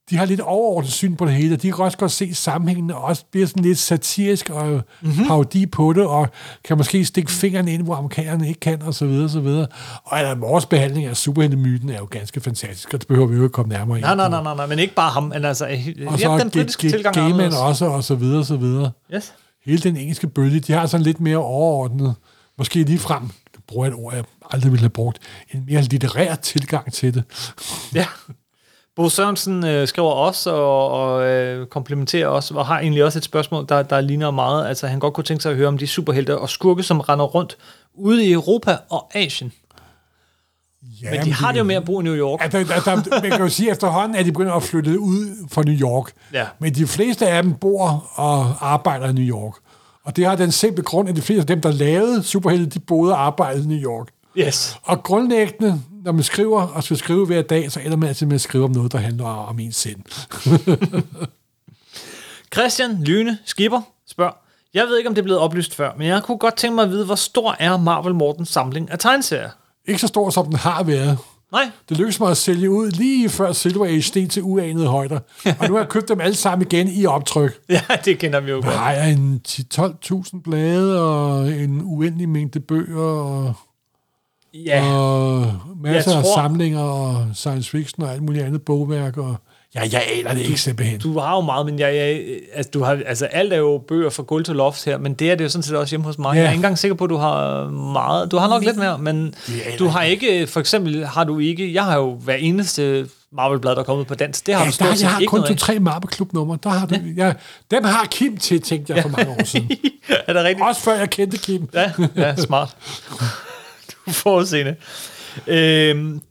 S2: De har lidt overordnet syn på det hele, og de kan også godt se sammenhængen, og også bliver sådan lidt satirisk og
S1: Mhm.
S2: mm-hmm. parodi på det, og kan måske stikke fingrene ind, hvor amerikanerne ikke kan, og så videre, og så videre. Og Alan Moore's behandling af superheltemyten er jo ganske fantastisk, og det behøver vi jo ikke komme nærmere ind
S1: Nej, nej,
S2: på.
S1: nej, nej, nej, men ikke bare ham. Men altså,
S2: Og
S1: ja,
S2: så
S1: den britiske tilgang er
S2: Gaiman
S1: anderledes.
S2: også, og så videre, og så videre
S1: Yes.
S2: hele den engelske bølge, de har sådan lidt mere overordnet, måske lige frem, jeg bruger et ord, jeg aldrig ville have brugt, en mere litterær tilgang til det.
S1: Ja. Bo Sørensen øh, skriver også og, og øh, komplementerer os, og har egentlig også et spørgsmål, der, der ligner meget. Altså, han godt kunne tænke sig at høre om de superhelte og skurke, som render rundt ude i Europa og Asien.
S2: Ja,
S1: Men de har det jo med at bo i New York.
S2: Ja, der, der, der, man kan jo sige, at efterhånden er de begyndt at flytte ud fra New York.
S1: Ja.
S2: Men de fleste af dem bor og arbejder i New York. Og det har den simple grund, at de fleste af dem, der lavede Superhelte, de boede og arbejdede i New York.
S1: Yes.
S2: Og grundlæggende, når man skriver og skal skrive hver dag, så ender man altid med at skrive om noget, der handler om ens sind.
S1: Christian Lyne Skipper spørger, jeg ved ikke, om det er blevet oplyst før, men jeg kunne godt tænke mig at vide, hvor stor er Marvel Mortens samling af tegneserier?
S2: Ikke så stor, som den har været.
S1: Nej,
S2: Det lykkedes mig at sælge ud lige før Silver Age steg til uanede højder. Og nu har jeg købt dem alle sammen igen i optryk.
S1: ja, det kender vi jo
S2: Der
S1: godt.
S2: har jeg en 10-12.000 blade og en uendelig mængde bøger og,
S1: Ja,
S2: og masser
S1: Jeg
S2: af
S1: tror-
S2: samlinger og science fiction og alt muligt andet bogværk. Og, ja, jeg aner det ikke simpelthen.
S1: du har jo meget, men jeg, jeg, altså, du har, altså, alt er jo bøger fra gulv til loft her, men det er det jo sådan set også hjemme hos mig.
S2: Ja.
S1: Jeg er ikke engang sikker på, at du har meget. Du har nok lidt mere, men
S2: aner
S1: du har ikke, for eksempel har du ikke, jeg har jo hver eneste Marvel-blad, der er kommet på dansk, det har
S2: Ja,
S1: du
S2: der,
S1: stort
S2: har-
S1: set
S2: jeg har
S1: ikke
S2: kun
S1: noget af.
S2: to-tre mappe-klubnumre. Der har du, ja, dem har Kim til, tænkte jeg for mange år siden.
S1: Er det rigtigt?
S2: Også før jeg kendte Kim.
S1: Ja, ja smart. du er forudseende. Øhm,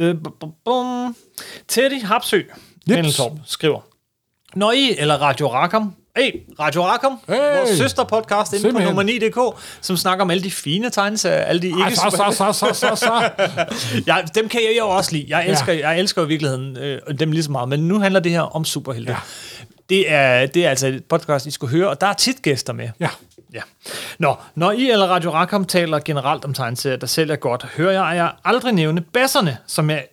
S1: øh, bum, bum, bum. Teddy Hapsø Vendeltorp skriver, Når I, eller Radio Rackham, Hey, Radio Rackham, hey.
S2: Hey!
S1: vores søsterpodcast inde på
S2: Simpelthen.
S1: nummer 9.dk, som snakker om alle de fine tegneserier, alle de ikke...
S2: Ej, så, så, så, så, så, så.
S1: Ja, dem kan jeg jo også lide. Jeg elsker, ja.
S2: Ja.
S1: jeg elsker i virkeligheden øh, dem lige så meget, men nu handler det her om superhelte. Ja. Det, er, det er altså et podcast, I skulle høre, og der er tit gæster med.
S2: Ja.
S1: Ja. Nå, når I eller Radio Rackham taler generelt om tegneserier, der sælger godt, hører jeg jer aldrig nævne basserne, som jeg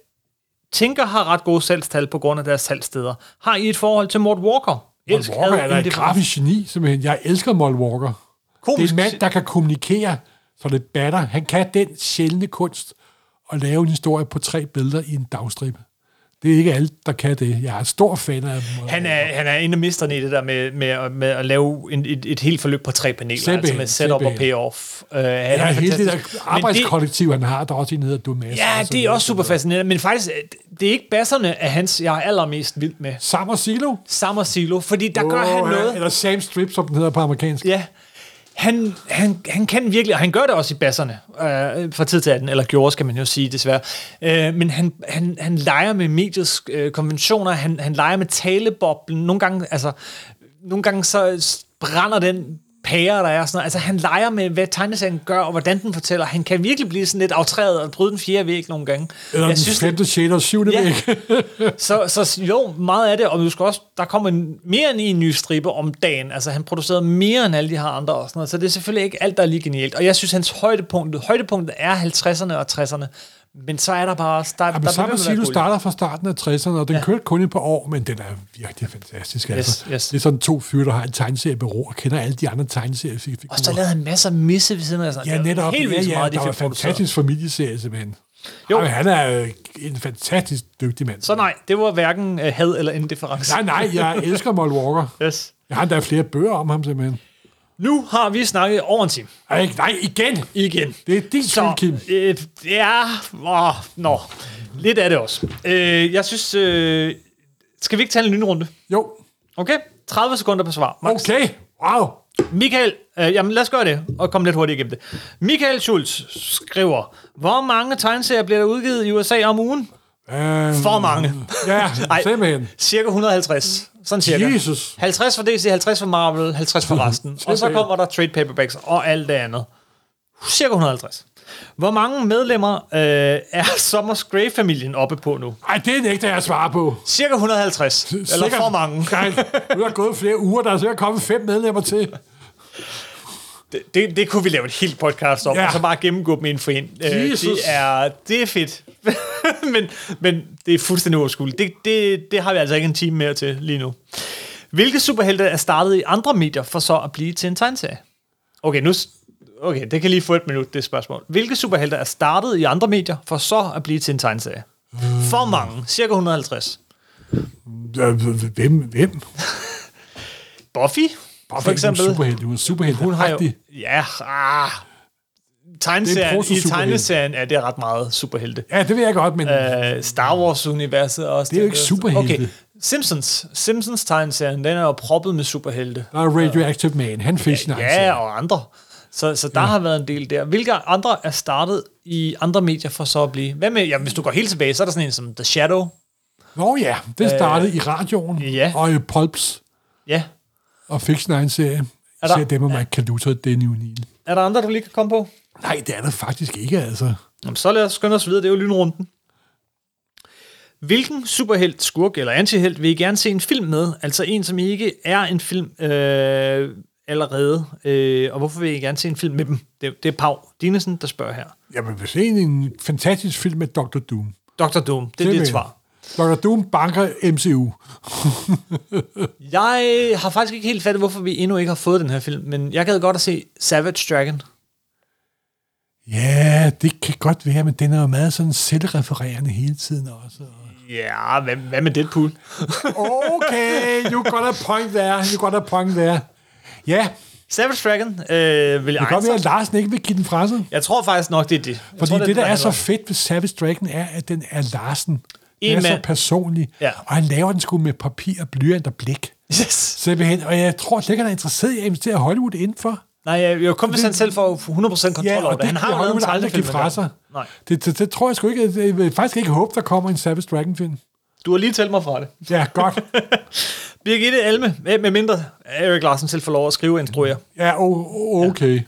S1: tænker har ret gode salgstal på grund af deres salgssteder. Har I et forhold til Mort Walker?
S2: Mort Walker
S1: had,
S2: er da et
S1: indifference.
S2: grafisk geni, simpelthen. Jeg elsker Mort Walker. Det er
S1: Komisk.
S2: en mand, der kan kommunikere, så det batter. Han kan den sjældne kunst at lave en historie på tre billeder i en dagstribe. Det er ikke alle, der kan det. Jeg er stor fan af Mort
S1: Han
S2: Walker.
S1: er, han er en af misterne i det der med, med, med at lave en, et, et helt forløb på tre paneler,
S2: Simpelthen,
S1: altså med setup og
S2: simpelthen.
S1: payoff. Uh, han
S2: Ja, hele det
S1: fantastisk.
S2: der
S1: Men
S2: arbejdskollektiv, han har, der er også en, der hedder Dumas.
S1: Ja, det er også super fascinerende, men faktisk, det er ikke basserne af hans, jeg er allermest vild med.
S2: Sam og Silo.
S1: Summer Silo, fordi der gør han
S2: Åh, ja,
S1: noget.
S2: Eller Sam Strip, som den hedder på amerikansk.
S1: Ja, han, han, han kan virkelig, og han gør det også i basserne øh, fra tid til anden, eller gjorde, skal man jo sige desværre. Øh, men han, han, han leger med mediets øh, konventioner, han, han leger med taleboblen. Nogle gange, altså, nogle gange så brænder den pære, der er sådan noget. Altså, han leger med, hvad tegneserien gør, og hvordan den fortæller. Han kan virkelig blive sådan lidt aftræet og bryde den fjerde væg nogle gange.
S2: Eller den femte, sjette og syvende
S1: Ja.
S2: væg.
S1: Så, så jo, meget af det, og du skal også, der kommer en, mere end en ny stribe om dagen. Altså, han producerede mere end alle de her andre og sådan noget, så det er selvfølgelig ikke alt, der er lige genialt. Og jeg synes, hans højdepunkt, højdepunktet er 50'erne og 60'erne, men så er der bare... også- Der, ja,
S2: Jamen,
S1: der
S2: samme
S1: bliver ved med at være
S2: silo
S1: guld.
S2: starter fra starten af 60'erne, og den ja. kørte kun et par år, men den er virkelig fantastisk. Altså.
S1: yes.
S2: Det er sådan to fyre, der har en tegneseriebureau og kender alle de andre tegneseriefigurer.
S1: Og så lavede han masser af misse ved siden af. Sådan.
S2: Ja, netop.
S1: Helt vildt
S2: ja,
S1: meget, de
S2: der var
S1: fik produceret.
S2: fantastisk familieserie, simpelthen.
S1: Jo.
S2: Jo. Jamen, han er øh, en fantastisk dygtig mand.
S1: Så nej, det var hverken øh, had eller indifference.
S2: Nej, nej, jeg elsker Moll Walker.
S1: Yes.
S2: Jeg har endda flere bøger om ham, simpelthen.
S1: Nu har vi snakket over en time.
S2: Ej, nej, igen!
S1: Igen.
S2: Det er din skyld, Kim.
S1: Øh, ja, åh, nå. Lidt af det også. Øh, jeg synes... Øh, skal vi ikke tage en lynrunde?
S2: Jo,
S1: Okay, 30 sekunder på svar. Max.
S2: okay. Wow.
S1: Michael, øh, jamen lad os gøre det, og komme lidt hurtigt igennem det. Michael Schultz skriver, hvor mange tegneserier bliver der udgivet i USA om ugen?
S2: Øhm,
S1: For mange.
S2: Ja,
S1: Ej.
S2: simpelthen.
S1: Cirka 150. Sådan cirka.
S2: Jesus.
S1: 50 for DC, 50 for Marvel, 50 for resten. og så
S2: Simpelthen.
S1: kommer der trade paperbacks og alt det andet. Cirka 150. Hvor mange medlemmer øh, er Summers Grey-familien oppe på nu?
S2: Ej, det er nægter jeg at svare på.
S1: Cirka 150. Eller
S2: Sikkert-
S1: for mange.
S2: Nej, nu er der gået flere uger, der er sikkert kommet fem medlemmer til.
S1: Det, det, det kunne vi lave et helt podcast om, ja.
S2: Ja.
S1: og så bare gennemgå dem ind for ind. det,
S2: Jesus.
S1: er, det er fedt. men, men det er fuldstændig overskueligt. Det, det, det har vi altså ikke en time mere til lige nu. Hvilke superhelte er startet i andre medier for så at blive til en tegneserie? Okay, nu, s- okay, det kan lige få et minut, det spørgsmål. Hvilke superhelte er startet i andre medier for så at blive til en tegneserie? For mange. Cirka 150.
S2: Øh, Hvem? Hvem?
S1: Buffy, for eksempel.
S2: Superhelt. Hun er superhelt. Hun har jo...
S1: Ja, ah, tegneserien, i
S2: proto-superhelte.
S1: tegneserien er det ret meget superhelte.
S2: Ja, det ved jeg godt, men øh,
S1: Øh, Star Wars-universet er også.
S2: Det er jo ikke superhelte.
S1: Okay, Simpsons. Simpsons tegneserien, den er jo proppet med superhelte.
S2: der er Radioactive Man. Han fik sin egen
S1: Ja,
S2: serie.
S1: og andre. Så, så der ja. har været en del der. Hvilke andre er startet i andre medier for så at blive? Hvad med, jamen, hvis du går helt tilbage, så er der sådan en som The Shadow.
S2: Nå ja, det startede i radioen
S1: Øh, ja.
S2: og i Pulps
S1: Ja.
S2: og fik sin egen serie.
S1: Er der-
S2: Ser dem og Mike Caluto, det er New Neil.
S1: Er der andre, du lige kan komme på?
S2: Nej, det er der faktisk ikke, altså.
S1: Jamen, så lad os skynde os videre, det er jo lynrunden. Hvilken superhelt, skurk eller antihelt vil I gerne se en film med? Altså en, som I ikke er en film øh, allerede. Øh, og hvorfor vil I gerne se en film med dem? Det, det er Pau Dinesen, der spørger her.
S2: Jamen, hvis en, en fantastisk film med Dr. Doom.
S1: Dr. Doom, det er
S2: vil
S1: dit
S2: jeg.
S1: svar.
S2: Dr. Doom banker MCU.
S1: Jeg har faktisk ikke helt fattet, hvorfor vi endnu ikke har fået den her film, men jeg gad godt at se Savage Dragon.
S2: Ja, det kan godt være, men den er jo meget sådan selvrefererende hele tiden også.
S1: Ja, hvad, hvad med Deadpool?
S2: Okay, you got a point there. You got a point there. Ja,
S1: Savage Dragon øh, vil
S2: det
S1: jeg
S2: kan godt være, at
S1: jeg,
S2: Larsen ikke vil give den fra sig.
S1: jeg tror faktisk nok, det er det. Jeg
S2: Fordi
S1: tror,
S2: tror, det, der er
S1: han
S2: så
S1: var.
S2: fedt ved Savage Dragon, er, at den er Larsen. Den
S1: En
S2: er så
S1: mand.
S2: personlig.
S1: Ja.
S2: Og han laver den sgu med papir, blyant og blik.
S1: Yes.
S2: Simpelthen. Og jeg tror slet ikke, han er interesseret i at investere Hollywood indenfor.
S1: Nej, jeg, jeg kun hvis han selv får 100% kontrol
S2: Ja,
S1: over
S2: og
S1: det.
S2: det
S1: Han har jo lavet en
S2: Hollywood aldrig give
S1: tegnefilm.
S2: fra sig.
S1: Nej,
S2: Det, det, det, tror jeg sgu ikke. at- Jeg vil faktisk ikke håbe, der kommer en Savage Dragon-film.
S1: du har lige talt mig fra det.
S2: Ja, godt.
S1: Birgitte Alme, eh, med mindre Erik Larsen selv får lov at skrive og instruere.
S2: Ja, o- o- okay.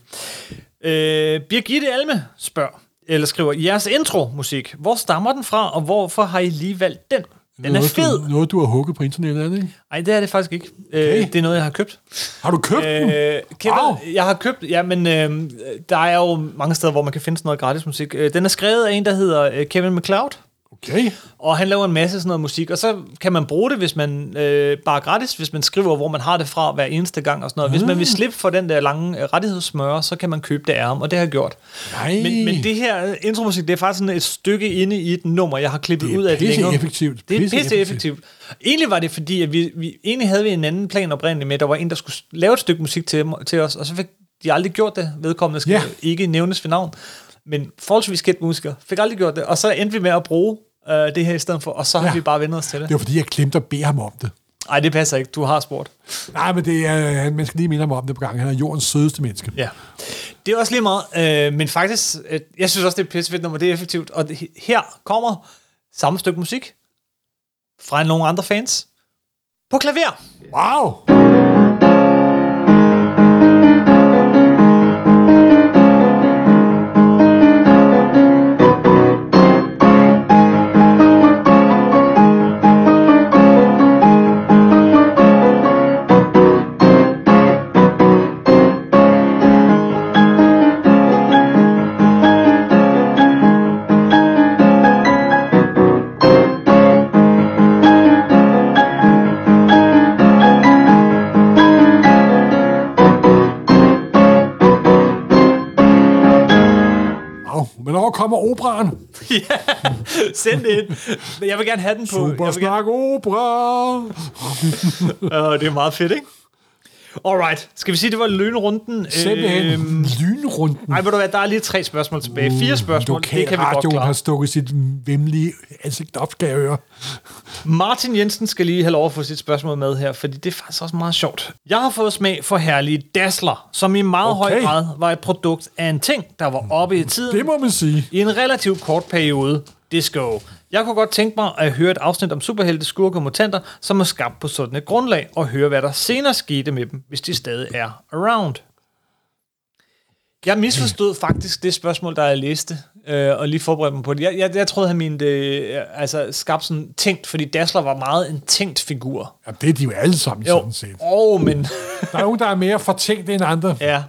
S1: Øh, Birgitte Alme spørger, eller skriver, jeres intro-musik, hvor stammer den fra, og hvorfor har I lige valgt den? Den er
S2: noget,
S1: fed.
S2: Du, noget, du har hugget på internettet, er det ikke?
S1: Nej, det er det faktisk ikke. Okay. Øh, det er noget, jeg har købt.
S2: Har du købt øh, den?
S1: Øh, kender,
S2: Wow.
S1: wow. Jeg har købt, ja, men øh, der er jo mange steder, hvor man kan finde sådan noget gratis musik. Øh, den er skrevet af en, der hedder øh, Kevin McLeod.
S2: Okay.
S1: Og han laver en masse sådan noget musik, og så kan man bruge det, hvis man øh, bare gratis, hvis man skriver, hvor man har det fra hver eneste gang og sådan noget. Hvis man vil slippe for den der lange øh, rettighedsmøre, så kan man købe det af ham, og det har jeg gjort.
S2: Nej.
S1: Men, men det her intromusik, det er faktisk sådan et stykke inde i et nummer, jeg har klippet
S2: Det er
S1: ud af længere.
S2: pisseeffektivt.
S1: Det er pisse
S2: Pisseeffektivt.
S1: effektivt. Egentlig var det fordi, at vi, vi, egentlig havde vi en anden plan oprindeligt med, der var en, der skulle s- lave et stykke musik til, til os, og så fik de aldrig gjort det. Vedkommende skal
S2: Ja.
S1: ikke nævnes ved navn. Men forholdsvis kendt musiker fik aldrig gjort det, og så endte vi med at bruge øh, det her i stedet for, og så har
S2: Ja.
S1: vi bare vendt os til det.
S2: det var, fordi jeg glemte at bede ham om det.
S1: Nej, det passer ikke. Du har spurgt.
S2: Nej, men det er, han- man skal lige minde ham om det på gang. Han er jordens sødeste menneske.
S1: Ja. Det er også lige meget, øh, men faktisk, øh, jeg synes også, det er et pissefedt nummer, det er effektivt. Og det, her kommer samme stykke musik fra nogle andre fans på klaver.
S2: Wow! Wow. Men når kommer operan?
S1: Send det ind. Men jeg vil gerne have den på.
S2: Super
S1: jeg vil
S2: snak opera!
S1: gerne, øh, det er meget fedt, ikke? Alright. Skal vi sige, det var lønrunden?
S2: Simpelthen
S1: Øhm.
S2: lynrunden.
S1: nej, ved du hvad, der er lige tre spørgsmål tilbage. Fire spørgsmål, det kan vi godt
S2: Lokalradioen
S1: klare.
S2: har stukket sit vemmelige ansigt op, skal jeg høre.
S1: Martin Jensen skal lige have lov at få sit spørgsmål med her, fordi det er faktisk også meget sjovt. Jeg har fået smag for herlige Dassler, som i meget okay.
S2: Okay.
S1: høj grad var et produkt af en ting, der var oppe i
S2: Det
S1: tiden
S2: må man sige.
S1: i en relativt kort periode. Det skal jo. Jeg kunne godt tænke mig at høre et afsnit om superhelte, skurke og mutanter, som er skabt på sådan et grundlag, og høre, hvad der senere skete med dem, hvis de stadig er around. Jeg misforstod faktisk det spørgsmål, der jeg læste, øh, og lige forberedte mig på det. Jeg, jeg, jeg troede, han mente øh, altså, skabt sådan tænkt, fordi Dassler var meget en tænkt figur.
S2: Ja, det er de jo alle sammen sådan set.
S1: Åh, oh, men...
S2: Der er nogen, der er mere fortænkt end andre.
S1: Ja.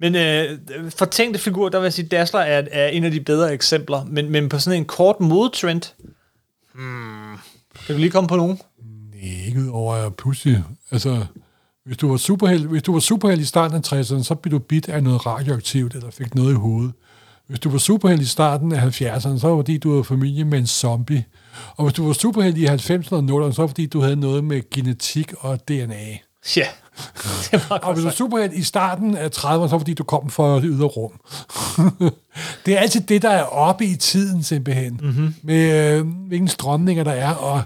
S1: Men øh, for tænkte figurer, der vil jeg sige, Dassler er, er en af de bedre eksempler. Men, men på sådan en kort modetrend... Hmm.
S2: Hmm.
S1: Kan du lige komme på nogen?
S2: Ikke udover at pludselig... Altså, hvis du var superheld, hvis du var superheld i starten af 60'erne, så blev du bidt af noget radioaktivt, eller fik noget i hovedet. Hvis du var superheld i starten af 70'erne, så var det, fordi du var familie med en zombie. Og hvis du var superheld i 90'erne og 0'erne, så var det, fordi du havde noget med genetik og DNA.
S1: Ja. Det var
S2: Og
S1: godt
S2: hvis du var
S1: sagt.
S2: superheld i starten af 30'erne, så var det, fordi du kom fra det ydre rum. det er altid det, der Mhm. er oppe i tiden simpelthen. Mm-hmm. Med øh, hvilke strømninger der er, og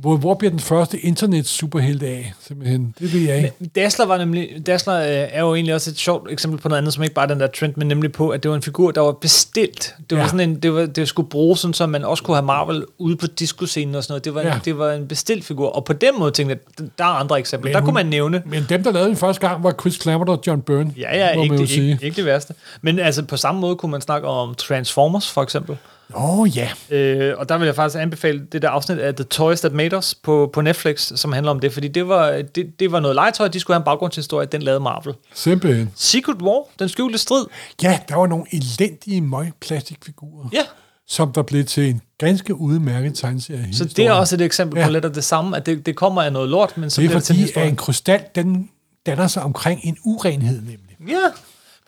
S2: Hvor, hvor bliver den første internet-superhelt af, simpelthen? Det ved jeg ikke.
S1: Dazzler, var nemlig, Dazzler øh, er jo egentlig også et sjovt eksempel på noget andet, som ikke bare er den der trend, men nemlig på, at det var en figur, der var bestilt. Det var
S2: Ja.
S1: ja. sådan en, det, var, det skulle bruges sådan, så man også kunne have Marvel ude på discoscenen og sådan noget. Det var, en,
S2: Ja.
S1: det var en bestilt figur, og på den måde tænkte jeg, der er andre eksempler. der kunne man nævne
S2: Men dem, der lavede den første gang, var Chris Claremont og John Byrne.
S1: Ja, ja,
S2: må
S1: ikke,
S2: man jo
S1: det,
S2: sige.
S1: ikke, ikke det værste. Men altså, på samme måde kunne man snakke om Transformers, for eksempel.
S2: Åh, oh, ja.
S1: Øh, og der vil jeg faktisk anbefale det der afsnit af The Toys That Made Us på, på Netflix, som handler om det, fordi det var, det, det var noget legetøj, de skulle have en baggrundshistorie, den lavede Marvel.
S2: Simpelthen.
S1: Secret War, den skjulte strid.
S2: Ja, der var nogle elendige møgplastikfigurer,
S1: Ja,
S2: som der blev til en ganske udmærket tegneserie.
S1: så det er også et eksempel
S2: Ja.
S1: på lidt af det samme, at det, det kommer af noget lort, men så
S2: Det er
S1: bliver det til en
S2: fordi, at
S1: historie.
S2: en krystal, den danner sig omkring en urenhed, nemlig.
S1: Ja,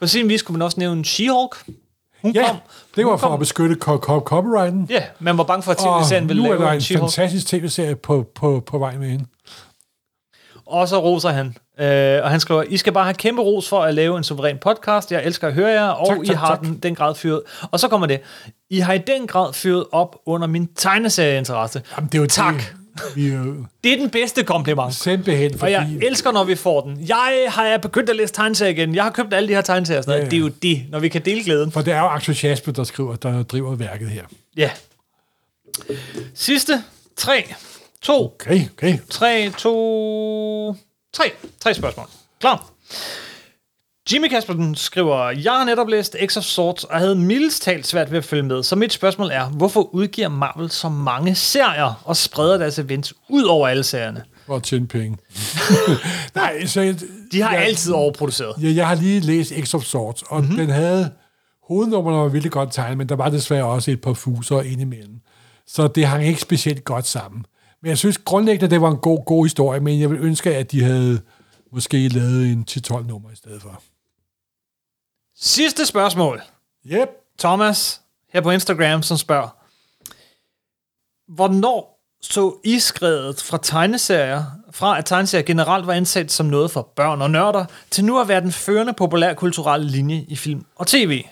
S1: på sin vis kunne man også nævne She-Hulk. Hun kom.
S2: Ja, det var
S1: hun
S2: for
S1: kom.
S2: at beskytte co- co- copyrighten.
S1: Ja, man var bange for, at tv-serien
S2: Og
S1: ville
S2: nu er der
S1: lave en
S2: en
S1: She-Hulk.
S2: fantastisk tv-serie på, på, på vej med hende.
S1: Og så roser han. Øh, og han skriver, I skal bare have kæmpe ros for at lave en suveræn podcast. Jeg elsker at høre jer, og
S2: Tak,
S1: tak, I
S2: tak,
S1: har
S2: tak.
S1: Den, den grad fyret. Og så kommer det. I har i den grad fyret op under min tegneserieinteresse.
S2: Jamen, det er jo
S1: tak.
S2: Det, vi er jo
S1: Det er den bedste kompliment.
S2: simpelthen,
S1: Og
S2: fordi...
S1: jeg elsker, når vi får den. Jeg har jeg begyndt at læse tegneserier igen. Jeg har købt alle de her tegneserier. og Sådan noget.
S2: Ja,
S1: Det
S2: ja.
S1: er jo det, når vi kan dele glæden.
S2: For det er jo Axel Jasper, der skriver, der driver værket her.
S1: Ja. Sidste. 3, 2,
S2: Okay, okay.
S1: 3, 2, 3. Tre spørgsmål. Klar. Jimmy Kaspersen skriver, Jeg har netop læst X of Swords og havde mildest talt svært ved at følge med, så mit spørgsmål er, hvorfor udgiver Marvel så mange serier og spreder deres events ud over alle serierne?
S2: For at tjene penge. Nej, så... Jeg,
S1: De har
S2: jeg,
S1: ja. altid overproduceret.
S2: Jeg, jeg har lige læst X of Swords, og
S1: Mhm.
S2: mm-hmm. den havde... Hovednummerne var virkelig godt tegnet, men der var desværre også et par fuser indimellem. Så det hang ikke specielt godt sammen. Men jeg synes grundlæggende, det var en god, god historie, men jeg vil ønske, at de havde måske lavet en 10-12 nummer i stedet for.
S1: Sidste spørgsmål.
S2: Yep.
S1: Thomas her på Instagram, som spørger, hvornår så I skredet fra tegneserier, fra at tegneserier generelt var ansat som noget for børn og nørder, til nu at være den førende populærkulturelle linje i film og tv?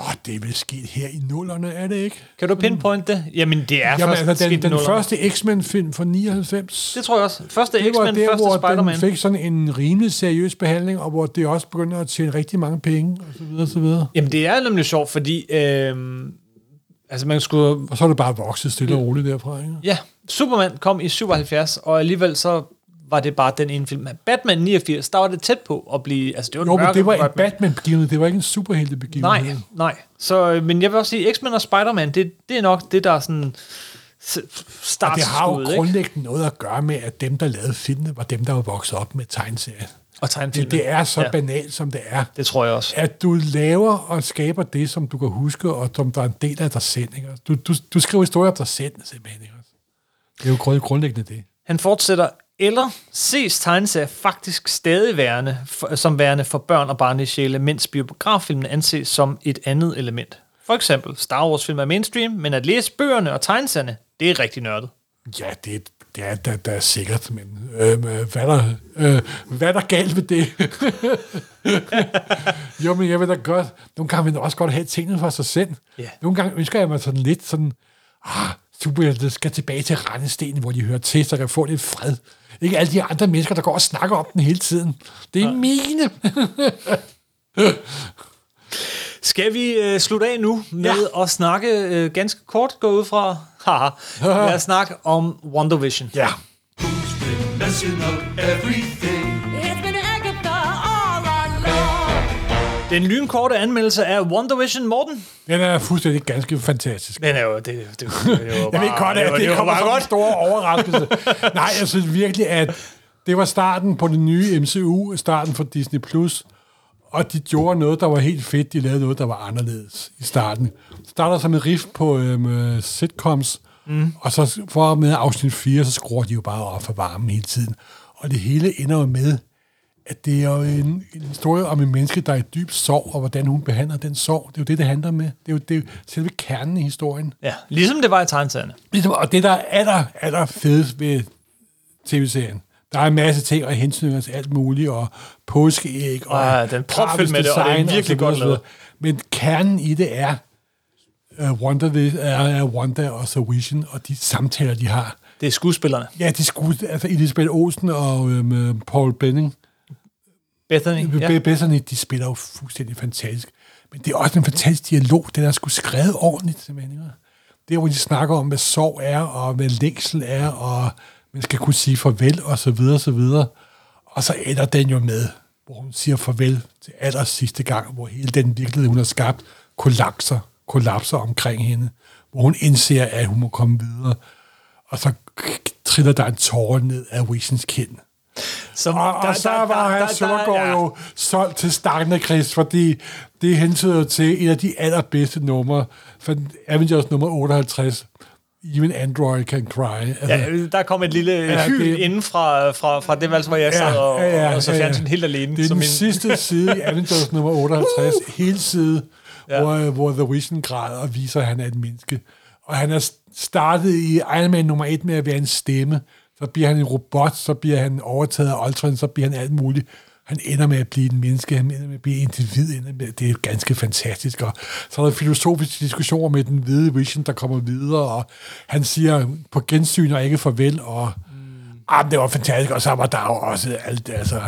S2: Åh, det er vel sket her i nullerne, er det ikke?
S1: Kan du pinpoint det? Jamen, det er
S2: Mm. Jamen,
S1: først
S2: altså, den,
S1: sket i
S2: den
S1: nullerne.
S2: første X-Men-film fra 99.
S1: Det tror jeg også. Første
S2: det var
S1: X-Men,
S2: der,
S1: første
S2: hvor den
S1: Spider-Man.
S2: fik sådan en rimelig seriøs behandling, og hvor det også begynder at tjene rigtig mange penge, og så videre, og så videre.
S1: Jamen, det er nemlig sjovt, fordi... Øh, altså, man skulle...
S2: Og så er det bare vokset stille og roligt derfra, ikke?
S1: Ja, Superman kom i 77, og alligevel så var det bare den ene film. Batman 89, der var det tæt på at blive... Altså, det var den
S2: Jo, men
S1: mørke
S2: det var en
S1: Batman.
S2: Batman-begivenhed, det var ikke en superheltebegivenhed.
S1: Nej, nej. Så, øh, men jeg vil også sige, X-Men og Spider-Man, det, det er nok det, der er sådan s-
S2: Og det har jo
S1: startskuddet, ikke?
S2: grundlæggende noget at gøre med, at dem, der lavede filmene, var dem, der var vokset op med tegneserier.
S1: Og tegnefilmen.
S2: Det, det er så
S1: Ja.
S2: ja. banalt, som det er.
S1: Det tror jeg også.
S2: At du laver og skaber det, som du kan huske, og som der er en del af dig selv. Ikke? Du, du, du skriver historier om dig selv, simpelthen. Ikke? Det er jo grund- grundlæggende det.
S1: Han fortsætter, eller ses tegneserier faktisk stadig værende, for, som værende for børn og barnlige sjæle, mens biograffilmen anses som et andet element. For eksempel, Star Wars-film er mainstream, men at læse bøgerne og tegneserierne, det er rigtig nørdet.
S2: Ja, det, det er der, der er sikkert, men øh, hvad, der, øh, hvad er der galt med det? jo, men jeg vil da godt, nogle gange vil jeg også godt have tingene for sig selv.
S1: Ja.
S2: Nogle gange ønsker jeg mig sådan lidt sådan, ah, superhelte skal tilbage til rendestenen, hvor de hører til, så jeg kan få lidt fred. Ikke alle de andre mennesker, der går og snakker om den hele tiden. Det er mine.
S1: Skal vi øh, slutte af nu med ja. at snakke øh, ganske kort, gå ud fra, haha, lad os snakke om WandaVision.
S2: ja.
S4: Who's been messing up everything?
S6: It's been Agatha all along.
S1: Den lynkorte anmeldelse af WandaVision, Morten.
S2: Den er fuldstændig ganske fantastisk.
S1: Den er jo, det, det, det, det var
S2: Jeg ved godt, at det, det kommer som en stor overraskelse. Nej, jeg synes virkelig, at det var starten på det nye MCU, starten for Disney+, Plus, og de gjorde noget, der var helt fedt. De lavede noget, der var anderledes i starten. Det starter som en riff på øhm, øh, sitcoms, mm. og så for med afsnit 4, så skruer de jo bare op for varmen hele tiden. Og det hele ender jo med, at det er jo en, en historie om en menneske, der er i dyb sorg, og hvordan hun behandler den sorg. Det er jo det, det handler med. Det er jo, det er jo selve kernen i historien.
S1: Ja, ligesom det var i tegnsagerne.
S2: Ligesom, og det, der er aller, aller fedest ved tv-serien, der er en masse ting og hensynninger til alt muligt, og påskeæg, og
S1: Ah, den er propfyldt med det, og det er
S2: grafisk
S1: virkelig
S2: så videre,
S1: godt
S2: så videre. Men kernen i det øh, er uh, Wanda, uh, Wanda og The Vision, og de samtaler, de har.
S1: Det er skuespillerne.
S2: Ja, de skulle, altså Elisabeth Olsen og øhm, Paul Benning,
S1: Bethany,
S2: ja.
S1: ja.
S2: Besserne, de spiller jo fuldstændig fantastisk. Men det er også en fantastisk dialog, den er sgu skrevet ordentligt, simpelthen. ikke? Det er, hvor de snakker om, hvad sorg er, og hvad længsel er, og man skal kunne sige farvel, og så videre, og så videre. Og så ender den jo med, hvor hun siger farvel til aller sidste gang, hvor hele den virkelighed, hun har skabt, kollapser, kollapser omkring hende. Hvor hun indser, at hun må komme videre. Og så triller der en tårer ned af Wilsons kind.
S1: Som,
S2: Og, og så var han Søndergaard jo solgt til Stagner Chris, fordi det hentyder til et af de allerbedste numre, for Avengers nummer 58, Even Android Can Cry. Altså,
S1: Ja, der kom et lille ja, hyl
S2: det-
S1: det... inden fra, fra, fra det valg, hvor jeg sad og, ja, ja, og så fjernsyn ja, ja. helt alene.
S2: Det er
S1: som
S2: den
S1: en-
S2: sidste side i Avengers nummer 58, hele side, ja. hvor, øh, hvor The Vision græder og viser, at han er et menneske. Og han er startet i Iron Man nummer 1 med at være en stemme, så bliver han en robot, så bliver han overtaget af Ultron, så bliver han alt muligt. Han ender med at blive en menneske, han ender med at blive individ, ender med, det er ganske fantastisk. Og så er der filosofiske diskussioner med den hvide Vision, der kommer videre, og han siger på gensyn og ikke farvel, og
S1: Mm.
S2: Ah, men det var fantastisk, og så var der jo også alt, altså,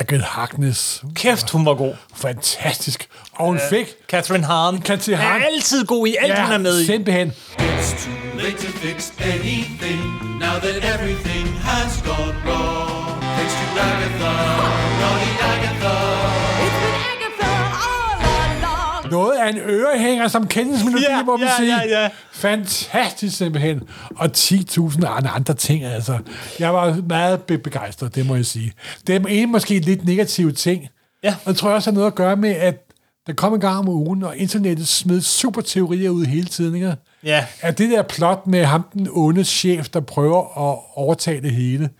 S2: Agnes Harkness,
S1: Kæft, hun var god.
S2: fantastisk, og hun fik
S1: Catherine Hahn.
S2: Catherine Hahn.
S1: Er altid god i alt, ja, hun er med i.
S2: simpelthen,
S4: It's too late to fix anything now that everything has gone wrong. Thanks to Agatha, naughty Agatha.
S6: It's been Agatha all along.
S2: noget af en ørehænger, som kendes melodi,
S1: Ja,
S2: må man
S1: ja,
S2: sige.
S1: ja, ja.
S2: Fantastisk simpelthen, og 10.000 andre, andre ting, altså. Jeg var meget be- begejstret, det må jeg sige. Det er en måske lidt negativ ting,
S1: Ja.
S2: og det tror jeg også har noget at gøre med, at der kom en gang om ugen, og internettet smed superteorier ud hele tiden, ikke?
S1: Ja.
S2: at det der plot med ham, den onde chef, der prøver at overtage det hele,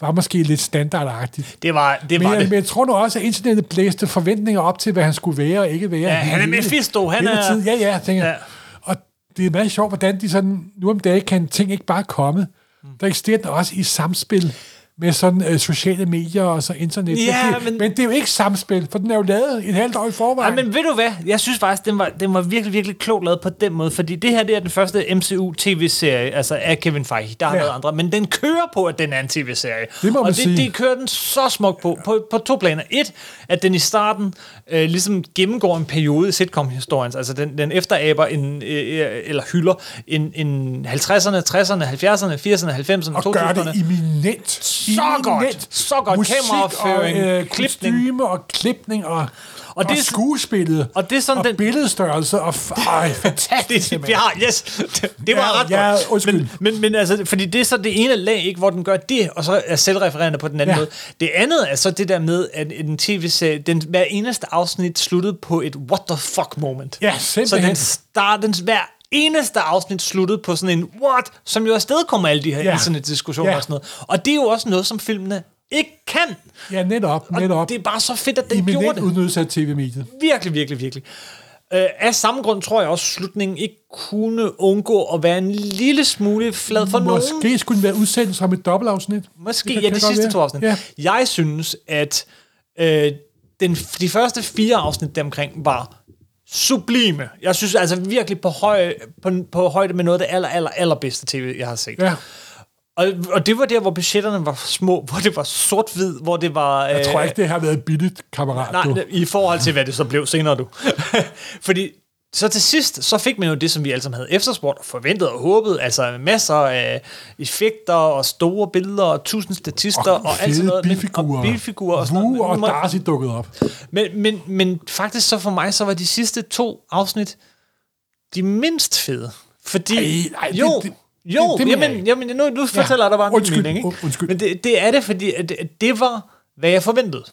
S2: var måske lidt standardagtigt.
S1: Det var det.
S2: Men
S1: Var
S2: jeg, men
S1: det.
S2: jeg tror nu også, at internettet blæste forventninger op til, hvad han skulle være og ikke være.
S1: Ja, han er Mephisto, han
S2: hele
S1: er-
S2: Tiden. Ja, ja, jeg tænker
S1: Ja.
S2: ja. Og det er meget sjovt, hvordan de sådan, nu om dagen kan ting ikke bare komme.
S1: Mm.
S2: Der eksisterer den også i samspil med sådan øh, sociale medier og så internet.
S1: Ja,
S2: det,
S1: men-
S2: men det er jo ikke samspil, for den er jo lavet et halvt år i
S1: Ej,
S2: forvejen.
S1: men ved du hvad? Jeg synes faktisk, den var, den var virkelig, virkelig klogt lavet på den måde, fordi det her det er den første MCU-tv-serie, altså af Kevin Feige. Der har
S2: Ja.
S1: ja. været andre, men den kører på, at den er en tv-serie.
S2: Det må
S1: og
S2: man
S1: det,
S2: sige.
S1: det kører den så smukt på, på, på to planer. Et, at den i starten øh, ligesom gennemgår en periode i sitcom-historien, altså den, den efteraber en, øh, eller hylder en, en 50'erne, 60'erne, 70'erne, 80'erne, 90'erne,
S2: og gør
S1: 2000'erne.
S2: det eminent.
S1: Så godt. Så godt.
S2: Musik
S1: Kameraføring,
S2: og, øh,
S1: klipning.
S2: kostyme og klipning og, og,
S1: det
S2: det
S1: er
S2: og
S1: sådan-
S2: skuespillet.
S1: og det er sådan
S2: og
S1: den-
S2: billedstørrelse og f- ej, fantastisk.
S1: det, det, ja, yes. Det, det var
S2: Ja,
S1: ret
S2: ja,
S1: godt.
S2: undskyld.
S1: Men, men, men altså, fordi det er så det ene lag, ikke, hvor den gør det, og så er selvrefererende på den anden ja.
S2: Ja.
S1: måde. Det andet er så det der med, at en tv-serie, den, hver eneste afsnit sluttede på et what the fuck moment.
S2: Ja,
S1: så
S2: simpelthen.
S1: den start, den, hver eneste afsnit sluttede på sådan en what, som jo afstedkommer alle de her ja.
S2: Ja.
S1: internetdiskussioner
S2: Ja.
S1: og sådan noget. Og det er jo også noget, som filmene ikke kan.
S2: Ja, netop,
S1: Og
S2: netop.
S1: det er bare så fedt, at den gjorde
S2: eminent
S1: det
S2: udnyttelse af tv-mediet.
S1: virkelig, virkelig, virkelig. Øh, af samme grund tror jeg også, at slutningen ikke kunne undgå at være en lille smule flad for nogen.
S2: Måske skulle den være udsendt som et dobbeltafsnit.
S1: Måske,
S2: kan-
S1: ja,
S2: kan
S1: de
S2: godt
S1: sidste
S2: være.
S1: to afsnit.
S2: Ja.
S1: Jeg synes, at øh, den, de første fire afsnit deromkring var sublime. Jeg synes altså virkelig på, høj, på, på højde med noget af det aller, aller, allerbedste tv, jeg har set.
S2: Ja.
S1: Og, og det var der, hvor budgetterne var små, hvor det var sort-hvid, hvor det var...
S2: Jeg tror ikke, det har været billigt, kammerat.
S1: Øh, Nej,
S2: du.
S1: nej, i forhold til, hvad det så blev senere, du. Fordi så til sidst, så fik man jo det, som vi alle sammen havde efterspurgt, og forventet og håbet, altså masser af effekter og store billeder og tusind statister og, og alt sådan noget. men-
S2: bifigurer.
S1: Og bifigurer og sådan
S2: Wu
S1: noget.
S2: og
S1: Men- men-
S2: Darcy dukkede op.
S1: Men, men, men faktisk så for mig, så var de sidste to afsnit de mindst fede. Fordi,
S2: Ej, ej, det-
S1: jo,
S2: det-
S1: jo,
S2: det- det mener jeg
S1: jamen, jamen, nu, nu fortæller jeg dig bare
S2: undskyld,
S1: min mening. Ikke?
S2: und- undskyld.
S1: Men det, det er det, fordi at, at det var, hvad jeg forventede.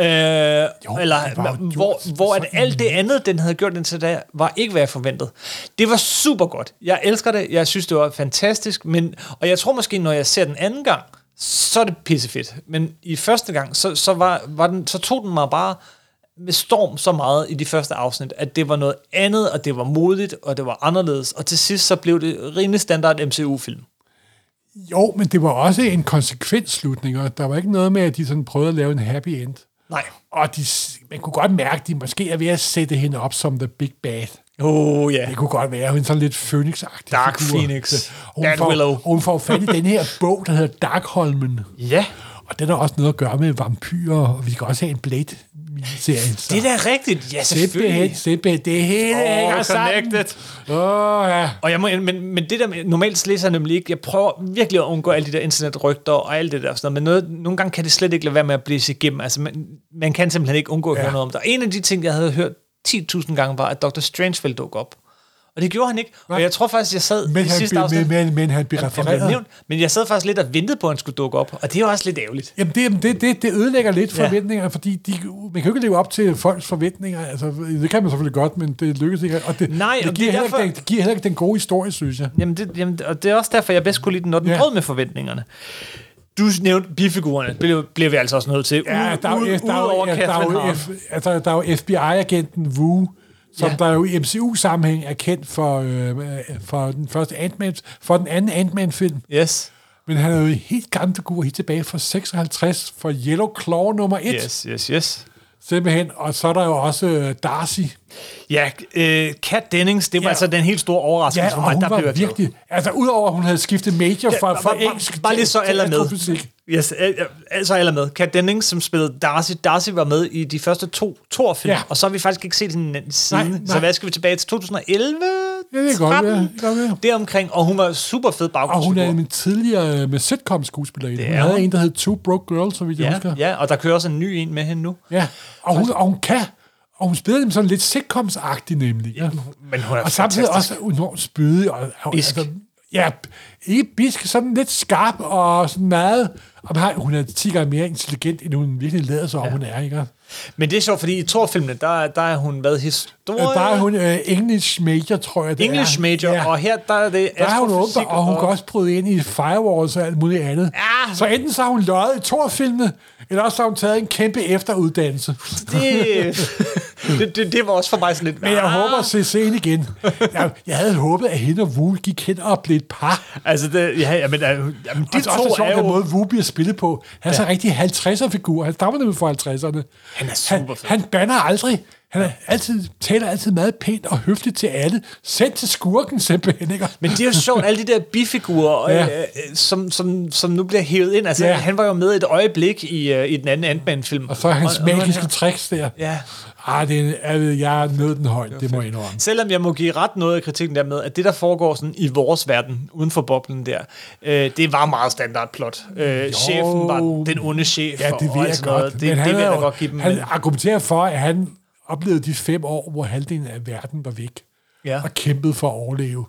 S1: Øh, eller
S2: det var jo
S1: hva-
S2: gjort
S1: hvor, hvor at
S2: sådan.
S1: alt det andet, den havde gjort indtil da, var ikke, hvad jeg forventede. Det var super godt. Jeg elsker det. Jeg synes, det var fantastisk. Men, og jeg tror måske, når jeg ser den anden gang, så er det pissefedt. Men i første gang, så, så, var, var den, så tog den mig bare med storm så meget i de første afsnit, at det var noget andet, og det var modigt, og det var anderledes. Og til sidst, så blev det rimelig standard MCU-film.
S2: Jo, men det var også en konsekvent slutning, og der var ikke noget med, at de sådan prøvede at lave en happy end.
S1: Nej.
S2: Og de, man kunne godt mærke, at de måske er ved at sætte hende op som the big bad.
S1: Oh ja.
S2: Det kunne godt være, hun er sådan lidt phoenix-agtig.
S1: Dark
S2: figur.
S1: Phoenix.
S2: Ja, og Hun
S1: Dan
S2: får,
S1: Willow.
S2: og Hun får fat i den her bog, der hedder Darkholmen.
S1: Ja,
S2: Og den har også noget at gøre med vampyrer, og vi skal også have en Blade-miniserie. så-
S1: det er da rigtigt. Ja, selvfølgelig.
S2: Simpelthen, simpelthen. Det hele
S1: Åh,
S2: hænger sammen.
S1: connected.
S2: Åh, ja.
S1: Og jeg må, men, men det der med, normalt læser jeg nemlig ikke, jeg prøver virkelig at undgå alle de der internetrygter og alt det der, og sådan noget, men noget, nogle gange kan det slet ikke lade være med at blive igennem. Altså, man, man kan simpelthen ikke undgå at ja.
S2: Ja.
S1: høre noget om det. Og en af de ting, jeg havde hørt 10.000 gange, var, at Dr. Strange ville dukke op. Og det gjorde han ikke. Og jeg tror faktisk, jeg sad
S2: Men
S1: i
S2: han,
S1: sidste
S2: blev,
S1: afsnit,
S2: men, men, men han blev
S1: han blev
S2: refereret.
S1: nævnt, men jeg sad faktisk lidt og ventede på, at han skulle dukke op, og det er jo også lidt ærgerligt.
S2: Jamen, det, det, det, det ødelægger lidt
S1: Ja.
S2: forventningerne, fordi de, man kan jo ikke leve op til folks forventninger. Altså, det kan man selvfølgelig godt, men det lykkes ikke. Og det,
S1: Nej,
S2: det,
S1: og det er
S2: giver, heller ikke
S1: derfor-
S2: den, det giver heller ikke den gode historie, synes jeg.
S1: Jamen, det, jamen, og det er også derfor, jeg bedst kunne lide den, når den
S2: Ja.
S1: brød med forventningerne. Du nævnte bifigurerne, blev, blev vi altså også nødt til.
S2: Ja,
S1: Ude-
S2: der er jo,
S1: ude-
S2: der er jo,
S1: udover
S2: ja, der er
S1: Catherine
S2: jo,
S1: Hahn.
S2: F, altså, der er jo FBI-agenten Wu, som
S1: Ja.
S2: ja. der jo i MCU-sammenhæng er kendt for, øh, for den første Ant-Man, for den anden Ant-Man-film.
S1: Yes.
S2: Men han er jo en helt gammel figur helt tilbage fra 56, fra Yellow Claw nummer 1, yes.
S1: Yes, yes, yes.
S2: simpelthen. Og så er der jo også øh, Darcy.
S1: Ja, øh, Kat Dennings, det var ja.
S2: Ja.
S1: altså den helt store overraskelse
S2: Ja,
S1: for
S2: og
S1: mig.
S2: Altså, hun
S1: Der blev
S2: var
S1: jeg glad.
S2: virkelig... Altså, udover at hun havde skiftet major fra,
S1: bare-
S2: fra
S1: bare-
S2: engelsk
S1: bare
S2: til-
S1: lige så
S2: til
S1: alle er med.
S2: astrofysik.
S1: Yes, al- altså alle er med. Kat Dennings, som spillede Darcy. Darcy var med i de første to Thor-film, ja.
S2: Ja.
S1: og så har vi faktisk ikke set hende siden. Nej,
S2: Nej,
S1: nej.
S2: nej.
S1: Så hvad skal vi tilbage til? 2011?
S2: Ja, det kan godt
S1: 13?
S2: være, det kan godt være.
S1: Deromkring, og hun var super fed
S2: Og hun er
S1: baggrundsfigur.
S2: min tidligere øh, med sitcom-skuespillerinde. Hun
S1: er
S2: havde
S1: hun.
S2: en, der hed Two Broke Girls, som jeg husker.
S1: Ja, ja, og der kører også en ny en med hende nu.
S2: Ja, og hun, og hun kan. Og hun spiller dem sådan lidt sitcoms-agtig nemlig. Ja.
S1: Men hun er
S2: Og samtidig
S1: fantastisk.
S2: også enormt spydig. Og, og, altså,
S1: Bisk.
S2: ja, ikke bisk, sådan lidt skarp og sådan meget. Og man har, hun er 10 gange mere intelligent, end hun virkelig lader sig, ja. og hun er, ikke?
S1: Men det er sjovt, fordi i Thor-filmene, der, der er hun været historie.
S2: Øh, Der er hun øh, English major, tror jeg, det
S1: English
S2: er.
S1: major, ja. og her der er det
S2: Der har hun
S1: astrofysik
S2: åbner, og hun kan også bryde ind i firewalls og alt muligt andet.
S1: Ja.
S2: Så enten så har hun løjet i Thor-filmene, eller også så har hun taget en kæmpe efteruddannelse.
S1: det, det, det, det var også for mig sådan lidt...
S2: Men jeg
S1: ah.
S2: håber at se scenen igen. Jeg, jeg havde håbet, at hende og Wu gik hen og blev et par.
S1: Altså, det, ja, jamen, øh, jamen, de
S2: Det er Altså, også
S1: to
S2: sjovt,
S1: er
S2: den
S1: jo...
S2: måde Wu bliver spillet på. Han er ja. så rigtig 50'er-figur. Han stammer nemlig fra 50'erne.
S1: Han er
S2: Han,
S1: superfed.
S2: han banner aldrig. Han er altid, taler altid meget pænt og høfligt til alle. Selv til skurken simpelthen, ikke?
S1: Men det er jo sjovt, alle de der bifigurer, ja.
S2: Ja.
S1: øh, øh, som, som, som nu bliver hævet ind. Altså, ja.
S2: Ja.
S1: han var jo med et øjeblik i, øh, i den anden Ant-Man-film.
S2: Og så er hans
S1: nu er han
S2: magiske
S1: her.
S2: tricks der.
S1: Ja.
S2: Ah, det er, jeg ved, jeg er nødt den højt, det må jeg indrømme.
S1: Selvom jeg må give ret noget af kritikken der med, at det, der foregår sådan i vores verden, uden for boblen der, øh, det var meget standardplot. Øh, chefen var den onde chef.
S2: Ja,
S1: og-
S2: det
S1: og
S2: ved
S1: alt
S2: jeg
S1: sådan noget.
S2: godt.
S1: Det, det
S2: men han
S1: vil
S2: er
S1: jeg da
S2: jo-
S1: godt give dem.
S2: Han
S1: men-
S2: argumenterer for, at han oplevede de fem år, hvor halvdelen af verden var væk.
S1: Ja.
S2: Og kæmpede for at overleve.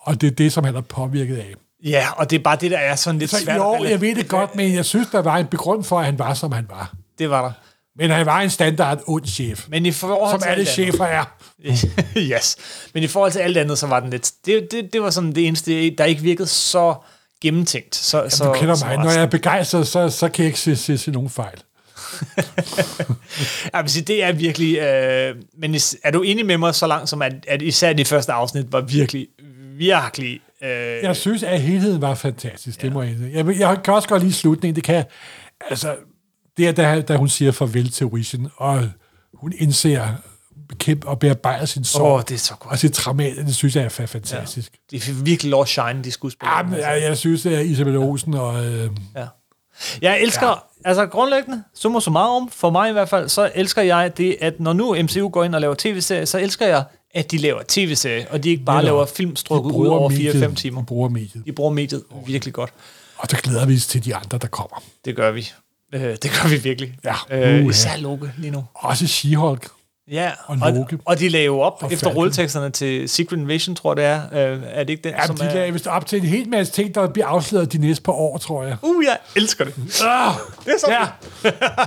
S2: Og det er det, som han er påvirket af.
S1: Ja, og det er bare det, der er sådan lidt
S2: Så
S1: svært. at
S2: jo,
S1: relatere-
S2: jeg ved det godt, men jeg synes, der var en begrund for, at han var, som han var.
S1: Det var der.
S2: Men han var en standard ond chef.
S1: Men i forhold
S2: Som
S1: til
S2: alle
S1: alt andet-
S2: chefer er.
S1: yes. Men i forhold til alt andet, så var den lidt... Det, det, det var sådan det eneste, der ikke virkede så gennemtænkt. Så, Jamen, så,
S2: Du kender
S1: så
S2: mig. Når jeg er begejstret, så, så kan jeg ikke se, se, se nogen fejl.
S1: Jeg vil sige, det er virkelig... Øh, men is- er du enig med mig så langt, som at, at især de første afsnit var virkelig, virkelig... Øh,
S2: Jeg synes, at helheden var fantastisk. Det må jeg indrømme. jeg, vil- jeg kan også godt lide slutningen. Det kan jeg- Altså, det er, da, da hun siger farvel til Vision, og hun indser kæmpe og bearbejder sin sorg.
S1: Åh, det er så godt.
S2: Og sit traumat, det synes jeg er fa- fantastisk.
S1: de fik virkelig lov at shine, de skuespillere. Altså,
S2: Ja. Jamen, jeg, jeg synes, at Isabel Olsen og... Øh,
S1: Ja. Jeg elsker, ja. altså grundlæggende, summa summarum, for mig i hvert fald, så elsker jeg det, at når nu MCU går ind og laver tv-serier, så elsker jeg, at de laver tv-serier, og de ikke bare
S2: Netop.
S1: laver
S2: de
S1: film strukket ud over
S2: mediet.
S1: 4-5 timer.
S2: De bruger mediet.
S1: De bruger mediet virkelig godt.
S2: Og så glæder vi os til de andre, der kommer.
S1: Det gør vi. Øh, det gør vi virkelig.
S2: Ja.
S1: Øh,
S2: Uha.
S1: især Loke lige nu.
S2: Også She-Hulk.
S1: Ja,
S2: Og
S1: og,
S2: Loke.
S1: og de lagde jo op
S2: Og
S1: efter
S2: Falcon.
S1: rulleteksterne til Secret Invasion, tror jeg det er. Øh, er det ikke den,
S2: Ja,
S1: som
S2: de
S1: er...
S2: lagde vist op til en hel masse ting, der bliver afsløret de næste par år, tror jeg.
S1: Uh, jeg elsker det.
S2: Ah,
S1: Det er så
S2: ja.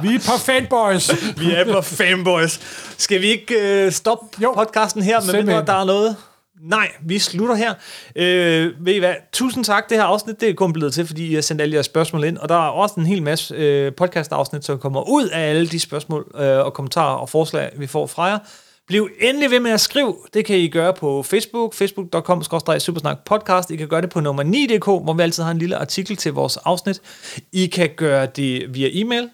S2: Vi er et par fanboys.
S1: Vi er på fanboys. Skal vi ikke øh, stoppe jo.
S2: Jo.
S1: podcasten her, medmindre
S2: Simpelthen.
S1: der er noget? Nej, vi slutter her. Øh, ved I hvad? Tusind tak, det her afsnit, det er kun blevet til, fordi I har sendt alle jeres spørgsmål ind, og der er også en hel masse øh, podcast-afsnit, som kommer ud af alle de spørgsmål øh, og kommentarer og forslag, vi får fra jer. Bliv endelig ved med at skrive. Det kan I gøre på Facebook, facebookcom podcast. I kan gøre det på nummer 9.dk, hvor vi altid har en lille artikel til vores afsnit. I kan gøre det via e-mail.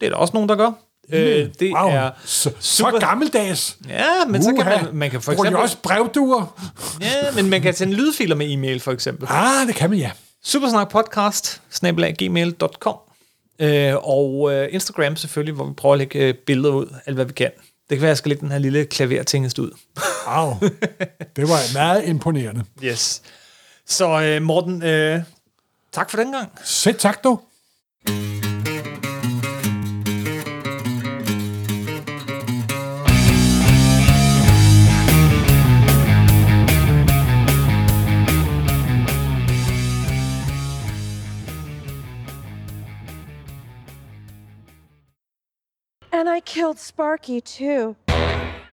S1: Det er der også nogen, der gør. Øh, det
S2: Wow,
S1: er
S2: så, så
S1: super-
S2: gammeldags.
S1: Ja, men så kan
S2: Uha.
S1: man, man kan for
S2: Bruger de
S1: eksempel...
S2: også brevduer?
S1: Ja, men man kan sende lydfiler med e-mail, for eksempel.
S2: Ah, det kan man, ja.
S1: Supersnakpodcast, snabelag gmail.com. Øh, og øh, Instagram selvfølgelig, hvor vi prøver at lægge øh, billeder ud, alt hvad vi kan. Det kan være, at jeg skal lægge den her lille klavertingest ud.
S2: Wow. Det var meget imponerende.
S1: Yes. Så øh, Morten, øh, tak for den gang.
S2: Selv tak, du.
S7: And I killed Sparky, too.